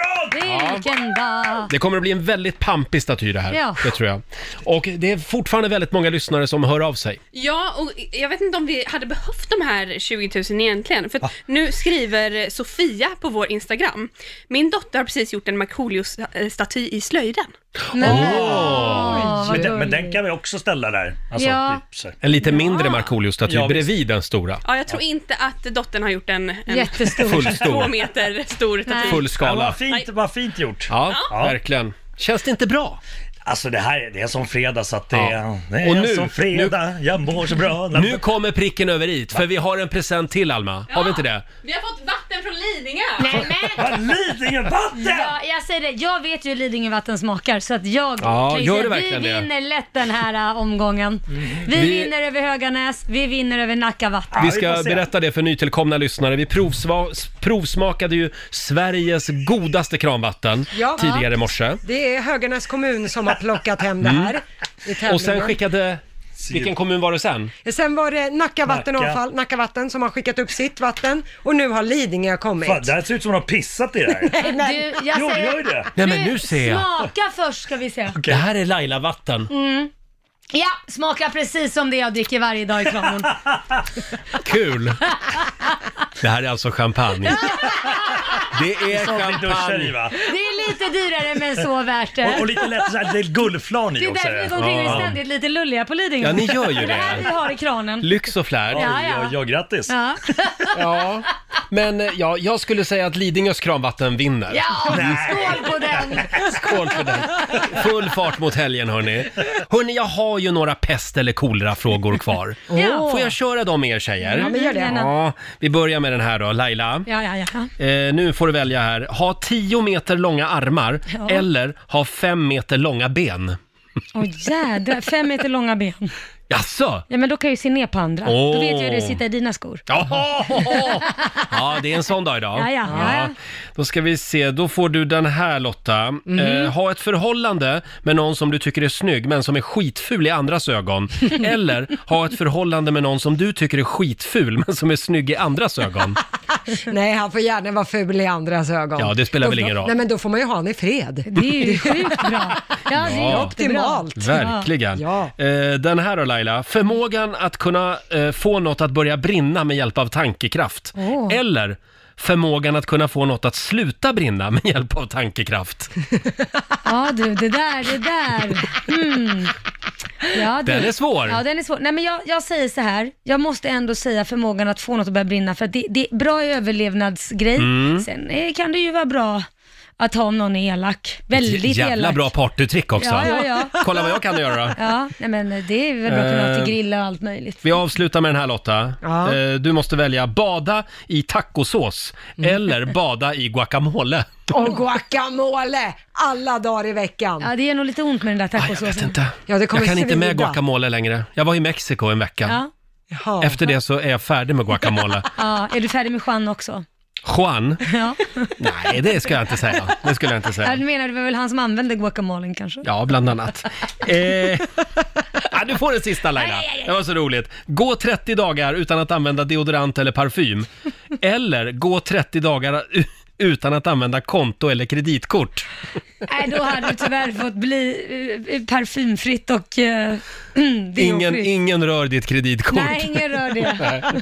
S4: Vilken dag!
S1: Det kommer att bli en väldigt pampig staty det här,
S4: Ja.
S1: det tror jag. Och det är fortfarande väldigt många lyssnare som hör av sig.
S5: Ja, och jag vet inte om vi hade behövt de här 20 000 egentligen, för att nu skriver Sofia på vår Instagram. Min dotter har precis gjort en Markoolio-staty i slöjden.
S4: Åh, vad
S9: Men den, men
S4: gulligt.
S9: den kan vi också ställa där. Alltså,
S4: Ja.
S9: typ så här.
S1: En lite mindre Markoolio-staty
S9: Ja, visst.
S1: bredvid den stora.
S5: Ja, jag tror inte att dottern har gjort en, en
S4: Jättestor.
S5: två
S1: Fullstor,
S5: meter stor staty.
S4: Nej.
S1: full
S9: Ja,
S1: skala.
S9: vad, fint, vad fint gjort.
S1: Ja,
S9: Ja.
S1: verkligen. Känns det inte bra?
S9: Alltså det här är- det är som fredag så att det,
S1: Ja.
S9: är det är
S1: Och nu-
S9: som fredag, jag mår så bra.
S1: Nu kommer pricken över i, för vi har en present till Alma. Har vi inte det?
S5: Vi har fått vatten från Lidingö!
S4: Nej, men
S9: Vad Lidingövatten!
S4: Ja, jag säger det, jag vet ju hur Lidingövatten smakar så att jag
S1: Ja,
S4: kan ju
S1: gör
S4: säga
S1: du
S4: att vi
S1: verkligen det? Mm.
S4: vinner lätt den här äh, omgången. Vi,
S1: Vi-
S4: vinner över Höganäs, vi vinner över Nackavatten.
S1: Vi ska berätta det för nytillkomna lyssnare. Vi provsva- provsmakade ju Sveriges godaste kranvatten
S2: Ja.
S1: tidigare i morse.
S2: Det är Höganäs kommun som har plockat hem det här i tävlingen.
S1: Mm. Och sen skickade... Vilken kommun var det sen?
S2: Sen var det Nacka vattenavfall, Nacka vatten som har skickat upp sitt vatten och nu har Lidingö kommit.
S9: Fan, det här ser ut som de har pissat i det här.
S4: Du, jag
S9: Jo,
S4: säger,
S9: gör det.
S1: Nej men nu ser jag!
S4: smaka först ska vi se.
S1: Det här är Laila-vatten.
S4: Mm. Ja, smakar precis som det jag dricker varje dag i
S9: [laughs]
S4: Kramon.
S1: Kul! Det här är alltså champagne. Det är
S9: Som vi duschar i
S1: champagne.
S9: va?
S4: Det är lite dyrare men så värt det.
S9: Och, och lite lätt såhär, det är guldflan
S4: Det
S9: i
S4: är
S9: också.
S4: därför vi går omkring och
S1: Ja.
S4: är ständigt lite lulliga på Lidingö.
S1: Ja, ni gör
S4: [laughs]
S1: ju
S4: Det här
S1: det.
S4: vi har i kranen.
S1: Lyx och flärd.
S4: Ja.
S9: Ja, ja, grattis.
S4: Ja.
S1: Ja, men eh, ja, jag skulle säga att Lidingös kranvatten vinner.
S4: Ja, skål på den!
S1: Skål för den. Full fart mot helgen hörni. Hörni, jag har ju några pest eller kolera-frågor
S2: [laughs]
S1: kvar.
S4: Ja.
S1: Får jag köra dem med er tjejer?
S2: Ja, men gör det.
S1: Ja, vi börjar med den här då. Laila,
S4: [laughs] Ja, ja, ja.
S1: eh, nu får du välja här. Ha 10 meter långa armar
S4: Ja.
S1: eller ha 5 meter långa ben.
S4: Åh jädrar, fem meter långa ben.
S1: Jaså?
S4: Ja men då kan jag ju se ner på andra.
S1: Åh.
S4: Då vet jag hur det sitter i dina skor.
S1: Jaha! Ja, det är en sån dag idag.
S4: Ja, ja, ja, ja.
S1: Då ska vi se, då får du den här Lotta.
S4: Mhm.
S1: Eh, ha ett förhållande med någon som du tycker är snygg men som är skitful i
S4: [laughs]
S1: andras ögon. Eller ha ett förhållande med någon som du tycker är skitful men som är snygg i andras ögon.
S2: [laughs] Nej, han får gärna vara ful i andras ögon.
S1: Ja, det spelar
S2: Då-
S1: väl ingen roll.
S2: Nej, men då får man ju ha han i fred.
S4: Det
S2: [laughs]
S4: är ju sjukt bra. Ja, [laughs] det är
S1: Ja.
S4: jättebra.
S2: Optimalt.
S1: Verkligen.
S2: Ja.
S1: Eh, den här då Laila, förmågan att kunna eh, få något att börja brinna med hjälp av tankekraft.
S4: Åh.
S1: Eller förmågan att kunna få något att sluta brinna med hjälp av tankekraft.
S4: Ja du, det där, det där. Mm. Ja, du.
S1: Den är svår.
S4: Ja, den är svår. Nej, men jag, jag säger så här. Jag måste ändå säga förmågan att få något att börja brinna, för att det, det är bra överlevnadsgrej.
S1: Mm.
S4: Sen eh, kan det ju vara bra att ha om någon är elak. Väldigt
S1: Jävla
S4: elak.
S1: bra partytrick också.
S4: Ja, ja, ja.
S1: Kolla vad jag kan göra då.
S4: Ja, nej, men eh, det är väl bra att kunna ha till grilla och allt möjligt.
S1: Vi avslutar med den här Lotta.
S2: Ja.
S1: Eh, Du måste välja bada i tacosås
S2: Mm.
S1: eller bada i guacamole.
S2: Och guacamole alla dagar i veckan.
S4: Ja, det gör nog lite ont med den där
S1: Ah, jag
S4: tacosåsen.
S1: vet inte.
S2: Ja, det kommer
S1: jag kan inte med
S2: svida.
S1: guacamole längre. Jag var i Mexiko en vecka.
S4: Ja.
S2: Jaha.
S1: Efter det så är jag färdig med
S2: [laughs]
S1: guacamole.
S4: ja, är du färdig med Juan också?
S1: Juan?
S4: Ja.
S1: Nej, det ska jag inte säga. Det skulle jag inte
S4: Ja,
S1: säga.
S4: du menar det var väl han som använde guacamolen kanske?
S1: Ja, bland annat. Eh,
S4: [laughs]
S1: ja, du får den sista Laila. Det var så roligt. Gå 30 dagar utan att använda deodorant eller parfym. Eller gå 30 dagar u- utan att använda konto eller kreditkort.
S4: Nej, då hade du tyvärr fått bli eh, parfymfritt och eh, [clears throat]
S1: Ingen,
S4: deofritt.
S1: ingen rör ditt kreditkort.
S4: Nej, ingen rör
S1: [laughs]
S4: det.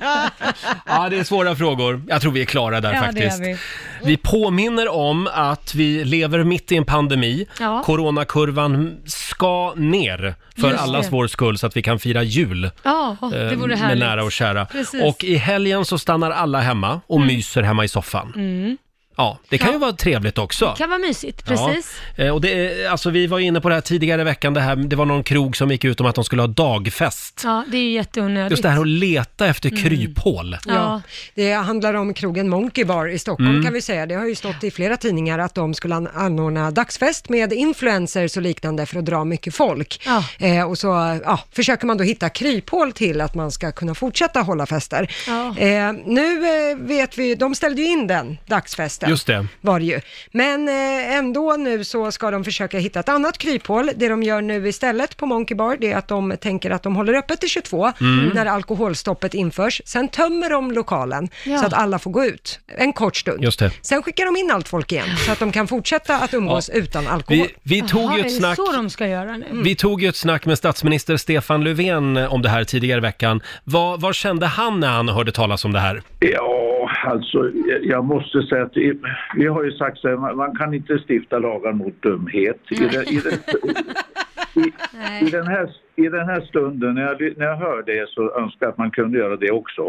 S1: Ja, det är svåra frågor. Jag tror vi är klara där
S4: Ja, det
S1: faktiskt.
S4: är vi.
S1: Vi påminner om att vi lever mitt i en pandemi.
S4: Ja.
S1: Coronakurvan ska ner för
S4: Just
S1: allas
S4: det.
S1: vår skull så att vi kan fira jul.
S4: Ja, det
S1: eh,
S4: vore
S1: med
S4: härligt.
S1: nära och kära.
S4: Precis. Mm.
S1: Och i helgen så stannar alla hemma och myser hemma i soffan. Ja, det kan ju vara trevligt också.
S4: Kan vara mysigt, precis.
S1: Ja. Eh, Och det, är- alltså, vi var ju inne på det här tidigare i veckan, det, här, det var någon krog som gick ut om att de skulle ha dagfest.
S4: Ja, det är ju jätteonödigt.
S1: Just det här att leta efter kryphål.
S4: Mm. Ja.
S2: Det handlar om krogen Monkey Bar i Stockholm
S1: Mm.
S2: kan vi säga. Det har ju stått i flera tidningar att de skulle an- anordna dagsfest med influencers och liknande för att dra mycket folk.
S4: Ja.
S2: Eh, och så ja, försöker man då hitta kryphål till att man ska kunna fortsätta hålla fester.
S4: Ja.
S2: Eh, nu eh, vet vi, de ställde ju in den dagsfesten.
S1: Just det.
S2: Var det ju. Men eh, ändå nu så ska de försöka hitta ett annat kryphål. Det de gör nu istället på Monkey Bar, det är att de tänker att de håller öppet till 22
S1: Mm.
S2: när alkoholstoppet införs. Sen tömmer de lokalen
S4: Ja.
S2: så att alla får gå ut en kort stund.
S1: Just det.
S2: Sen skickar de in allt folk igen så att de kan fortsätta att umgås utan alkohol.
S1: Vi, vi tog
S4: Jaha,
S1: ju
S4: är det
S1: ett snack...
S4: så de ska göra nu?
S1: Vi tog ju ett snack med statsminister Stefan Löfven om det här tidigare i veckan. Vad, vad kände han när han hörde talas om det här?
S6: Ja, alltså jag måste säga att vi- vi har ju sagt så här, man- man kan inte stifta lagar mot dumhet. I den, i den, i, i den, här,
S7: i den här stunden när jag, ly- när jag hör det så önskar jag att man kunde göra det också.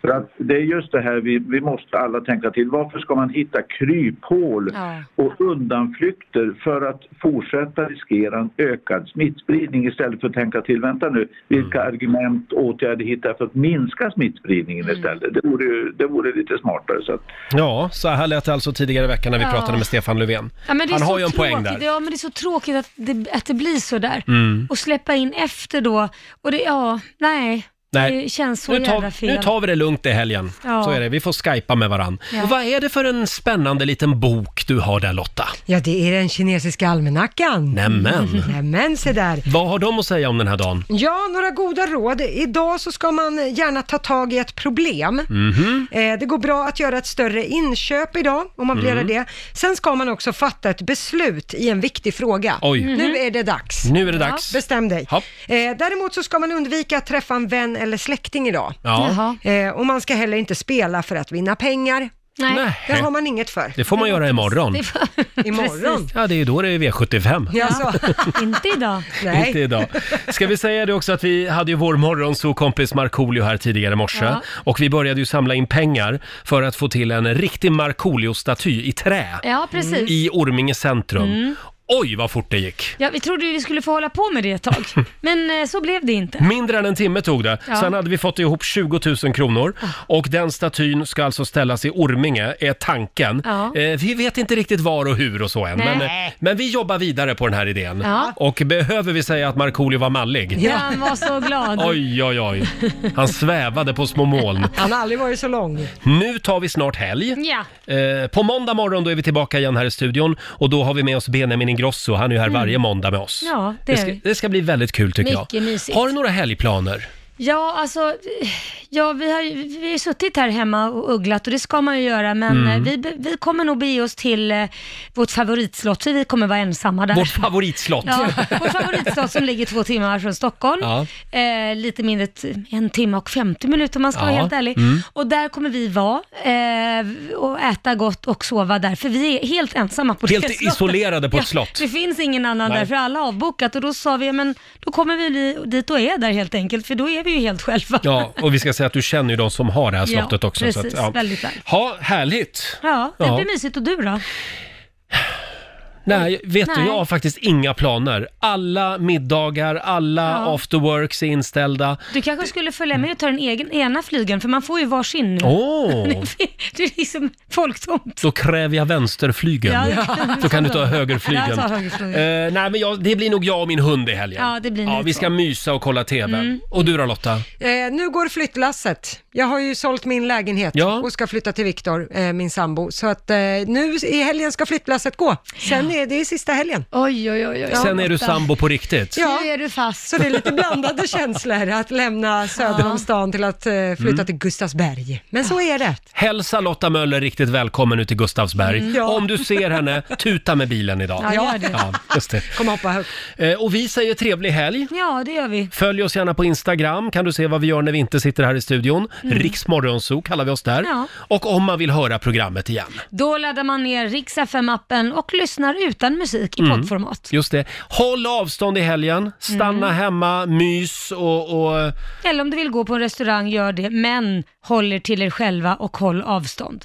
S7: För att det är just det här vi, vi måste alla tänka till. Varför ska man hitta kryphål
S12: Ja.
S7: och undanflykter för att fortsätta riskera en ökad smittspridning istället för att tänka till, vänta nu, vilka argument och åtgärder hittar jag för att minska smittspridningen istället? Det vore, ju- det vore lite smartare. Så att,
S1: Ja, så här lät det alltså tidigare i veckan när vi
S4: Ja.
S1: pratade med Stefan Löfven.
S4: Ja, men det är
S1: Han
S4: så
S1: har ju en
S4: tråkigt.
S1: poäng där.
S4: Ja, men det är så tråkigt att det, att det blir så där.
S1: Mm.
S4: Och släppa in efter då. Och det, ja, nej. Det känns så
S1: nu,
S4: jävla
S1: tar,
S4: fel.
S1: nu tar vi det lugnt i helgen.
S4: Ja.
S1: Så är det, vi får skypa med varann.
S2: Ja.
S1: Och Vad är det för en spännande liten bok du har där Lotta?
S2: Ja, det är den kinesiska almanackan.
S1: Nämen.
S2: Nämen, se där.
S1: Vad har de att säga om den här dagen?
S2: Ja, några goda råd. Idag så ska man gärna ta tag i ett problem.
S4: Mm-hmm.
S1: Mhm.
S2: Eh, Det går bra att göra ett större inköp idag, om man begär
S1: Mm.
S2: det. Sen ska man också fatta ett beslut i en viktig fråga.
S1: Oj. Mm-hmm.
S2: Nu är det dags.
S1: Nu är det dags.
S2: Bestäm dig. Eh, Däremot så ska man undvika att träffa en vän eller släkting idag.
S1: Ja.
S2: Eh, Och man ska heller inte spela för att vinna pengar.
S1: Nej.
S2: Det har man inget för.
S1: Det får man göra imorgon.
S2: Imorgon.
S1: Ja, det är ju då det är V75.
S2: Ja, så.
S4: [laughs] Inte idag.
S1: Inte idag. Ska vi säga det också att vi hade ju vår morgonsokompis Markoolio här tidigare i morse.
S4: Ja.
S1: Och vi började ju samla in pengar för att få till en riktig Markoolio-staty i trä.
S4: Ja, precis.
S1: I Orminge centrum.
S4: Mm.
S1: Oj, vad fort det gick!
S4: Ja, vi trodde ju vi skulle få hålla på med det ett
S1: [laughs]
S4: tag, men eh, så blev det inte.
S1: Mindre än en timme tog det.
S4: Ja. Ah.
S1: Sen hade vi fått ihop 20 000 kronor. Och den statyn ska alltså ställas i Orminge, är tanken.
S4: Ja.
S1: Eh, vi vet inte riktigt var och hur och så än.
S4: Nej.
S1: Men, eh, men vi jobbar vidare på den här idén.
S4: Ja.
S1: Och behöver vi säga att Markoolio var mallig?
S4: Ja. Han var så glad.
S1: Oj, oj, oj. Han svävade på små moln.
S2: Han har aldrig varit så lång.
S1: Nu tar vi snart helg.
S4: Ja.
S1: Eh, på måndag morgon då är vi tillbaka igen här i studion och då har vi med oss Benjamin Ingrosso. Han är ju här
S4: Mm.
S1: varje måndag med oss.
S4: Ja, det
S1: det,
S4: är
S1: ska,
S4: vi.
S1: det ska bli väldigt kul tycker jag.
S4: Mycket mysigt.
S1: Har du några helgplaner?
S4: Ja, alltså, ja, vi har ju vi har ju suttit här hemma och ugglat och det ska man ju göra, men
S1: Mm.
S4: eh, vi, be- vi kommer nog bege oss till eh, vårt favoritslott, för vi kommer vara ensamma där.
S1: Vårt favoritslott.
S4: Ja, vårt favoritslott som ligger två timmar från Stockholm.
S1: Ja.
S4: Eh, lite mindre, t- en timme och 50 minuter om man ska vara
S1: Ja.
S4: helt ärlig.
S1: Mm.
S4: Och där kommer vi vara eh, och äta gott och sova där, för vi är helt ensamma på det
S1: Helt
S4: slottet.
S1: isolerade på ett slott.
S4: Det finns ingen annan
S1: Nej.
S4: där, för alla har avbokat och då sa vi, ja, men då kommer vi li- dit och är där helt enkelt, för då är vi ju helt själva.
S1: Ja, och vi ska säga att du känner ju de som har det här
S4: Ja,
S1: slottet också.
S4: Precis,
S1: så att, ja.
S4: väldigt väl.
S1: Ha, härligt!
S4: Ja, det
S1: Ja.
S4: blir mysigt. Och du då?
S1: Nej, vet du,
S4: Nej.
S1: jag har faktiskt inga planer. Alla middagar, alla
S4: Ja.
S1: afterworks är inställda.
S4: Du kanske skulle följa med och ta den egen, ena flygeln, för man får ju varsin nu.
S1: Åh.
S4: [laughs] det är liksom folktomt.
S1: Då kräver jag vänsterflygeln.
S4: Ja, [laughs] det-
S1: Då kan du ta
S4: Ja,
S1: högerflygeln.
S4: jag tar högerflygeln.
S1: Eh, nej, men jag, det blir nog jag och min hund i helgen.
S2: Ja, det blir ni
S1: ja, vi
S2: två.
S1: ska mysa och kolla TV.
S2: Mm.
S1: Och du då Lotta?
S2: Eh, nu går flyttlasset. Jag har ju sålt min lägenhet
S1: Ja.
S2: och ska flytta till Viktor, eh, min sambo. Så att eh, nu i helgen ska flyttlasset gå. Sen är det sista helgen.
S4: Oj, oj, oj.
S1: Sen är du sambo på riktigt.
S2: Ja.
S4: Nu är du fast.
S2: Så det är
S4: [laughs]
S2: lite blandade känslor att lämna söder om stan till att eh, flytta
S1: Mm.
S2: till Gustavsberg. Men så är det.
S1: Hälsa Lotta Möller riktigt välkommen ut till Gustavsberg.
S2: Mm. Ja.
S1: Om du
S4: [laughs]
S1: ser henne, tuta med bilen idag.
S4: Ja, gör det.
S1: Ja, just det.
S2: Kom hoppa högt.
S1: Eh, och vi säger trevlig helg.
S4: Ja, det gör vi.
S1: Följ oss gärna på Instagram, kan du se vad vi gör när vi inte sitter här i studion.
S4: Mm.
S1: Riksmorgonzoo kallar vi oss där.
S4: Ja.
S1: Och om man vill höra programmet igen.
S4: Då laddar man ner Rix FM-appen och lyssnar utan musik i
S1: Mm.
S4: poddformat.
S1: Just det. Håll avstånd i helgen,
S4: Mm.
S1: stanna hemma, mys och... och
S4: Eller om du vill gå på en restaurang, gör det, men håll er till er själva och håll avstånd.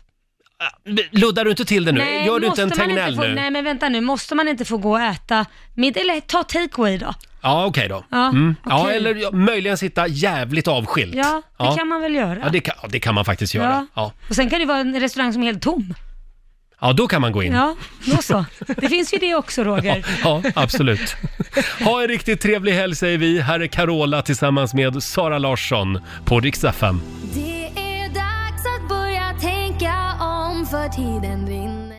S1: luddar du inte till det nu? Gör du inte en
S4: måste man
S1: Tegnell
S4: få,
S1: nu?
S4: Nej, men vänta nu, måste man inte få gå och äta mid, eller ta takeaway då?
S1: Ja, okej då.
S4: Ja,
S1: mm. ja
S4: okej.
S1: eller ja, möjligen sitta jävligt avskilt.
S4: Ja, det kan man väl göra.
S1: Ja, Alltså- det kan, ja, det kan man faktiskt göra.
S4: Ja.
S1: Ja.
S4: Och sen kan det vara en restaurang som är helt tom.
S1: ja, då kan man gå in.
S4: Ja, då så. Det finns ju det också, Roger.
S1: [laughs] Ja, absolut. Ha en riktigt trevlig helg säger vi. Här är Carola tillsammans med Sara Larsson på riksdag 5.
S13: Det är dags att börja tänka om för tiden rinner